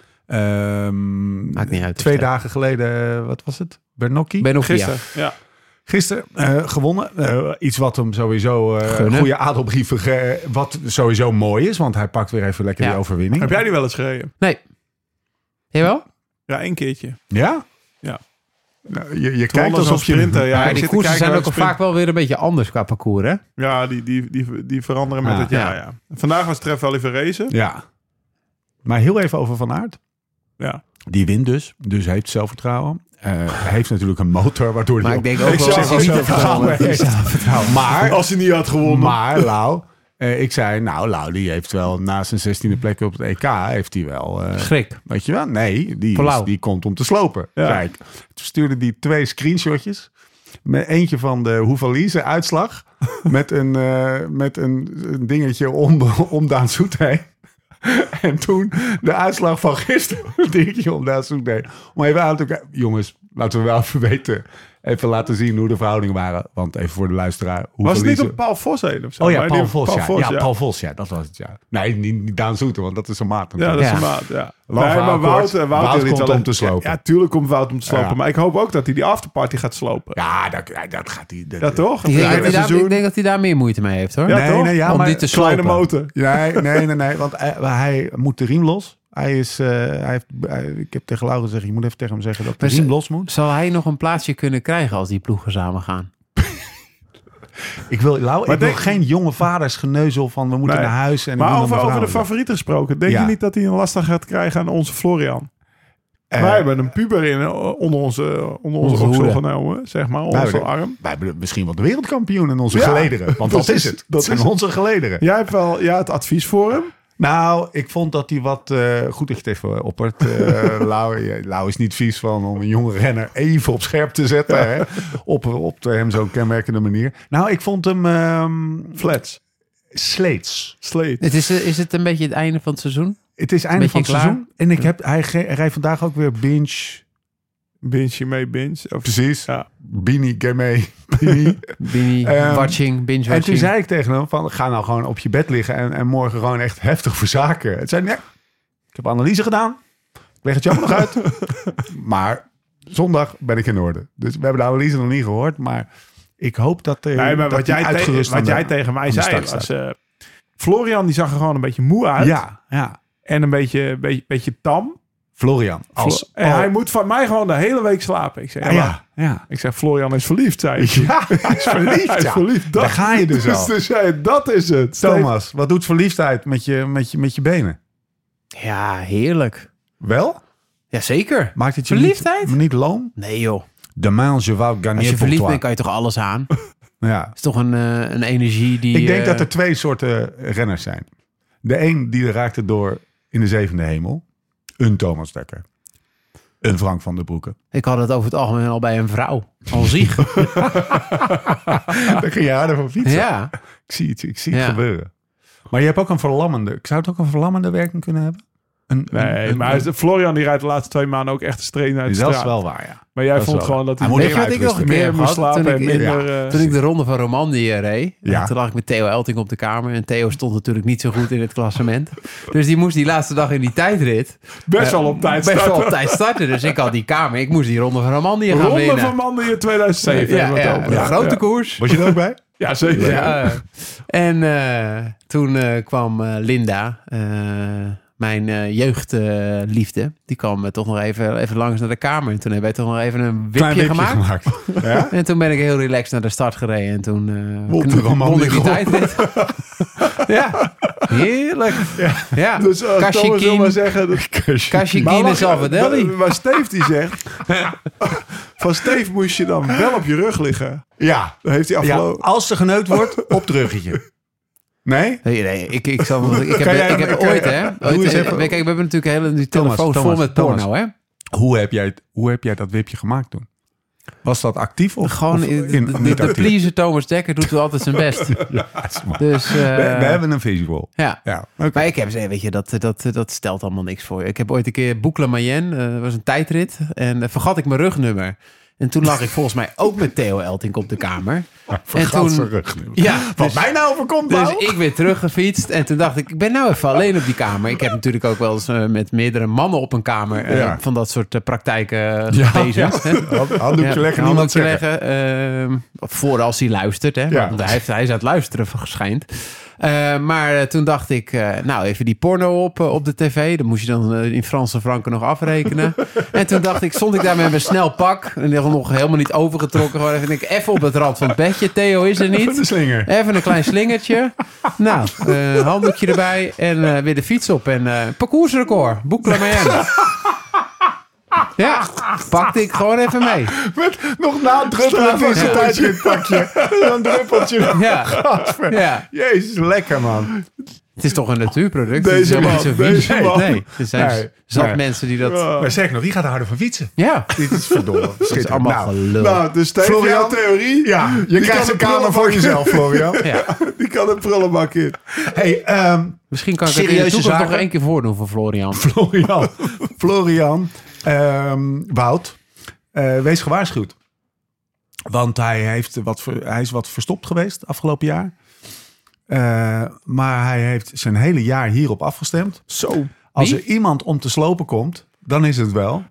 Speaker 3: Maakt niet uit.
Speaker 1: Twee dagen geleden, eh, wat was het? Bernocchi.
Speaker 3: Ben op
Speaker 5: Gisteren. Ja.
Speaker 1: Gisteren eh, gewonnen. Eh, iets wat hem sowieso eh, een
Speaker 3: Gunnen.
Speaker 1: goede adelbrief. eh, wat sowieso mooi is, want hij pakt weer even lekker
Speaker 3: Ja.
Speaker 1: die overwinning.
Speaker 5: Heb jij die wel eens gereden?
Speaker 3: Nee. Jawel?
Speaker 5: Ja, één keertje.
Speaker 1: Ja?
Speaker 5: Ja.
Speaker 1: Nou, je je
Speaker 5: Kijk,
Speaker 1: kijkt alsof je...
Speaker 5: sprinter. Ja,
Speaker 3: Maar
Speaker 5: ik
Speaker 3: die
Speaker 5: zit te
Speaker 3: koersen
Speaker 5: kijken
Speaker 3: zijn
Speaker 5: naar
Speaker 3: ook al
Speaker 5: sprint-
Speaker 3: vaak wel weer een beetje anders qua parcours, hè?
Speaker 5: Ja, die, die, die, die veranderen met
Speaker 1: Ah,
Speaker 5: het jaar.
Speaker 3: ja.
Speaker 5: Ja. Vandaag was Tref Valley Verrezen.
Speaker 1: Ja. Maar heel even over Van Aert.
Speaker 5: Ja.
Speaker 1: Die wint dus. Dus hij heeft zelfvertrouwen. Eh, hij heeft natuurlijk een motor waardoor
Speaker 3: Maar
Speaker 1: hij...
Speaker 3: ik denk ook wel
Speaker 1: zou
Speaker 3: dat hij niet
Speaker 1: zelfvertrouwen
Speaker 3: heeft gewonnen.
Speaker 1: heeft. Maar,
Speaker 5: Als hij niet had gewonnen.
Speaker 1: maar Lau... eh, ik zei, nou Lau die heeft wel na zijn 16e plek op het EK... heeft hij wel... eh,
Speaker 3: Schrik.
Speaker 1: Weet je wel? Nee, die,
Speaker 3: Voor
Speaker 1: is-
Speaker 3: Lau.
Speaker 1: die komt om te slopen. Kijk, toen stuurde die twee screenshotjes. Met eentje van de Hoevalise uitslag. met een, eh, met een, een dingetje om, om Daan Soetij. en toen de uitslag van gisteren. een dingetje om Daan Soetij. Om even aan te kijken. Jongens, laten we wel even weten. Even laten zien hoe de verhoudingen waren. Want even voor de luisteraar.
Speaker 5: Was het niet
Speaker 1: Houffalize-
Speaker 5: op Paul Vos heen of zo?
Speaker 1: Oh ja,
Speaker 5: Maar die-
Speaker 1: Paul Vos. ja. ja,
Speaker 5: ja.
Speaker 1: Paul Vos. Ja, dat was het. Ja. Nee, niet, niet Daan Soetij, want dat is zijn maat.
Speaker 5: Ja, dat is
Speaker 3: Ja.
Speaker 5: een maat. Ja.
Speaker 1: Lang
Speaker 5: Nee,
Speaker 1: verhaal
Speaker 5: maar Wout,
Speaker 1: kort.
Speaker 5: Wout,
Speaker 1: Wout
Speaker 5: wil niet
Speaker 1: komt
Speaker 5: alleen-
Speaker 1: om te slopen.
Speaker 5: Ja, ja, tuurlijk komt Wout om te slopen.
Speaker 1: Ja.
Speaker 5: Maar ik hoop ook dat hij die afterparty gaat slopen. Ja,
Speaker 1: Ja, dat, ja, dat gaat hij. Dat,
Speaker 5: toch?
Speaker 3: Ik denk, dat hij
Speaker 5: Einde
Speaker 3: daar, ik
Speaker 5: seizoen.
Speaker 3: denk dat hij daar meer moeite mee heeft, hoor.
Speaker 5: Ja,
Speaker 1: nee,
Speaker 5: toch?
Speaker 1: nee, ja,
Speaker 3: Om
Speaker 1: maar
Speaker 3: dit te
Speaker 5: Kleine
Speaker 3: slopen.
Speaker 5: motor.
Speaker 1: Nee, nee, nee, nee, want hij, hij moet de riem los. Hij is, eh, hij heeft, hij- ik heb tegen Laura gezegd, je moet even tegen hem zeggen dat de
Speaker 3: Maar ze-
Speaker 1: riem los moet.
Speaker 3: Zal hij nog een plaatsje kunnen krijgen als die ploegen samen gaan?
Speaker 1: Ik wil, Lau, ik wil
Speaker 5: denk-
Speaker 1: geen jonge vaders geneuzel van we moeten
Speaker 5: Nee.
Speaker 1: naar huis. En
Speaker 5: Maar
Speaker 1: niemand
Speaker 5: over,
Speaker 1: naar
Speaker 5: over de
Speaker 1: vrouwen.
Speaker 5: favorieten gesproken. Denk
Speaker 1: Ja.
Speaker 5: je niet dat hij een lastig gaat krijgen aan onze Florian?
Speaker 1: Eh,
Speaker 5: Wij hebben een puber in, eh, onder onze, onder onze
Speaker 3: Onze
Speaker 5: oksel
Speaker 3: hoede.
Speaker 5: genomen, zeg maar, onder
Speaker 1: wij
Speaker 5: onze
Speaker 1: hebben-
Speaker 5: arm.
Speaker 1: Wij hebben misschien wel de wereldkampioen in onze
Speaker 5: Ja,
Speaker 1: gelederen. Want dat is
Speaker 5: precies,
Speaker 1: het.
Speaker 5: dat
Speaker 1: Dat zijn
Speaker 5: is
Speaker 1: onze gelederen.
Speaker 5: Jij hebt wel ja, het advies voor hem.
Speaker 1: Nou, ik vond dat hij wat... eh, goed dat je het even oppert. eh Lau, Ja, Lau is niet vies van om een jonge renner even op scherp te zetten. Hè? Op, op de hem zo'n kenmerkende manier. Nou, ik vond hem... ehm
Speaker 5: Flats.
Speaker 1: Sleets.
Speaker 5: Sleet.
Speaker 3: Het is, is het een beetje het einde van het seizoen?
Speaker 1: Het is einde
Speaker 3: Beetje
Speaker 1: van het
Speaker 3: klaar?
Speaker 1: seizoen. En ik heb, hij ge- hij rijdt vandaag ook weer binge.
Speaker 5: Binge je mee, binge. Of
Speaker 1: Precies.
Speaker 5: Ja.
Speaker 1: Bini, Gamay, Bini.
Speaker 3: Bini,
Speaker 1: Ehm,
Speaker 3: watching,
Speaker 1: en toen
Speaker 3: binge-watching.
Speaker 1: zei ik tegen hem van, ga nou gewoon op je bed liggen en, en morgen gewoon echt heftig verzaken. Het zei hij, nee, ik heb analyse gedaan. Ik leg het jou nog uit. maar zondag ben ik in orde. Dus we hebben de analyse nog niet gehoord, maar ik hoop dat er
Speaker 5: Nee, maar
Speaker 1: dat
Speaker 5: wat
Speaker 1: hij
Speaker 5: jij, te-
Speaker 1: uitgerust aan
Speaker 5: wat
Speaker 1: de-
Speaker 5: jij tegen mij
Speaker 1: aan de
Speaker 5: zei
Speaker 1: start
Speaker 5: was... eh, Florian die zag er gewoon een beetje moe uit.
Speaker 1: Ja, ja.
Speaker 5: En een beetje, beetje, beetje tam.
Speaker 1: Florian. Als, oh,
Speaker 5: en hij moet van mij gewoon de hele week slapen. Ik zeg, ja, maar-
Speaker 1: ja, ja.
Speaker 5: ik zeg Florian is verliefd, zei ik.
Speaker 1: Ja, hij is verliefd.
Speaker 5: Hij is
Speaker 1: ja.
Speaker 5: verliefd.
Speaker 1: Daar
Speaker 5: Dat,
Speaker 1: ga je dus al.
Speaker 5: dus jij, dat is het.
Speaker 1: Thomas, wat doet verliefdheid met je, met je, met je benen?
Speaker 3: Ja, heerlijk.
Speaker 1: Wel?
Speaker 3: Jazeker.
Speaker 1: Maakt het je
Speaker 3: Verliefdheid?
Speaker 1: Niet, niet loom?
Speaker 3: Nee joh.
Speaker 1: De main, je wou gagner
Speaker 3: Als je
Speaker 1: pour
Speaker 3: verliefd
Speaker 1: toi.
Speaker 3: bent, kan je toch alles aan? Het
Speaker 1: Ja.
Speaker 3: is toch een, eh, een energie die...
Speaker 1: Ik denk
Speaker 3: eh,
Speaker 1: dat er twee soorten eh, renners zijn. De een die raakte door in de zevende hemel. Een Thomas Dekker. Een Frank van der Broeke.
Speaker 3: Ik had het over het algemeen al bij een vrouw. Al ziek.
Speaker 5: Ah.
Speaker 1: Dan ging je harder van fietsen.
Speaker 3: ja.
Speaker 1: Ik zie het, ik zie het
Speaker 3: Ja.
Speaker 1: gebeuren. Maar je hebt ook een verlammende. Ik zou het ook een verlammende werking kunnen hebben. Een,
Speaker 5: Nee, maar hij is- Florian die rijdt de laatste twee maanden ook echt de streen uit de
Speaker 1: dat is
Speaker 5: straat.
Speaker 1: wel waar, ja.
Speaker 5: maar jij
Speaker 1: dat is
Speaker 5: vond
Speaker 1: wel
Speaker 5: gewoon dat hij
Speaker 1: Hij moet
Speaker 5: meer,
Speaker 3: Weet je wat ik nog een
Speaker 1: uitrusten.
Speaker 3: keer heb
Speaker 5: meer moest
Speaker 3: gehad?
Speaker 5: slapen
Speaker 3: Toen
Speaker 5: en
Speaker 3: ik,
Speaker 5: minder... eh,
Speaker 3: toen ik de ronde van Romandie eh, reed,
Speaker 1: Ja.
Speaker 3: en toen lag ik met Theo Elting op de kamer. En Theo stond natuurlijk niet zo goed in het klassement. Dus die moest die laatste dag in die tijdrit
Speaker 5: best
Speaker 3: eh,
Speaker 5: wel op tijd
Speaker 3: best wel op
Speaker 5: starten.
Speaker 3: tijd starten. Dus ik had die kamer. Ik moest die ronde van Romandie gaan
Speaker 5: Ronde
Speaker 3: winnen.
Speaker 5: van Manden in 2007.
Speaker 3: ja,
Speaker 5: hebben we het
Speaker 3: ja,
Speaker 5: over.
Speaker 3: de
Speaker 5: Ja,
Speaker 3: grote
Speaker 5: ja.
Speaker 3: koers.
Speaker 1: Was je er ook bij?
Speaker 5: Ja, zeker.
Speaker 3: Ja, eh, en eh, toen eh, kwam eh, Linda, eh, mijn eh, jeugdliefde, die kwam eh, toch nog even, even langs naar de kamer. En toen hebben wij toch nog even een wipje,
Speaker 1: Klein wipje
Speaker 3: gemaakt.
Speaker 1: gemaakt. ja?
Speaker 3: En toen ben ik heel relaxed naar de start gereden. En toen eh
Speaker 1: Won de
Speaker 3: kn-
Speaker 1: Roman
Speaker 3: won ik
Speaker 1: die
Speaker 3: die tijdrit. ja, heerlijk. Ja,
Speaker 5: Dus eh, Thomas wil maar
Speaker 3: Kashikin,
Speaker 5: zeggen... dat-
Speaker 3: Kashikin en Salvadelli.
Speaker 5: Maar- Maar Steve die zegt... van Steve moest je dan wel op je rug liggen.
Speaker 1: ja.
Speaker 5: Dan heeft hij
Speaker 1: Ja,
Speaker 5: afgelopen...
Speaker 1: als er geneukt wordt, op het ruggetje. Nee?
Speaker 3: Nee, nee, ik, ik, zal, ik heb,
Speaker 1: Kan jij-
Speaker 3: ik heb
Speaker 1: kan-
Speaker 3: ooit, hè? Ooit,
Speaker 1: eens
Speaker 3: eh,
Speaker 1: even-
Speaker 3: Kijk, we hebben natuurlijk hele die
Speaker 1: Thomas,
Speaker 3: telefoons vol
Speaker 1: Thomas,
Speaker 3: met
Speaker 1: Thomas.
Speaker 3: porno, hè?
Speaker 1: Hoe heb, jij, het- hoe heb jij dat wipje gemaakt toen? Was dat actief of
Speaker 3: Gewoon,
Speaker 1: of
Speaker 3: eh,
Speaker 1: in-
Speaker 3: de, de,
Speaker 1: niet
Speaker 3: de
Speaker 1: actief?
Speaker 3: pleaser Thomas Dekker doet wel altijd zijn best.
Speaker 1: Ja, is maar-
Speaker 3: Dus, eh,
Speaker 1: we, we hebben een visual.
Speaker 3: ja.
Speaker 1: Ja.
Speaker 3: Maar ik heb ze, weet je, dat, eh, dat, dat stelt allemaal niks voor. Ik heb ooit een keer Boekla Mayenne, eh, dat was een tijdrit, en eh, vergat ik mijn rugnummer. En toen lag ik volgens mij ook met Theo Elting op de kamer. En
Speaker 1: Vergat
Speaker 3: toen-
Speaker 1: zijn rug nu.
Speaker 3: Ja,
Speaker 1: Wat
Speaker 3: dus,
Speaker 1: mij nou overkomt,
Speaker 3: dus
Speaker 1: Lau?
Speaker 3: ik weer teruggefietst. En toen dacht ik, ik ben nou even alleen op die kamer. Ik heb natuurlijk ook wel eens eh, met meerdere mannen op een kamer eh,
Speaker 1: Ja.
Speaker 3: van dat soort eh, praktijken
Speaker 1: Ja,
Speaker 3: ja, bezig. hè.
Speaker 1: Hand- Handdoekje
Speaker 3: Ja,
Speaker 1: leggen,
Speaker 3: een
Speaker 1: niemand
Speaker 3: handdoekje
Speaker 1: zeggen.
Speaker 3: leggen. ehm, voor als hij luistert. Hè?
Speaker 1: Ja.
Speaker 3: Want hij, heeft, hij is aan het luisteren verschijnt. Eh, maar eh, toen dacht ik, eh, nou even die porno op, eh, op de tv. Dat moest je dan eh, in Franse franken nog afrekenen. en toen dacht ik, stond ik daar met mijn snel pak. En die had nog helemaal niet overgetrokken. Gewoon even, denk ik, even op het rand van het bedje. Theo is er
Speaker 1: Even
Speaker 3: niet.
Speaker 1: een slinger.
Speaker 3: Even een klein slingertje. Nou, eh, handdoekje erbij. En eh, weer de fiets op. En eh, parcoursrecord. Boekla Mayenne. Ja, pakte ik gewoon even mee.
Speaker 1: Met nog na het druppelen van zijn
Speaker 3: Ja.
Speaker 1: tijdritpakje. Een druppeltje.
Speaker 3: Ja,
Speaker 1: Gadver.
Speaker 3: ja.
Speaker 1: Jezus, lekker man.
Speaker 3: Het is toch een natuurproduct.
Speaker 1: Deze
Speaker 3: het is helemaal
Speaker 1: man,
Speaker 3: niet zo
Speaker 1: deze
Speaker 3: vies.
Speaker 1: man.
Speaker 3: Nee, er zijn
Speaker 1: Nee,
Speaker 3: zat
Speaker 1: nee.
Speaker 3: mensen die dat...
Speaker 1: Maar zeg nog, die gaat er harder van fietsen.
Speaker 3: Ja,
Speaker 1: Dit is verdomme.
Speaker 3: Oh. dat is
Speaker 1: Schitterend.
Speaker 3: allemaal
Speaker 1: Nou,
Speaker 3: gelul.
Speaker 5: Nou, dus Steve,
Speaker 1: Florian-
Speaker 5: jouw theorie...
Speaker 1: Ja, je krijgt
Speaker 5: kan
Speaker 1: een
Speaker 5: de
Speaker 1: kamer voor
Speaker 5: prullenbak-
Speaker 1: jezelf, Florian.
Speaker 3: ja.
Speaker 5: Die kan een prullenbak in.
Speaker 1: Hey, ehm,
Speaker 3: Misschien kan ik het in de
Speaker 1: Serieuze
Speaker 3: toekomst
Speaker 1: zaken?
Speaker 3: nog één keer voordoen voor Florian.
Speaker 1: Florian, Florian ehm, Wout, eh, wees gewaarschuwd. Want hij, heeft wat ver- hij is wat verstopt geweest afgelopen jaar. Eh, maar hij heeft zijn hele jaar hierop afgestemd.
Speaker 5: Zo.
Speaker 1: Als
Speaker 3: Wie?
Speaker 1: er iemand om te slopen komt, dan is het wel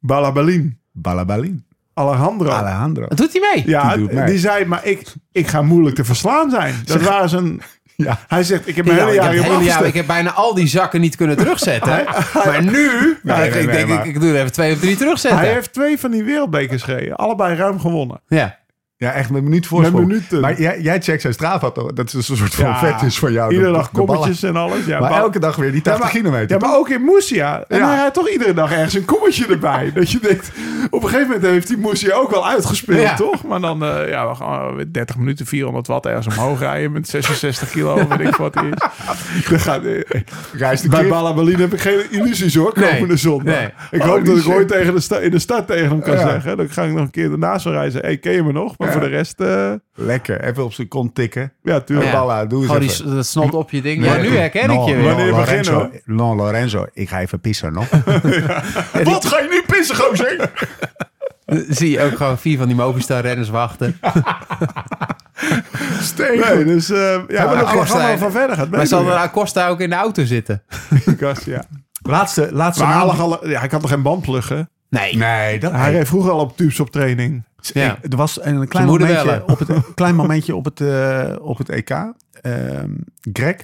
Speaker 5: Balabalin.
Speaker 1: Balabalin.
Speaker 5: Alejandro.
Speaker 1: Alejandro.
Speaker 3: Doet hij mee?
Speaker 5: ja,
Speaker 1: die doet
Speaker 5: die,
Speaker 1: mij.
Speaker 5: zei, maar ik, ik ga moeilijk te verslaan zijn. Dat waren zijn...
Speaker 1: Ja.
Speaker 5: Hij zegt, ik heb mijn
Speaker 3: Ja,
Speaker 5: hele
Speaker 3: ik,
Speaker 5: jaar
Speaker 3: heb het
Speaker 5: hierop
Speaker 3: hele jaar,
Speaker 5: afgestemd.
Speaker 3: ik heb bijna al die zakken niet kunnen terugzetten. Maar nu... Nou,
Speaker 1: nee,
Speaker 3: ik
Speaker 1: nee,
Speaker 3: denk,
Speaker 1: nee,
Speaker 3: ik,
Speaker 1: maar-
Speaker 3: ik doe er even twee of drie terugzetten.
Speaker 1: Oh,
Speaker 5: Hij heeft twee van die wereldbekers gereden. Allebei ruim gewonnen.
Speaker 3: Ja.
Speaker 1: Ja, echt met minuut
Speaker 5: Met
Speaker 1: voorsprong.
Speaker 5: minuten.
Speaker 1: Maar jij, jij checkt zijn Strava, toch? dat is dus een soort van
Speaker 5: Ja,
Speaker 1: vet is van jou.
Speaker 5: Iedere
Speaker 1: de-
Speaker 5: dag
Speaker 1: de ballen.
Speaker 5: kommetjes en alles. Ja,
Speaker 1: Maar
Speaker 5: wa-
Speaker 1: elke dag weer die 80
Speaker 5: ja, maar,
Speaker 1: kilometer.
Speaker 5: Ja, maar ook in Moesia. En
Speaker 1: Ja.
Speaker 5: hij had toch iedere dag ergens een kommetje erbij. dat je denkt, op een gegeven moment heeft die Moesia ook wel uitgespeeld,
Speaker 1: Ja.
Speaker 5: toch? Maar dan, eh, ja, we gaan weer 30 minuten 400 watt ergens omhoog rijden met 66 kilo, of weet ik wat het is. Dan gaat, eh,
Speaker 1: Reis de
Speaker 5: bij
Speaker 1: kip.
Speaker 5: Balabalin heb ik geen illusies hoor, komende
Speaker 3: Nee,
Speaker 5: zondag.
Speaker 3: nee.
Speaker 5: Ik
Speaker 1: Oh,
Speaker 5: hoop
Speaker 1: die
Speaker 5: dat ik
Speaker 1: shit.
Speaker 5: ooit tegen de sta- in de stad tegen hem kan
Speaker 1: Ja.
Speaker 5: zeggen. Dan ga ik nog een keer daarnaast wel reizen. hey, ken je me nog? Maar
Speaker 1: Ja.
Speaker 5: voor de rest, eh,
Speaker 1: Lekker, even op zijn kont tikken.
Speaker 5: ja, tuurlijk.
Speaker 1: Ja. Balla, doe eens
Speaker 3: Gewoon die,
Speaker 1: even.
Speaker 3: dat snot op je ding. Ja,
Speaker 1: Nee,
Speaker 3: nu herken ik
Speaker 1: No,
Speaker 3: je
Speaker 1: no,
Speaker 3: weer.
Speaker 5: Wanneer
Speaker 1: Lorenzo.
Speaker 5: beginnen
Speaker 1: No, Lorenzo, ik ga even pissen, nog. Wat ga je nu pissen, gozer?
Speaker 3: Dan Zie je ook gewoon vier van die Movistar-renners wachten.
Speaker 1: Steek.
Speaker 5: Nee, dus eh, ja, we
Speaker 3: Acosta,
Speaker 5: gaan
Speaker 3: hè?
Speaker 5: allemaal van verder. Gaat
Speaker 3: Maar zal
Speaker 5: meedoen,
Speaker 3: de Acosta ook in de auto zitten?
Speaker 5: ja. Kast, ja.
Speaker 1: Laatste, laatste
Speaker 5: Maar hij,
Speaker 1: naam.
Speaker 5: lag al, ja, hij kan toch geen band pluggen?
Speaker 3: Nee.
Speaker 1: Nee, dat
Speaker 5: Hij reed vroeger al op tubes op training.
Speaker 3: Ja.
Speaker 1: Er was een klein
Speaker 3: moeder
Speaker 1: momentje,
Speaker 3: bellen.
Speaker 1: op het, een klein momentje op het, eh, op het EK. Ehm, Greg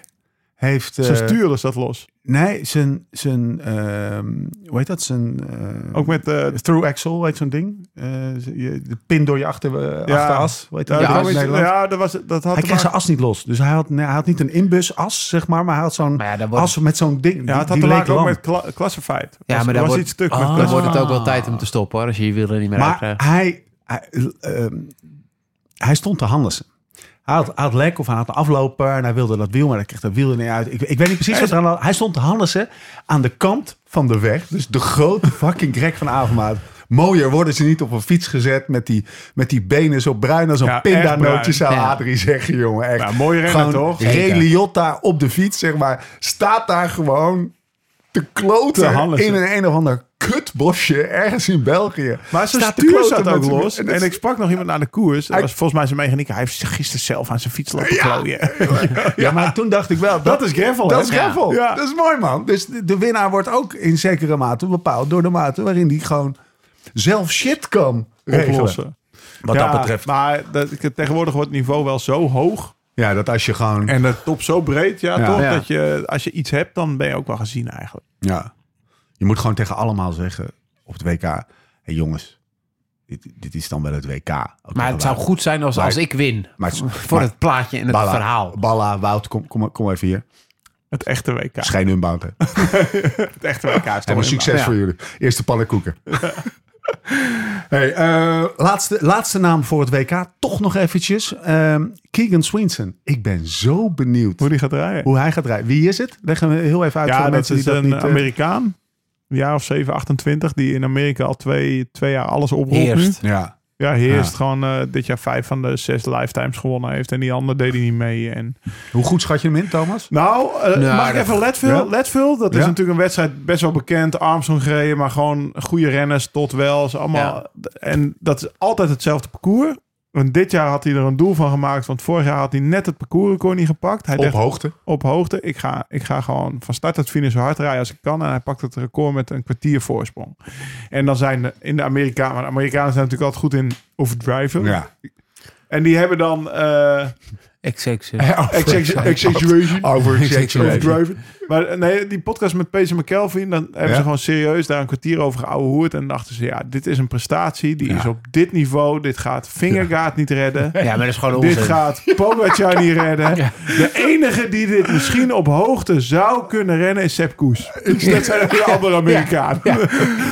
Speaker 1: heeft... eh,
Speaker 5: Zijn stuurder staat los.
Speaker 1: Nee, zijn... zijn ehm, hoe heet dat? Zijn... eh,
Speaker 5: Ook met... eh
Speaker 1: Through axle, heet zo'n ding. Eh, je- de pin door je achter, eh,
Speaker 5: Ja.
Speaker 1: achteras. Hoe heet dat?
Speaker 5: ja,
Speaker 1: in
Speaker 3: dat
Speaker 5: ja,
Speaker 3: is
Speaker 1: Nederland?
Speaker 5: ja, dat, was, dat had
Speaker 1: Hij
Speaker 5: te
Speaker 1: kreeg zijn
Speaker 5: maken,
Speaker 1: as niet los. Dus hij had, nee, hij had niet een inbusas, zeg maar. Maar hij had zo'n
Speaker 3: Maar ja, dan wordt
Speaker 1: as met zo'n ding.
Speaker 5: ja,
Speaker 1: die-
Speaker 5: het had
Speaker 1: die
Speaker 5: te
Speaker 1: leek
Speaker 5: maken ook
Speaker 1: lang.
Speaker 5: met cla Classified.
Speaker 3: Ja,
Speaker 5: was,
Speaker 3: maar daar
Speaker 5: was
Speaker 3: wordt-
Speaker 5: iets stuk met
Speaker 3: Ah, dan
Speaker 5: Classified.
Speaker 3: wordt het ook wel tijd om te stoppen hoor, als je je wiel er niet meer uit
Speaker 1: Maar
Speaker 3: krijgt.
Speaker 1: hij, hij, eh, hij stond te handelen. Hij had, hij had lek of hij had een afloper en hij wilde dat wiel, maar hij kreeg dat wiel er niet uit. Ik, ik weet niet precies wat er aan de hand- Hij stond te handelen aan de kant van de weg. Dus de grote fucking grek van avondmaat. Mooier worden ze niet op een fiets gezet met die, met die benen zo bruin als een
Speaker 5: Ja, echt
Speaker 1: pindanootje,
Speaker 5: bruin.
Speaker 1: zou
Speaker 3: Ja.
Speaker 1: Adrie zeggen, jongen. Echt.
Speaker 5: Ja, mooi rennen,
Speaker 1: Gewoon
Speaker 5: toch?
Speaker 1: Ray
Speaker 3: Zeker.
Speaker 1: Liotta op de fiets, zeg maar, staat daar gewoon te
Speaker 5: Te
Speaker 1: kloten
Speaker 5: hannesen.
Speaker 1: in een een of ander kutbosje ergens in België.
Speaker 5: Maar zijn
Speaker 1: Staat te
Speaker 5: stuur
Speaker 1: kloten
Speaker 5: zat
Speaker 1: met
Speaker 5: ook
Speaker 1: zijn-
Speaker 5: los.
Speaker 1: en
Speaker 5: En,
Speaker 1: dat-
Speaker 5: ik sprak nog iemand aan de koers. Dat
Speaker 1: Hij-
Speaker 5: was volgens mij zijn mechanieker. Hij heeft zich gisteren zelf aan zijn fiets lopen klooien.
Speaker 1: Ja, maar toen dacht ik wel, dat,
Speaker 5: is gravel,
Speaker 1: Dat
Speaker 5: hè?
Speaker 1: is gravel.
Speaker 5: Ja.
Speaker 1: Dat is mooi, man. Dus de, de winnaar wordt ook in zekere mate bepaald door de mate waarin die gewoon zelf shit kan regelen.
Speaker 5: Oplossen.
Speaker 1: Wat
Speaker 5: Ja, Maar dat, ik- tegenwoordig wordt het niveau wel zo hoog.
Speaker 1: Ja, dat als je gewoon...
Speaker 5: En de top zo breed. Ja,
Speaker 1: Ja.
Speaker 5: toch?
Speaker 1: Ja.
Speaker 5: Dat je, als je iets hebt, dan ben je ook wel gezien eigenlijk.
Speaker 1: Ja. Je moet gewoon tegen allemaal zeggen op het WK... Hé hey, jongens, dit, dit is dan wel het WK. Ook
Speaker 3: Maar
Speaker 1: al
Speaker 3: het zou
Speaker 1: wij-
Speaker 3: goed zijn als,
Speaker 1: Maar-
Speaker 3: als ik win.
Speaker 1: maar-
Speaker 3: voor
Speaker 1: maar-
Speaker 3: het plaatje en het
Speaker 1: Balla,
Speaker 3: verhaal.
Speaker 1: Balla, Wout, kom, kom, kom even hier.
Speaker 5: Het echte WK.
Speaker 1: Schijn hun bouten.
Speaker 5: Het echte WK is toch
Speaker 1: Helemaal
Speaker 5: helemaal-
Speaker 1: succes voor jullie. Eerste pannenkoeken. hey, eh, laatste, laatste naam voor het WK. Toch nog eventjes. Ehm, Keegan Swinson. Ik ben zo benieuwd
Speaker 5: Hoe die gaat rijden.
Speaker 1: hoe hij gaat rijden. Wie is het? Leg hem heel even uit voor de
Speaker 5: Ja, dat
Speaker 1: mensen
Speaker 5: is
Speaker 1: die dat
Speaker 5: een
Speaker 1: niet... eh,
Speaker 5: Amerikaan. Een jaar of 7, 28. Die in Amerika al twee, twee jaar alles oproept
Speaker 3: Heerst.
Speaker 5: nu.
Speaker 1: ja.
Speaker 5: Ja, heerst.
Speaker 1: Ja.
Speaker 5: Gewoon eh, dit jaar vijf van de zes lifetimes gewonnen heeft. En die andere deed hij niet mee. En...
Speaker 1: Hoe goed schat je hem in, Thomas?
Speaker 5: Nou, eh,
Speaker 3: Nou,
Speaker 5: mag ik
Speaker 3: dat-
Speaker 5: even Leadville?
Speaker 1: Ja.
Speaker 5: Leadville, dat is
Speaker 1: Ja.
Speaker 5: natuurlijk een wedstrijd best wel bekend. Armstrong gereden, maar gewoon goede renners tot wel. Ze allemaal, En dat is altijd hetzelfde parcours. En dit jaar had hij er een doel van gemaakt. Want vorig jaar had hij net het parcoursrecord niet gepakt. Hij
Speaker 1: Op
Speaker 5: dacht,
Speaker 1: hoogte.
Speaker 5: op hoogte. Ik ga, ik ga gewoon van start tot finish zo hard rijden als ik kan. En hij pakt het record met een kwartier voorsprong. En dan zijn de- in de Amerikanen... Maar de Amerikanen zijn natuurlijk altijd goed in overdriven.
Speaker 1: Ja.
Speaker 5: En die hebben dan... eh,
Speaker 3: XX.
Speaker 5: Exag- Exaggeration.
Speaker 1: Over
Speaker 5: Overdriven. Maar eh, nee, die podcast met Pace McKelvin, dan hebben
Speaker 1: Ja.
Speaker 5: ze gewoon serieus daar een kwartier over geouwehoerd. En dachten ze, ja, dit is een prestatie. Die is op dit niveau. Dit gaat Fingergaard niet redden.
Speaker 3: Ja, maar dat is gewoon onzin.
Speaker 5: Dit gaat Pogacar niet redden. De enige die dit misschien op hoogte zou kunnen rennen is Sepp Koes. Dus dat zijn ook weer andere Amerikanen.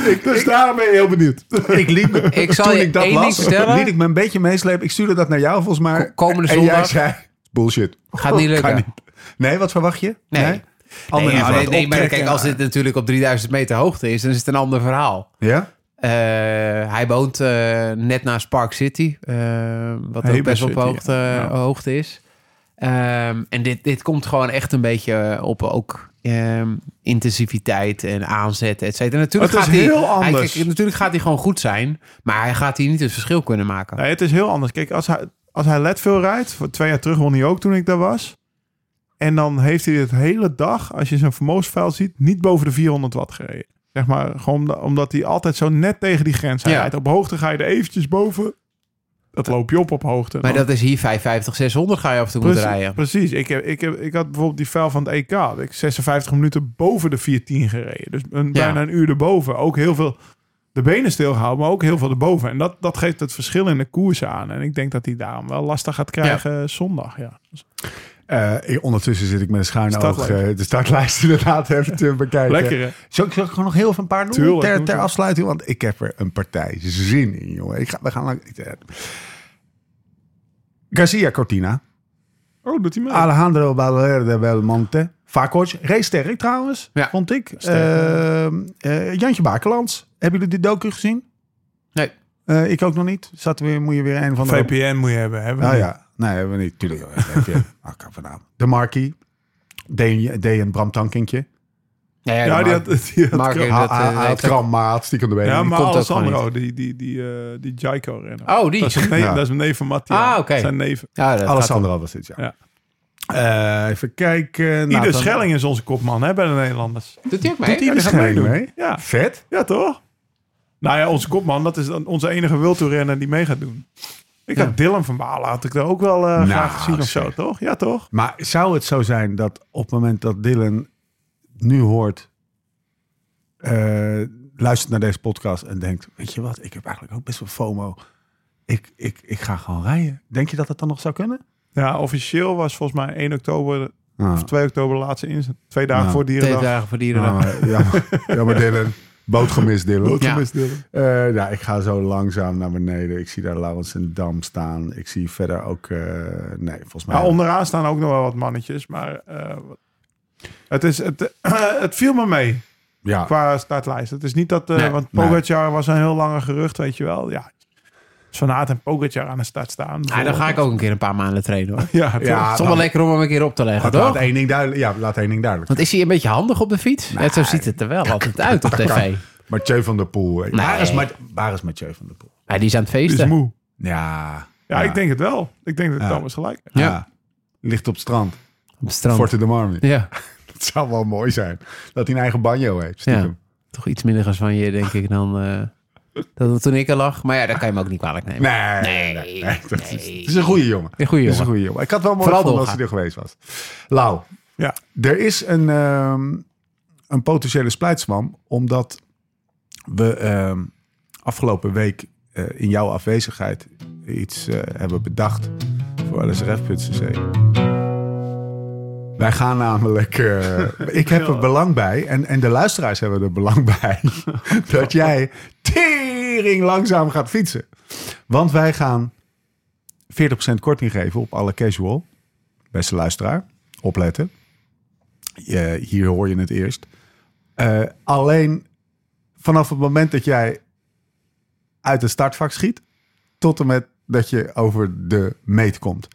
Speaker 5: Ik, dus daarom ben je heel benieuwd.
Speaker 1: Ik liet me,
Speaker 3: Ik zal
Speaker 1: toen
Speaker 3: je
Speaker 1: ik dat
Speaker 3: één
Speaker 1: las,
Speaker 3: ding vertellen.
Speaker 1: liet ik me een beetje meeslepen. Ik stuurde dat naar jou volgens mij.
Speaker 3: Ko- komende
Speaker 1: En jij
Speaker 3: zondag.
Speaker 1: zei, bullshit.
Speaker 3: Gaat niet lukken.
Speaker 1: Kan Nee, wat verwacht je?
Speaker 3: Nee. Nee,
Speaker 1: Ander
Speaker 3: ja,
Speaker 1: niveau.
Speaker 3: nee, nee, maar
Speaker 1: Optrekken.
Speaker 3: kijk, als dit natuurlijk op 3000 meter hoogte is, dan is het een ander verhaal.
Speaker 1: Ja?
Speaker 3: Eh, hij woont eh, net naast Park City, eh, wat ook
Speaker 5: Heber
Speaker 3: best wel op
Speaker 5: City,
Speaker 3: hoogte,
Speaker 5: ja. Ja.
Speaker 3: hoogte is. Ehm, en dit, dit komt gewoon echt een beetje eh, op ook ehm, intensiviteit en aanzet, et cetera. Natuurlijk
Speaker 5: Het is
Speaker 3: gaat hij-
Speaker 5: heel
Speaker 3: hij,
Speaker 5: anders.
Speaker 3: kijk, natuurlijk gaat hij gewoon goed zijn, maar hij gaat hier niet het verschil kunnen maken.
Speaker 5: Nee, het is heel anders. Kijk, als hij, als hij Leadville rijdt, voor twee jaar terug won hij ook toen ik daar was. En dan heeft hij het hele dag, als je zijn vermogensvuil ziet, niet boven de 400 watt gereden. Zeg maar, gewoon omda- omdat hij altijd zo net tegen die grens aan
Speaker 3: Ja.
Speaker 5: rijdt. Op hoogte ga je er eventjes boven. Dat loop je op op hoogte.
Speaker 3: Maar
Speaker 5: Dan-
Speaker 3: dat is hier 550, 600 ga je af en toe moeten
Speaker 5: precies,
Speaker 3: rijden.
Speaker 5: precies. Ik, heb, ik, heb, ik had bijvoorbeeld die vuil van het EK. had Ik 56 minuten boven de 410 gereden. Dus een,
Speaker 3: Ja.
Speaker 5: bijna een uur erboven. Ook heel veel de benen stilgehouden, maar ook heel veel erboven. En dat, dat geeft het verschil in de koers aan. En ik denk dat hij daarom wel lastig gaat krijgen zondag. Ja.
Speaker 1: Eh, ik- ondertussen zit ik met een schuin oog
Speaker 5: Startlijst.
Speaker 1: eh, de startlijst inderdaad even te bekijken.
Speaker 5: Lekker hè?
Speaker 1: Zal ik, zal ik gewoon nog heel even een paar noemen
Speaker 5: Tuurlijk,
Speaker 1: ter,
Speaker 5: moet
Speaker 1: ter
Speaker 5: je.
Speaker 1: afsluiting? Want ik heb er een partij zin in, jongen. Ik ga, we gaan lang... ik, eh, Garcia Cortina.
Speaker 5: Oh, doet hij
Speaker 3: Ah,
Speaker 5: mee?
Speaker 1: Alejandro Valverde Belmonte. Vakoc. Race sterk trouwens,
Speaker 3: Ja.
Speaker 1: vond ik. Eh, eh, Jantje Bakelands. Hebben jullie de docu gezien?
Speaker 3: Nee.
Speaker 1: Eh, ik ook nog niet. Zat weer, moet je weer een van de...
Speaker 5: VPN moet je hebben. hebben we
Speaker 1: Nou
Speaker 5: niet.
Speaker 1: ja, nee, hebben we niet. Tuurlijk. Ah, kan vandaan. De Markie. D D en Bram Tankinkje.
Speaker 3: Ja, ja,
Speaker 5: Ja,
Speaker 3: maar-
Speaker 5: die had, die had
Speaker 3: Mark
Speaker 5: Kram.
Speaker 3: heeft
Speaker 1: Ha-
Speaker 3: dat, eh,
Speaker 1: ha- Hij had
Speaker 3: heeft
Speaker 1: kram, maar had stiekem de benen.
Speaker 5: Ja, maar
Speaker 3: komt ook
Speaker 5: Alessandro, die, die, die, eh die Jaiko renner.
Speaker 3: Oh, die.
Speaker 5: Dat is een neef,
Speaker 1: Ja.
Speaker 5: dat is een neef van Mattia.
Speaker 3: Ah, oké.
Speaker 5: Zijn neef.
Speaker 3: Ja, dat gaat
Speaker 1: Alessandro was dit, ja.
Speaker 5: Ja.
Speaker 1: Eh, even kijken.
Speaker 3: Nou,
Speaker 1: nou,
Speaker 5: Ieder
Speaker 1: Nathan-
Speaker 5: Schelling is onze kopman hè, bij de Nederlanders.
Speaker 3: wel. Doet hij ook mee?
Speaker 1: Ja, die gaat meedoen. Mee.
Speaker 5: Ja,
Speaker 1: Vet.
Speaker 5: ja toch? Nou ja, onze kopman, dat is dan onze enige wildtoerrenner die mee gaat doen. Ik had Dylan van Balen, had ik er ook wel eh, graag gezien of
Speaker 1: zeg.
Speaker 5: zo, toch? Ja, toch?
Speaker 1: Maar zou het zo zijn dat op het moment dat Dylan nu hoort, eh, luistert naar deze podcast en denkt, weet je wat, ik heb eigenlijk ook best wel FOMO. Ik, ik, ik ga gewoon rijden. Denk je dat het dan nog zou kunnen?
Speaker 5: Ja, officieel was volgens mij 1 oktober of 2 oktober de laatste inzet. Twee dagen
Speaker 1: Nou.
Speaker 5: voor
Speaker 3: Twee
Speaker 5: Dierendag.
Speaker 3: dagen voor dierendag.
Speaker 1: ja, maar Dylan. Boot gemist, Dylan.
Speaker 3: Ja.
Speaker 1: Eh, ja, ik ga zo langzaam naar beneden. Ik zie daar Laurens en Dam staan. Ik zie verder ook... eh, nee, volgens mij...
Speaker 5: Maar onderaan staan ook nog wel wat mannetjes, maar eh, het, is, het, het viel me mee.
Speaker 1: ja.
Speaker 5: qua startlijst. Het is niet dat, eh,
Speaker 3: Nee.
Speaker 5: want Pogacar was een heel lange gerucht, weet je wel. Ja, als Van Aert en Pogacar aan de start staan.
Speaker 3: Ja, dan ga ik ook een keer een paar maanden trainen hoor.
Speaker 5: Ja, toch?
Speaker 1: Ja,
Speaker 3: Het is toch wel lekker om hem een keer op te leggen,
Speaker 1: Laat, laat
Speaker 3: toch?
Speaker 1: één ding duidelijk, ja, laat één ding duidelijk.
Speaker 3: Want is hij een beetje handig op de fiets? Net zo ziet het er wel altijd uit op tv.
Speaker 1: Mathieu van der Poel. hè.
Speaker 3: Nee.
Speaker 1: Waar, is Ma- waar is Mathieu van der Poel?
Speaker 3: Ja, die is aan het
Speaker 5: Die is
Speaker 3: feesten.
Speaker 5: moe.
Speaker 1: Ja.
Speaker 5: Ja, ik denk het wel. Ik denk dat
Speaker 1: Ja.
Speaker 5: Thomas gelijk heeft.
Speaker 1: Ja.
Speaker 3: Ja.
Speaker 1: Ligt op het strand.
Speaker 3: Op het strand.
Speaker 1: Forte de Marmi.
Speaker 3: Ja.
Speaker 1: Het zou wel mooi zijn. Dat hij een eigen banjo heeft.
Speaker 3: ja,
Speaker 1: Stiekem.
Speaker 3: toch iets minder als van je, denk ik, dan eh, dat het toen ik er lag. Maar ja, dat kan je me ook niet kwalijk nemen.
Speaker 1: Nee.
Speaker 3: Nee,
Speaker 1: dat is-
Speaker 3: nee.
Speaker 1: Het is een goede jongen.
Speaker 3: Een goeie
Speaker 1: Het is een
Speaker 3: jongen.
Speaker 1: goede jongen. Ik had wel mooi
Speaker 3: Vooral
Speaker 1: gevonden als hij er geweest was. Lau.
Speaker 5: Ja.
Speaker 1: Er is een, ehm, een potentiële splijtswam. Omdat we ehm, afgelopen week eh, in jouw afwezigheid iets eh, hebben bedacht voor lsrf.cc. Wij gaan namelijk. eh, ik heb er belang bij. En, en de luisteraars hebben er belang bij. dat jij tering langzaam gaat fietsen. Want wij gaan 40% korting geven op alle casual. Beste luisteraar, opletten. Je- hier hoor je het eerst. Eh, alleen vanaf het moment dat jij uit het startvak schiet, tot en met dat je over de meet komt.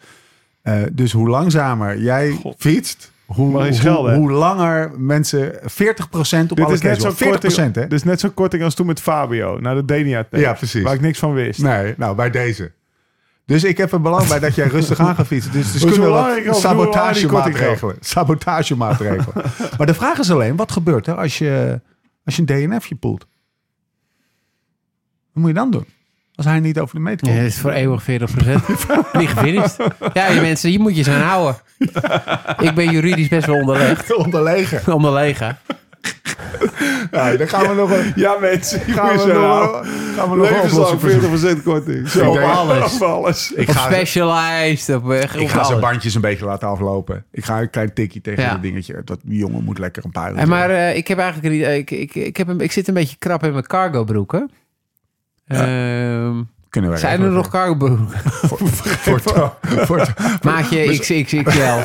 Speaker 1: Eh, dus hoe langzamer jij fietst, hoe,
Speaker 5: Maar hij
Speaker 1: hoe,
Speaker 5: schelden, hè?
Speaker 1: hoe langer mensen 40% op
Speaker 5: Dit
Speaker 1: alle
Speaker 5: is, net
Speaker 1: casual.
Speaker 5: zo'n
Speaker 1: 40%
Speaker 5: korting,
Speaker 1: hè?
Speaker 5: dit is net zo'n korting als toen met Fabio naar de denia Tech,
Speaker 1: Ja, precies.
Speaker 5: Waar ik niks van wist.
Speaker 1: Nee, nou bij deze. Dus ik heb er belang bij dat jij rustig aan gaat fietsen. Dus, dus
Speaker 5: Hoezo
Speaker 1: kunnen
Speaker 5: belangrijk,
Speaker 1: we wat
Speaker 5: Ralf? Doe maar aan die korting
Speaker 1: sabotagemaatregelen. Sabotagemaatregelen. maar de vraag is alleen, wat gebeurt er als je, als je een DNFje poelt? Wat moet je dan doen? Als hij niet over de meet
Speaker 3: Ja,
Speaker 1: komt.
Speaker 3: dat is voor eeuwig 40%. Niet gefinished. Ja, die mensen, hier moet je ze aan houden. Ik ben juridisch best wel onderlegd.
Speaker 1: Onderlegen.
Speaker 3: Onderlegen.
Speaker 1: Nee, dan gaan we nog een...
Speaker 5: Ja, mensen.
Speaker 1: Gaan we
Speaker 5: Gaan
Speaker 1: nog, gaan we nog een oplossing
Speaker 5: Levenslang
Speaker 1: verzoeken.
Speaker 5: 40% korting.
Speaker 1: Ik
Speaker 5: Zo,
Speaker 1: denk-
Speaker 5: alles. Op alles.
Speaker 1: Ik
Speaker 3: Op
Speaker 1: ga,
Speaker 3: Specialized. Op, eh, op
Speaker 1: ik ga zijn
Speaker 3: alles.
Speaker 1: bandjes een beetje laten aflopen. Ik ga een klein tikje tegen
Speaker 3: Ja.
Speaker 1: dat dingetje. Dat jongen moet lekker een paar
Speaker 3: Hey, maar eh, ik heb eigenlijk een idee- ik, ik, ik, heb een, ik zit een beetje krap in mijn cargo broeken. Ehm,
Speaker 1: Kunnen we
Speaker 3: zijn er nog cargo broeken?
Speaker 1: voor, voor, voor,
Speaker 3: Maatje XXXL.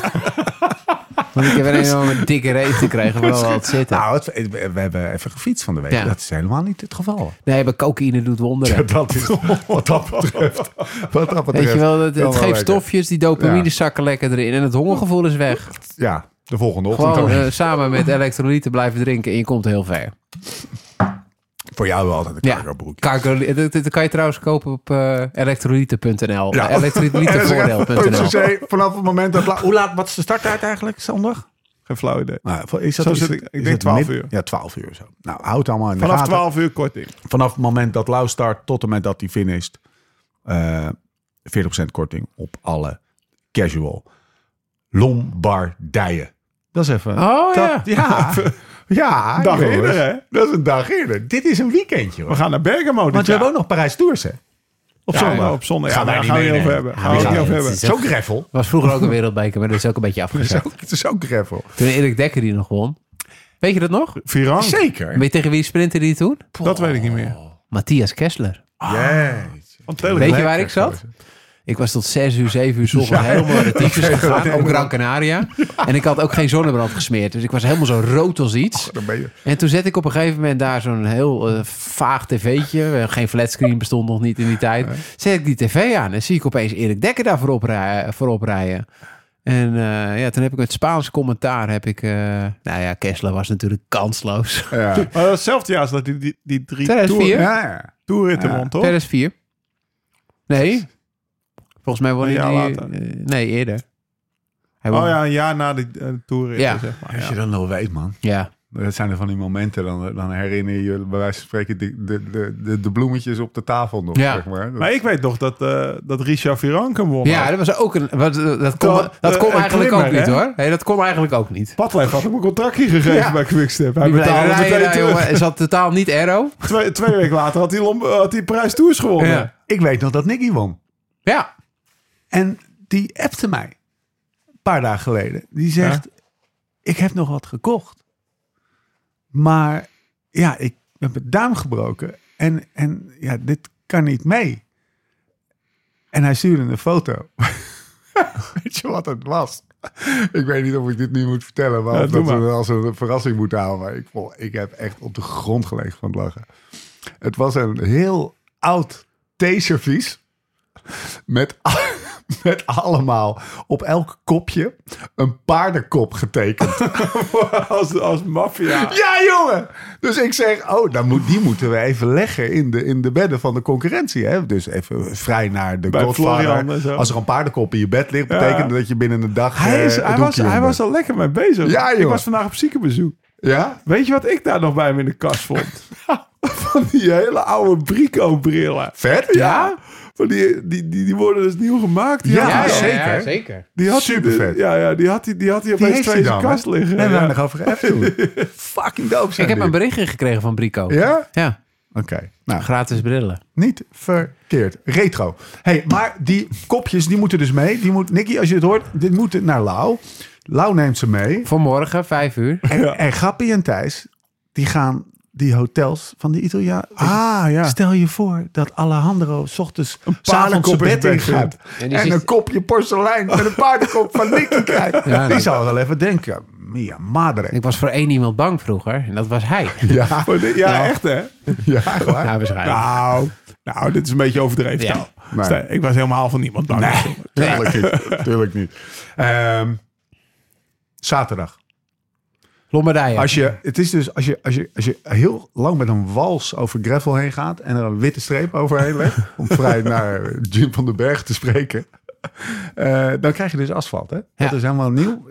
Speaker 3: Want ik heb een enorme dikke reet te krijgen. Vooral al het zitten.
Speaker 1: Nou, het- we, we hebben even gefietst van de week.
Speaker 3: Ja.
Speaker 1: Dat is helemaal niet het geval.
Speaker 3: Nee, maar cocaïne doet wonderen.
Speaker 1: Dat is wat dat betreft. Wat dat betreft.
Speaker 3: Weet je wel, het, het
Speaker 1: wel
Speaker 3: geeft
Speaker 1: lekker.
Speaker 3: stofjes, die dopamine zakken lekker erin. En het hongergevoel is weg.
Speaker 1: Ja, de volgende ochtend.
Speaker 3: Gewoon
Speaker 1: ook.
Speaker 3: eh, samen met elektrolyten blijven drinken en je komt heel ver.
Speaker 1: Voor jou wel altijd een
Speaker 3: Ja,
Speaker 1: cargo broekje.
Speaker 3: cargo, dat, dat kan je trouwens kopen op eh elektrolyten.nl.
Speaker 1: Ja.
Speaker 3: Elektrolytenvoordeel.nl.
Speaker 1: CC, vanaf het moment dat... Hoe laat, wat is de starttijd eigenlijk, zondag?
Speaker 5: Geen flauw idee.
Speaker 1: Nou, is
Speaker 5: Zo zit
Speaker 1: het-
Speaker 5: ik- ik
Speaker 1: is
Speaker 5: denk
Speaker 1: het
Speaker 5: 12 uur.
Speaker 1: Ja, 12 uur zo. Nou, houd allemaal in de
Speaker 5: Vanaf
Speaker 1: gaten.
Speaker 5: 12 uur korting.
Speaker 1: Vanaf het moment dat Lau start tot en met dat hij finisht. eh 40% korting op alle casual. Lombardije. Dat is even...
Speaker 3: Oh
Speaker 1: Dat,
Speaker 3: ja.
Speaker 1: ja. Ja,
Speaker 4: Dag
Speaker 1: jongens.
Speaker 4: eerder, hè?
Speaker 1: Dat is een dag eerder. Dit is een weekendje, hoor.
Speaker 4: We gaan naar Bergamo dit
Speaker 1: Want we
Speaker 4: jaar.
Speaker 1: hebben ook nog Parijs-Tours, hè? Op
Speaker 4: op zondag.
Speaker 1: zondag.
Speaker 4: op zondag. Ja,
Speaker 1: Gaan wij
Speaker 4: daar
Speaker 1: niet
Speaker 4: gaan we het niet over
Speaker 1: meenemen.
Speaker 4: hebben.
Speaker 1: Ja,
Speaker 4: Gaan we
Speaker 1: die
Speaker 4: het niet
Speaker 1: gaan
Speaker 4: over
Speaker 1: we
Speaker 4: hebben.
Speaker 1: niet. Zo'n greffel.
Speaker 3: was vroeger ook een wereldbeker, maar dat is ook een beetje afgezet.
Speaker 1: Zo- Het is ook greffel.
Speaker 3: Toen Erik Dekker die nog won. Weet je dat nog?
Speaker 4: Oh.
Speaker 5: Viran.
Speaker 1: Zeker.
Speaker 3: Weet je tegen wie sprintte die toen?
Speaker 5: Dat weet ik niet meer.
Speaker 1: Oh.
Speaker 3: Matthias Kessler.
Speaker 4: Ah.
Speaker 1: Jeetje.
Speaker 3: Weet je waar ik zat? Ik was tot 6 uur, 7 uur ochtends helemaal naar de tyfus gegaan op Gran Canaria. En ik had ook geen zonnebrand gesmeerd. Dus ik was helemaal zo rood als iets.
Speaker 1: Dan ben je...
Speaker 3: En toen zette ik op een gegeven moment daar zo'n heel eh, vaag tv'tje. Eh, Geen flatscreen bestond nog niet in die tijd. Zet ik die tv aan en zie ik opeens Erik Dekker daar voorop rijden. Voorop rijden. En eh, ja, toen heb ik met Spaans commentaar heb ik... eh, nou ja, Kessler was natuurlijk kansloos.
Speaker 1: Ja.
Speaker 5: Maar dat was Eh, hetzelfde jaar als dat die, die, die drie
Speaker 3: 2004?
Speaker 5: toer-
Speaker 1: Ja.
Speaker 5: toerritten won, toch?
Speaker 3: 2004. Nee. Volgens mij won
Speaker 5: Een
Speaker 3: hij
Speaker 5: jaar
Speaker 3: die...
Speaker 5: later.
Speaker 3: eh, nee, eerder. Hij won-
Speaker 5: Oh ja, een jaar na de eh, toerritten,
Speaker 3: Ja.
Speaker 5: zeg maar.
Speaker 1: Als
Speaker 5: Ja.
Speaker 1: je dat nog weet, man.
Speaker 3: ja.
Speaker 1: Dat zijn er van die momenten. Dan, dan herinner je je bij wijze van spreken de, de, de, de, de bloemetjes op de tafel nog.
Speaker 3: Ja.
Speaker 1: Zeg maar. Dat-
Speaker 5: Maar ik weet nog dat, eh, dat Richard Viran kan won.
Speaker 3: Ja, dat was ook een... wat- Dat, kon,
Speaker 5: Dat,
Speaker 3: dat
Speaker 5: eh,
Speaker 3: kon
Speaker 5: een
Speaker 3: eigenlijk ook
Speaker 5: klimmer,
Speaker 3: niet
Speaker 5: hè?
Speaker 3: hoor. Nee, dat kon eigenlijk ook niet.
Speaker 5: Padlef had hem een contractje gegeven
Speaker 1: Ja.
Speaker 5: bij Quickstep. Hij
Speaker 3: Die bleef
Speaker 5: betaalde
Speaker 3: rijden
Speaker 5: meteen
Speaker 3: daar,
Speaker 5: terug.
Speaker 3: jongen. Hij zat totaal niet aero.
Speaker 5: Twee, twee weken later had hij, Lom- had hij prijs Tours gewonnen.
Speaker 3: Ja.
Speaker 1: ik weet nog dat Nicky won.
Speaker 3: Ja.
Speaker 1: En die appte mij een paar dagen geleden. Die zegt: Ik heb nog wat gekocht. Maar ja, ik heb mijn duim gebroken. En, en ja, dit kan niet mee. En hij stuurde een foto. weet je wat het was? Ik weet niet of ik dit nu moet vertellen, maar
Speaker 5: Ja,
Speaker 1: of
Speaker 5: doe
Speaker 1: dat we
Speaker 5: maar.
Speaker 1: het als een verrassing moeten houden. Maar ik, vond- ik heb echt op de grond gelegen van het lachen. Het was een heel oud theeservies. Met, met allemaal op elk kopje een paardenkop getekend.
Speaker 5: Als, als maffia.
Speaker 1: ja, jongen! Dus ik zeg, oh, dan moet, die moeten we even leggen in de, in de bedden van de concurrentie. Hè? Dus even vrij naar de
Speaker 5: Bij Florian en
Speaker 1: Godfather.
Speaker 5: zo.
Speaker 1: Als er een paardenkop in je bed ligt, betekent dat je binnen een dag...
Speaker 5: Hij, is,
Speaker 1: eh,
Speaker 5: hij,
Speaker 1: het
Speaker 5: was,
Speaker 1: hoekje
Speaker 5: hij
Speaker 1: om
Speaker 5: was
Speaker 1: bent.
Speaker 5: al lekker mee bezig.
Speaker 1: Ja,
Speaker 5: ik
Speaker 1: joh.
Speaker 5: was vandaag op ziekenbezoek.
Speaker 1: Ja?
Speaker 5: Weet je wat ik daar nog bij hem in de kast vond? Van die hele oude Brico-brillen.
Speaker 1: Vet?
Speaker 5: Ja? Van die, die, die, die worden dus nieuw gemaakt. Die
Speaker 1: Ja,
Speaker 5: had hij-
Speaker 1: ja, zeker.
Speaker 3: zeker.
Speaker 5: die had
Speaker 1: supervet.
Speaker 5: Hij, ja, ja, die had hij, die had hij
Speaker 1: Die
Speaker 5: opeens
Speaker 1: heeft hij
Speaker 5: twee in zijn
Speaker 1: dan.
Speaker 5: kast
Speaker 1: Nee,
Speaker 5: liggen.
Speaker 1: we
Speaker 5: Ja.
Speaker 1: hebben nog over gehad toen. Fucking dope
Speaker 3: Ik
Speaker 1: zijn
Speaker 3: heb
Speaker 1: die.
Speaker 3: een berichtje gekregen van Brico.
Speaker 1: Ja?
Speaker 3: Ja,
Speaker 1: Oké. Nou,
Speaker 3: gratis brillen.
Speaker 1: Niet verkeerd. Retro. hey, maar die kopjes die moeten dus mee. Die moet, Nicky, als je het hoort, dit moet naar Lau. Lau neemt ze mee.
Speaker 3: Vanmorgen, vijf uur.
Speaker 1: En, en Grappie en Thijs, die gaan die hotels van de Italiaan.
Speaker 5: Ah, ja.
Speaker 1: Stel je voor dat Alejandro s ochtends s'avonds zijn
Speaker 5: paardenkop
Speaker 1: bed
Speaker 5: in zijn
Speaker 1: ingaat.
Speaker 5: bed
Speaker 3: En
Speaker 1: En,
Speaker 3: die zit-
Speaker 1: een kopje porselein met een paardenkop van Nicky krijgt.
Speaker 3: Ja,
Speaker 1: die
Speaker 3: dat-
Speaker 1: zou wel even denken, mia madre.
Speaker 3: Ik was voor één iemand bang vroeger en dat was hij.
Speaker 1: Ja,
Speaker 5: Maar Oh, dit-
Speaker 1: Nou.
Speaker 5: ja, echt hè?
Speaker 1: ja, waar.
Speaker 3: Ja, waarschijnlijk.
Speaker 5: Nou, nou, dit is een beetje overdreven.
Speaker 3: Ja.
Speaker 5: taal.
Speaker 1: Nee.
Speaker 5: Stel, Ik was helemaal van niemand bang.
Speaker 1: Tuurlijk niet. Tuurlijk niet. Ehm, zaterdag.
Speaker 3: Lombardije.
Speaker 1: Als je, het is dus als je, als, je, als je heel lang met een wals over gravel heen gaat en er een witte streep overheen legt, om vrij naar Jim van den Berg te spreken, eh, dan krijg je dus asfalt. Hè? Dat
Speaker 3: Ja.
Speaker 1: is helemaal nieuw.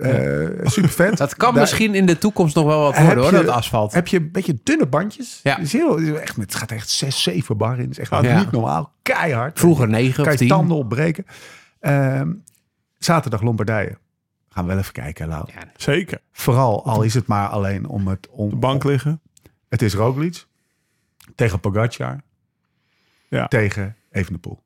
Speaker 1: super vet.
Speaker 3: Dat kan misschien in de toekomst nog wel wat
Speaker 1: Heb
Speaker 3: worden hoor,
Speaker 1: je-
Speaker 3: dat asfalt.
Speaker 1: Heb je een beetje dunne bandjes?
Speaker 3: Ja.
Speaker 1: Het, is heel, het is echt, het gaat echt 6, 7 bar in. Het is echt
Speaker 3: Ja.
Speaker 1: niet normaal. Keihard.
Speaker 3: Vroeger negen
Speaker 1: kan
Speaker 3: of
Speaker 1: je
Speaker 3: tien.
Speaker 1: tanden opbreken. Ehm, zaterdag Lombardije. Gaan we wel even kijken, Lau.
Speaker 5: Zeker.
Speaker 1: Vooral al is het maar alleen om het... Om,
Speaker 5: Op de bank liggen.
Speaker 1: Het is Roglic tegen Pogacar
Speaker 5: Ja.
Speaker 1: tegen Evenepoel.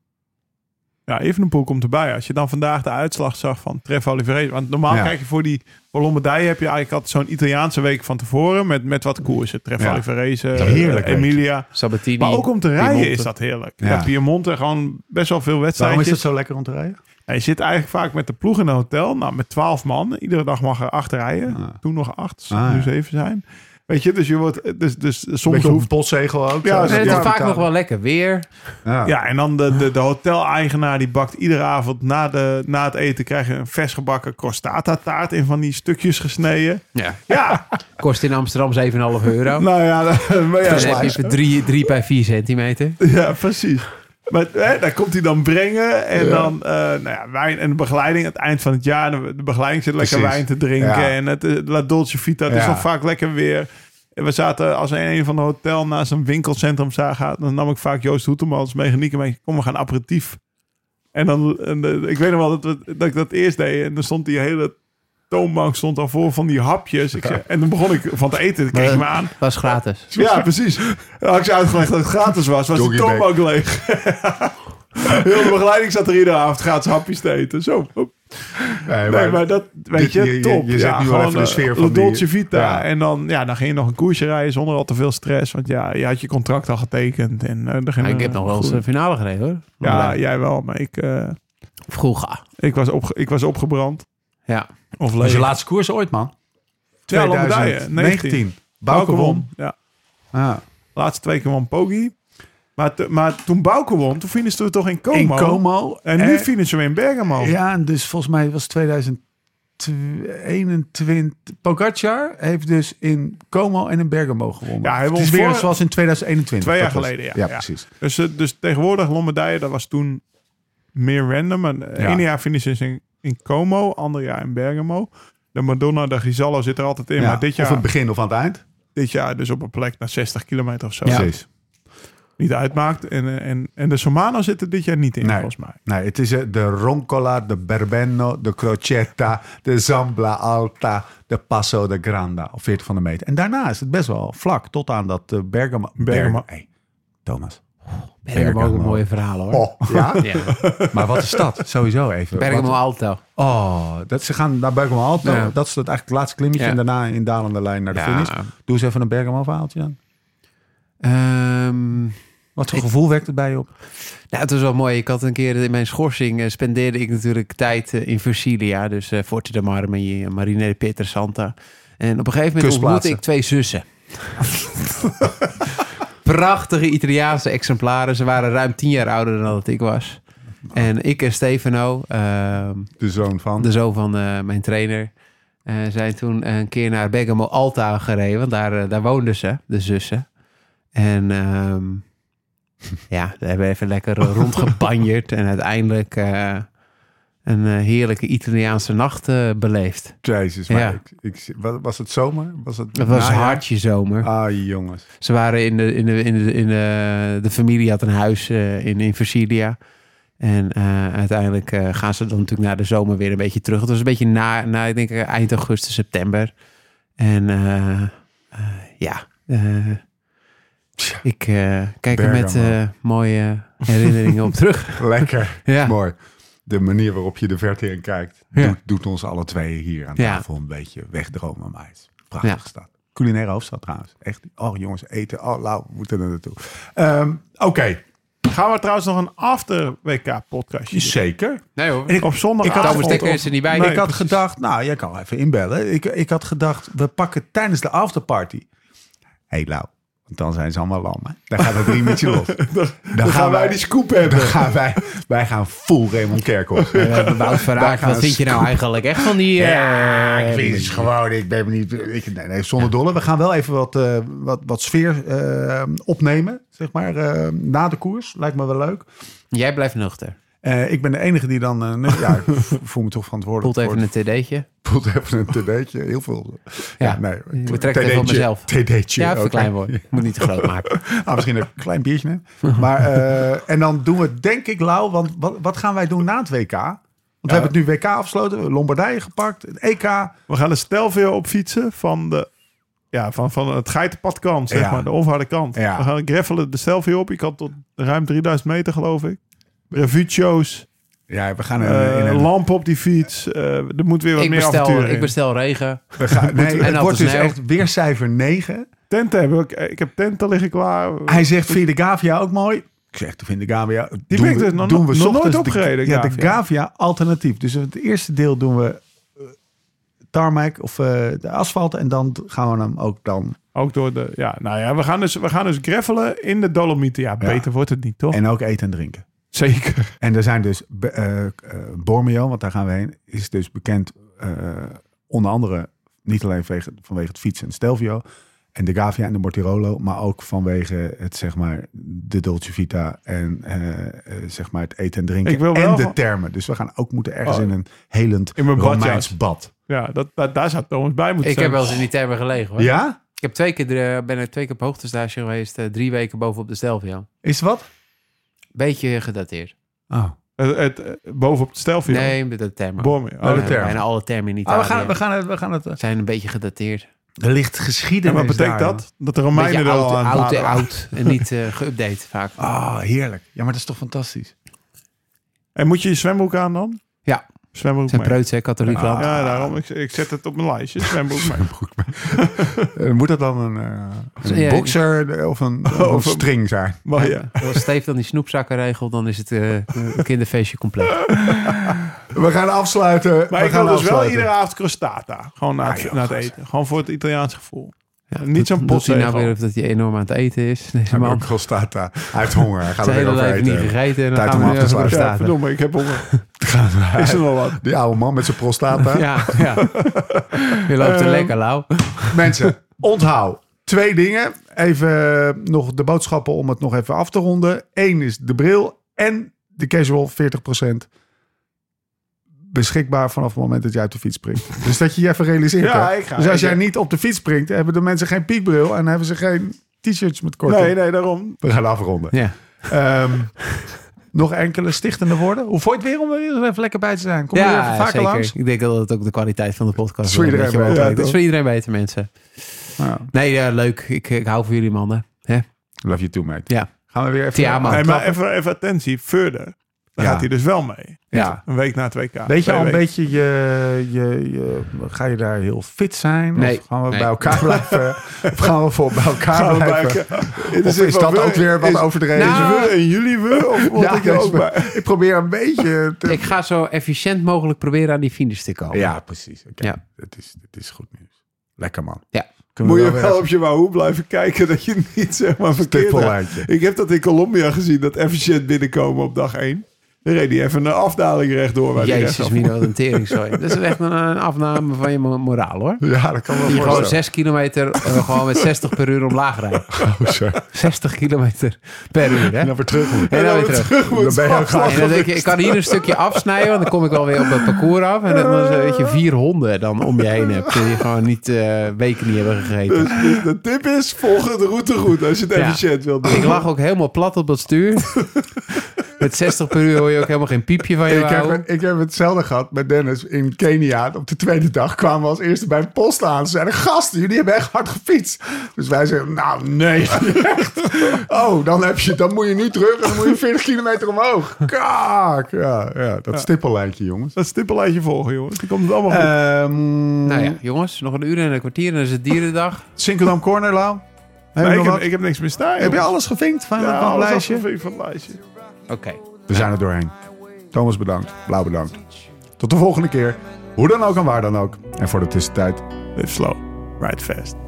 Speaker 5: Ja, Evenepoel komt erbij. Als je dan vandaag de uitslag zag van Tref Oliveira. Want normaal
Speaker 1: Ja.
Speaker 5: kijk je voor die voor Lombardije heb je eigenlijk altijd zo'n Italiaanse week van tevoren. Met, met wat koersen. Tref
Speaker 1: Ja.
Speaker 5: Oliveira, eh,
Speaker 1: Heerlijk weekje.
Speaker 5: Emilia.
Speaker 3: Sabatini.
Speaker 5: Maar ook om te rijden
Speaker 3: Piemonte.
Speaker 5: is dat heerlijk.
Speaker 1: Ja.
Speaker 5: Ja. Piemonte gewoon best wel veel
Speaker 1: Waarom is
Speaker 5: wedstrijdjes.
Speaker 1: het zo lekker om te rijden?
Speaker 5: Hij zit eigenlijk vaak met de ploeg in een hotel. Nou, met twaalf man. Iedere dag mag er acht rijden. Toen nog acht. zal
Speaker 1: Ah,
Speaker 5: nu
Speaker 1: ja.
Speaker 5: zeven zijn. Weet je, dus je wordt... Dus, dus soms
Speaker 1: Beetje op een
Speaker 5: hoeft...
Speaker 1: postzegel ook. eh,
Speaker 5: Ja,
Speaker 1: zo.
Speaker 5: dat
Speaker 3: Nee, het
Speaker 5: Ja,
Speaker 3: is vaak
Speaker 1: betalen.
Speaker 3: nog wel lekker. Weer.
Speaker 1: Ja.
Speaker 5: Ja, en dan de, de, de hoteleigenaar die bakt iedere avond na, de, na het eten... krijg je een vers gebakken crostata taart in van die stukjes gesneden.
Speaker 3: Ja.
Speaker 5: Ja,
Speaker 3: Kost in Amsterdam 7,5 euro.
Speaker 5: nou ja, maar ja,
Speaker 3: Dan heb je voor drie, drie bij 4 centimeter.
Speaker 5: ja precies. Maar hè, daar komt hij dan brengen. En dan eh, nou ja, wijn en de begeleiding. Het eind van het jaar, de, de begeleiding zit lekker
Speaker 1: Precies.
Speaker 5: wijn te drinken.
Speaker 1: Ja.
Speaker 5: En het eh, La Dolce Vita, het is
Speaker 1: Ja.
Speaker 5: nog vaak lekker weer. En we zaten, als we in een van de hotel naast een winkelcentrum zagen... dan nam ik vaak Joost Hoeteman als mechaniek mee. Kom, we gaan aperitief. En dan, en, eh, ik weet nog wel dat, we, dat ik dat eerst deed. En dan stond die hele toonbank stond al voor van die hapjes. Ik zei, en dan begon ik van te eten. Dan keek je me aan.
Speaker 3: was gratis.
Speaker 5: Ja, precies. Dan had ik ze uitgelegd dat het gratis was. Was de
Speaker 1: Joggingback.
Speaker 5: toonbank leeg. Heel de begeleiding zat er iedere avond gratis hapjes te eten. Zo, hop.
Speaker 1: Nee,
Speaker 5: Nee, maar dat, weet
Speaker 1: dit-
Speaker 5: je,
Speaker 1: je- je-
Speaker 5: top.
Speaker 1: je zet
Speaker 5: ja,
Speaker 1: nu wel
Speaker 5: gewoon,
Speaker 1: even de
Speaker 5: eh,
Speaker 1: sfeer
Speaker 5: La
Speaker 1: van die-
Speaker 5: Dolce Vita.
Speaker 1: Ja.
Speaker 5: En dan, ja, dan ging je nog een koersje rijden zonder al te veel stress. Want ja, je had je contract al getekend. En, eh, er ging,
Speaker 3: Ja, ik
Speaker 5: eh,
Speaker 3: heb nog wel eens eh,
Speaker 5: goed.
Speaker 3: een finale gereden hoor.
Speaker 5: Ja, jij wel, maar ik, eh,
Speaker 3: Vroeger.
Speaker 5: ik, was, opge ik was opgebrand.
Speaker 3: Ja.
Speaker 5: Of
Speaker 9: Dat is je
Speaker 5: leeg.
Speaker 9: laatste koers ooit, man.
Speaker 5: Twee medaillen. 19.
Speaker 10: 19.
Speaker 5: Bouke
Speaker 10: Bouke won.
Speaker 5: Ja,
Speaker 10: Ah.
Speaker 5: laatste twee keer won Pogi. Maar, te- maar toen Bouke won, toen finishten we toch in Como.
Speaker 10: In Como.
Speaker 5: En nu
Speaker 10: Eh,
Speaker 5: finishen we in Bergamo.
Speaker 10: Ja, en dus volgens mij was 2021. Pogacar heeft dus in Como en in Bergamo gewonnen.
Speaker 5: Ja, hij
Speaker 10: het
Speaker 5: won
Speaker 10: is weer
Speaker 5: voor-
Speaker 10: zoals in 2021.
Speaker 5: Twee jaar
Speaker 10: Dat was-
Speaker 5: geleden, ja.
Speaker 10: Ja,
Speaker 5: Ja.
Speaker 10: precies.
Speaker 5: Dus, eh, dus tegenwoordig Lombardije, dat was toen meer random. En eh,
Speaker 10: Ja.
Speaker 5: ene jaar finishen ze in, in Como, ander jaar in Bergamo. De Madonna, de Grisallo zit er altijd
Speaker 1: Ja,
Speaker 5: in. Maar dit
Speaker 1: Of aan
Speaker 5: jaar,
Speaker 1: het begin of aan het eind.
Speaker 5: dit jaar dus op een plek naar 60 kilometer of zo.
Speaker 1: Precies.
Speaker 5: Niet uitmaakt. En, eh, en, en de Somano zit er dit jaar niet in,
Speaker 1: Nee.
Speaker 5: volgens mij.
Speaker 1: Nee, het is eh, de Roncola, de Berbenno, de Crocetta, de Zambla Alta, de Passo de Granda. Op 40 van de meter. En daarna is het best wel vlak tot aan dat eh, Bergamo.
Speaker 5: Bergamo.
Speaker 1: Ber- hey, Thomas.
Speaker 3: Bergamo ook een mooie verhaal hoor.
Speaker 1: Oh, ja?
Speaker 3: Ja.
Speaker 1: maar wat is dat? Sowieso even.
Speaker 3: Bergamo
Speaker 1: Wat-
Speaker 3: Alto.
Speaker 1: Oh, dat, ze gaan naar Bergamo Alto.
Speaker 3: Ja.
Speaker 1: Dat is het, eigenlijk het laatste klimmetje.
Speaker 3: Ja.
Speaker 1: En daarna in dalende lijn naar de
Speaker 3: Ja.
Speaker 1: finish. Doe eens even een Bergamo verhaaltje dan.
Speaker 3: Ehm,
Speaker 1: Wat voor gevoel wekt het bij je op?
Speaker 3: Nou, het was wel mooi. Ik had een keer in mijn schorsing eh, spendeerde ik natuurlijk tijd eh, in Versilia. Dus eh Forte de Marmi, Marine de Pietrasanta. En op een gegeven moment ontmoette
Speaker 1: Kustplaatsen.
Speaker 3: ik twee zussen. Prachtige Italiaanse exemplaren. Ze waren ruim tien jaar ouder dan dat ik was. En ik en Stefano, ehm,
Speaker 1: De zoon van.
Speaker 3: de zoon van eh, mijn trainer, eh, zijn toen een keer naar Bergamo Alta gereden. Want daar, eh, daar woonden ze, de zussen. En ehm, ja, daar hebben we even lekker rondgebanjerd. en uiteindelijk eh, een eh, heerlijke Italiaanse nacht eh, beleefd.
Speaker 1: Jezus, maar
Speaker 3: Ja.
Speaker 1: ik, ik, wa- was het zomer? Was het,
Speaker 3: Het was
Speaker 1: najaar?
Speaker 3: hartje zomer.
Speaker 1: Ah, jongens.
Speaker 3: Ze waren in de, in de, in de, in de, de familie had een huis eh, in, in Versilia. En eh, uiteindelijk eh, gaan ze dan natuurlijk na de zomer weer een beetje terug. Het was een beetje na, na ik denk eh, eind augustus, september. En eh, eh, ja, eh, ik eh, kijk er met
Speaker 1: Bergamo.
Speaker 3: eh, mooie herinneringen op terug.
Speaker 1: Lekker.
Speaker 3: Ja.
Speaker 1: Mooi. De manier waarop je de verte in kijkt,
Speaker 3: Ja.
Speaker 1: doet, doet ons alle twee hier aan
Speaker 3: Ja.
Speaker 1: tafel een beetje wegdromen. Maar het is een prachtige
Speaker 3: Ja.
Speaker 1: stad. Culinaire hoofdstad trouwens. Echt. Oh, jongens, eten. Oh, nou, we moeten er naartoe. Ehm, Oké,
Speaker 5: Gaan we trouwens nog een after-WK-podcastje doen?
Speaker 1: zeker.
Speaker 3: Nee hoor,
Speaker 5: Op zondag.
Speaker 1: ik had-
Speaker 3: Thomas Dekker is er niet bij.
Speaker 5: Nee,
Speaker 1: ik had
Speaker 5: precies.
Speaker 1: gedacht, nou, jij kan wel even inbellen. Ik, ik had gedacht, we pakken tijdens de afterparty. Hé, hey, Lau, want dan zijn ze allemaal lam, hè? Dan gaat het riemetje los. Dan,
Speaker 5: gaan wij die
Speaker 1: scoop hebben. Dan gaan wij, wij gaan full Raymond Kerkhoff.
Speaker 3: Eh, Wout
Speaker 1: Daar
Speaker 3: Verhaak,
Speaker 1: gaan
Speaker 3: wat vind je nou eigenlijk echt van die... eh,
Speaker 1: Ja, ik vind het gewoon, ik ben niet, ik, nee, nee, zonder dolle. We gaan wel even wat, eh, wat, wat sfeer eh, opnemen, zeg maar, eh, na de koers. Lijkt me wel leuk.
Speaker 3: Jij blijft nuchter.
Speaker 1: Eh, ik ben de enige die dan, eh, nee, ja, ik voel me toch verantwoordelijk.
Speaker 3: Voelt even
Speaker 1: voor
Speaker 3: een
Speaker 1: het-
Speaker 3: TD'tje.
Speaker 1: voelt even een td'tje, heel veel.
Speaker 3: Ja,
Speaker 1: nee,
Speaker 3: ik betrek het
Speaker 1: TD'tje,
Speaker 3: op mezelf.
Speaker 1: TD'tje.
Speaker 3: Ja,
Speaker 1: oké.
Speaker 3: verklein worden. Moet niet te groot maken.
Speaker 1: Ah, misschien een klein biertje nemen. Maar, eh, en dan doen we het, denk ik, Lau, want wat, wat gaan wij doen na het WK? Want we hebben het nu WK afgesloten, we hebben Lombardije gepakt, het E EK.
Speaker 5: We gaan de stelveel op fietsen van, de, ja, van, van het geitenpad kant, zeg
Speaker 1: Ja.
Speaker 5: maar. De onverharde kant.
Speaker 1: Ja.
Speaker 5: We gaan greffelen de stelveel op. Je kan tot ruim 3000 meter, geloof ik. Revue shows,
Speaker 1: Ja, we gaan
Speaker 5: eh, lamp op die fiets. eh, er moet weer wat
Speaker 3: Ik
Speaker 5: meer
Speaker 3: bestel,
Speaker 5: avontuur
Speaker 3: ik
Speaker 5: in.
Speaker 3: bestel regen.
Speaker 1: We gaan, nee, het
Speaker 3: altijd
Speaker 1: wordt dus
Speaker 3: sneeuw.
Speaker 1: echt weer cijfer 9.
Speaker 5: Tenten heb ik. eh, Ik heb tenten liggen klaar.
Speaker 1: Hij zegt, vind je de Gavia ook mooi? Ik zeg, vind de Gavia...
Speaker 5: Die
Speaker 1: doen
Speaker 5: ben ik
Speaker 1: we-
Speaker 5: dus nog-
Speaker 1: doen we
Speaker 5: nog
Speaker 1: ochtends
Speaker 5: nooit
Speaker 1: de-
Speaker 5: opgereden,
Speaker 1: Ja, de
Speaker 5: Gavia.
Speaker 1: Gavia alternatief. Dus het eerste deel doen we eh, tarmac of eh, de asfalt. En dan gaan we hem ook dan...
Speaker 5: Ook door de... Ja, nou ja, we gaan dus, we gaan dus greffelen in de Dolomieten. Ja, beter wordt het niet, toch?
Speaker 1: En ook eten en drinken.
Speaker 5: Zeker.
Speaker 1: En er zijn dus... be- eh, eh, Bormio, want daar gaan we heen, is dus bekend eh, onder andere... Niet alleen vanwege, vanwege het fietsen en Stelvio... En de Gavia en de Mortirolo, maar ook vanwege het, zeg maar, de Dolce Vita en eh, eh, zeg maar het eten en drinken.
Speaker 5: Ik wil wel
Speaker 1: en de
Speaker 5: gewoon-
Speaker 1: termen. Dus we gaan ook moeten ergens
Speaker 5: Oh.
Speaker 1: in een helend
Speaker 5: In mijn badjas.
Speaker 1: Romeins bad.
Speaker 5: Ja, dat, dat- daar zou Thomas bij moeten
Speaker 3: Ik
Speaker 5: zijn.
Speaker 3: heb wel eens in die termen gelegen hoor.
Speaker 1: Ja?
Speaker 3: Ik heb twee keer, eh, ben er twee keer op hoogtestage geweest. eh, drie weken bovenop de Stelvio.
Speaker 1: Is het wat?
Speaker 3: Beetje gedateerd.
Speaker 1: Oh.
Speaker 5: Het, het, eh, bovenop het stelvio.
Speaker 3: Nee, met de termen.
Speaker 5: Bormio.
Speaker 3: Ja,
Speaker 5: Oh,
Speaker 11: term.
Speaker 3: Bijna alle termen in
Speaker 11: Ah,
Speaker 3: Italië
Speaker 11: we gaan, we gaan het... We gaan het eh,
Speaker 3: zijn een beetje gedateerd.
Speaker 11: er ligt geschiedenis
Speaker 5: en wat betekent
Speaker 11: daar,
Speaker 5: dat? Dat de
Speaker 3: Een
Speaker 5: Romeinen
Speaker 3: beetje
Speaker 5: er
Speaker 3: oud,
Speaker 5: al aan
Speaker 3: oud,
Speaker 5: het
Speaker 3: en
Speaker 5: waren.
Speaker 3: oud en niet eh geüpdate vaak.
Speaker 11: joh. Ah, heerlijk. Ja, maar dat is toch fantastisch.
Speaker 5: En moet je je zwembroek aan dan?
Speaker 3: Ja.
Speaker 5: Zwembroek
Speaker 3: Zijn
Speaker 5: mee.
Speaker 3: preuts, hè, katholiek land.
Speaker 5: Ja, daarom. Ik, ik zet het op mijn lijstje. Zwembroek mee.
Speaker 1: Eh, Moet dat dan een, eh, een
Speaker 3: Ja,
Speaker 1: boxer eh, of een, of een
Speaker 5: Of een-
Speaker 1: string zijn?
Speaker 5: Maar ja.
Speaker 3: Als Steve dan die snoepzakken regelt, dan is het eh, het kinderfeestje compleet.
Speaker 1: We gaan afsluiten.
Speaker 5: Maar
Speaker 1: we
Speaker 5: ik
Speaker 1: gaan
Speaker 5: wil dus wel
Speaker 1: afsluiten.
Speaker 5: iedere avond crostata. Gewoon naar, het-
Speaker 1: Ah, joh,
Speaker 5: naar het
Speaker 1: gast.
Speaker 5: eten. Gewoon voor het Italiaans gevoel.
Speaker 3: Ja,
Speaker 5: Niet
Speaker 3: doet-
Speaker 5: zo'n
Speaker 3: Doet hij nou
Speaker 5: postzegel.
Speaker 3: weer of dat hij enorm aan het eten is, deze
Speaker 1: Hij
Speaker 3: man.
Speaker 1: man. Constata. Hij heeft honger. Hij gaat er
Speaker 3: Zijn
Speaker 1: weer
Speaker 3: hele
Speaker 1: over
Speaker 3: leven niet
Speaker 1: eten.
Speaker 3: gegeten en dan
Speaker 1: Tijd
Speaker 3: gaan
Speaker 1: om
Speaker 3: we
Speaker 1: af
Speaker 3: nu
Speaker 1: te
Speaker 3: even
Speaker 1: sluiten.
Speaker 5: Ja,
Speaker 3: prestaten.
Speaker 5: verdomme. Ik heb honger. Is er nog wat?
Speaker 1: Die oude man met zijn prostata.
Speaker 3: Ja, ja. Je loopt
Speaker 1: Eh,
Speaker 3: er lekker lauw.
Speaker 1: Mensen, onthoud. Twee dingen. Even eh, nog de boodschappen om het nog even af te ronden. Eén is de bril en de casual 40%. Beschikbaar vanaf het moment dat jij uit de fiets springt. Dus dat je je even realiseert.
Speaker 5: Ja,
Speaker 1: hè?
Speaker 5: ik ga.
Speaker 1: dus als
Speaker 5: Ik-
Speaker 1: jij niet op de fiets springt, hebben de mensen geen piekbril en hebben ze geen t-shirts met korting. Ah,
Speaker 5: Nee, nee, daarom.
Speaker 1: We gaan afronden.
Speaker 3: Ja.
Speaker 1: Ehm, nog enkele stichtende woorden. Hoe vond je het weer om er weer even lekker bij te zijn? Kom er weer even vaker
Speaker 3: zeker.
Speaker 1: langs.
Speaker 3: Ik denk dat het ook de kwaliteit van de podcast
Speaker 1: is voor
Speaker 3: wel een
Speaker 1: iedereen
Speaker 3: beetje
Speaker 1: beter,
Speaker 3: wordt.
Speaker 1: ja,
Speaker 3: Het is
Speaker 1: toch?
Speaker 3: voor iedereen beter, mensen. Nee, ja, leuk. Ik, eh, ik hou van jullie mannen. Hè?
Speaker 1: Love you too, mate.
Speaker 3: Ja.
Speaker 1: Gaan we weer even...
Speaker 3: Tja, man.
Speaker 5: Nee, maar even, even attentie. Further. Daar
Speaker 1: Ja.
Speaker 5: gaat hij dus wel mee.
Speaker 1: Ja.
Speaker 5: Een week na het WK.
Speaker 1: Weet je
Speaker 5: Twee
Speaker 1: al een
Speaker 5: weken.
Speaker 1: beetje je, je, je... Ga je daar heel fit zijn?
Speaker 3: Nee.
Speaker 1: Of gaan we
Speaker 3: Nee.
Speaker 1: bij elkaar blijven? of gaan we voor bij elkaar
Speaker 5: Gaan we
Speaker 1: blijven?
Speaker 5: bij-
Speaker 1: Of
Speaker 5: zit
Speaker 1: is
Speaker 5: wel
Speaker 1: dat ook weer wat
Speaker 5: is- Nou-
Speaker 1: overdreven?
Speaker 5: Is we en jullie we? Of word
Speaker 1: ja,
Speaker 5: ik er
Speaker 1: dus
Speaker 5: ook
Speaker 1: we-
Speaker 5: bij?
Speaker 1: ik probeer een beetje te...
Speaker 3: Ik ga zo efficiënt mogelijk proberen aan die finish te komen.
Speaker 1: Ja, precies. Oké.
Speaker 3: Ja.
Speaker 1: Het, is, het is goed nieuws. Lekker, man.
Speaker 3: Ja.
Speaker 1: Kunnen
Speaker 5: Moet
Speaker 1: we
Speaker 5: je
Speaker 1: weer
Speaker 5: wel
Speaker 1: even-
Speaker 5: op je wahoo blijven kijken dat je niet zeg maar verkeerd
Speaker 1: Stippellijntje.
Speaker 5: raakt. Ik heb dat in Colombia gezien, dat efficiënt binnenkomen op dag 1. Dan reed hij even een afdaling rechtdoor. Waar die
Speaker 3: Jezus,
Speaker 5: rechtsaf-
Speaker 3: Mino, wat een teringzooi. Dat is echt een, eh, een afname van je mo- moraal, hoor.
Speaker 1: Ja, dat kan wel
Speaker 3: Die gewoon
Speaker 1: voorstellen.
Speaker 3: 6 kilometer eh, gewoon met 60 per uur omlaag rijden.
Speaker 1: Oh, sorry.
Speaker 3: 60 kilometer per uur, hè?
Speaker 1: En dan weer terug. moet.
Speaker 3: En dan weer
Speaker 5: weer
Speaker 3: terug.
Speaker 5: terug moet
Speaker 1: Dan ben je ook
Speaker 5: afslagen.
Speaker 3: En dan denk je, ik kan hier een stukje afsnijden, want dan kom ik alweer op dat parcours af. En dan is, eh, weet je, vier honden dan om je heen hebt, die je gewoon niet eh, weken niet hebben gegeten.
Speaker 5: Dus, dus de tip is, volg het route goed als je het
Speaker 3: Ja.
Speaker 5: efficiënt wilt doen.
Speaker 3: Ik lag ook helemaal plat op dat stuur. Met 60 per uur hoor je ook helemaal geen piepje van je
Speaker 1: Ik heb,
Speaker 3: wou.
Speaker 1: ik heb hetzelfde gehad met Dennis in Kenia. Op de tweede dag kwamen we als eerste bij een post aan. Ze zeiden, gasten, jullie hebben echt hard gefietst. Dus wij zeiden, nou nee, niet echt. Oh, dan, heb je, dan moet je nu terug en dan moet je 40 kilometer omhoog. Kaak. Ja, ja dat stippellijntje, jongens. Eh,
Speaker 5: Dat stippellijntje volgen, jongens. Dan komt het allemaal goed.
Speaker 1: ehm,
Speaker 3: Nou ja, jongens, nog een uur en een kwartier en dan is het dierendag.
Speaker 1: Sinkeldam Corner, Lau. Heb,
Speaker 5: Nee,
Speaker 1: je
Speaker 5: ik,
Speaker 1: nog
Speaker 5: heb,
Speaker 1: wat?
Speaker 5: ik heb niks meer staan.
Speaker 1: heb je
Speaker 5: jongens.
Speaker 1: alles gevinkt van
Speaker 5: Ja,
Speaker 1: van het
Speaker 5: alles
Speaker 1: lijstje?
Speaker 5: afgevinkt van het lijstje?
Speaker 3: Oké.
Speaker 1: We zijn er doorheen. Thomas bedankt, Blauw bedankt. Tot de volgende keer. Hoe dan ook en waar dan ook. En voor de tussentijd...
Speaker 5: Live slow, ride fast.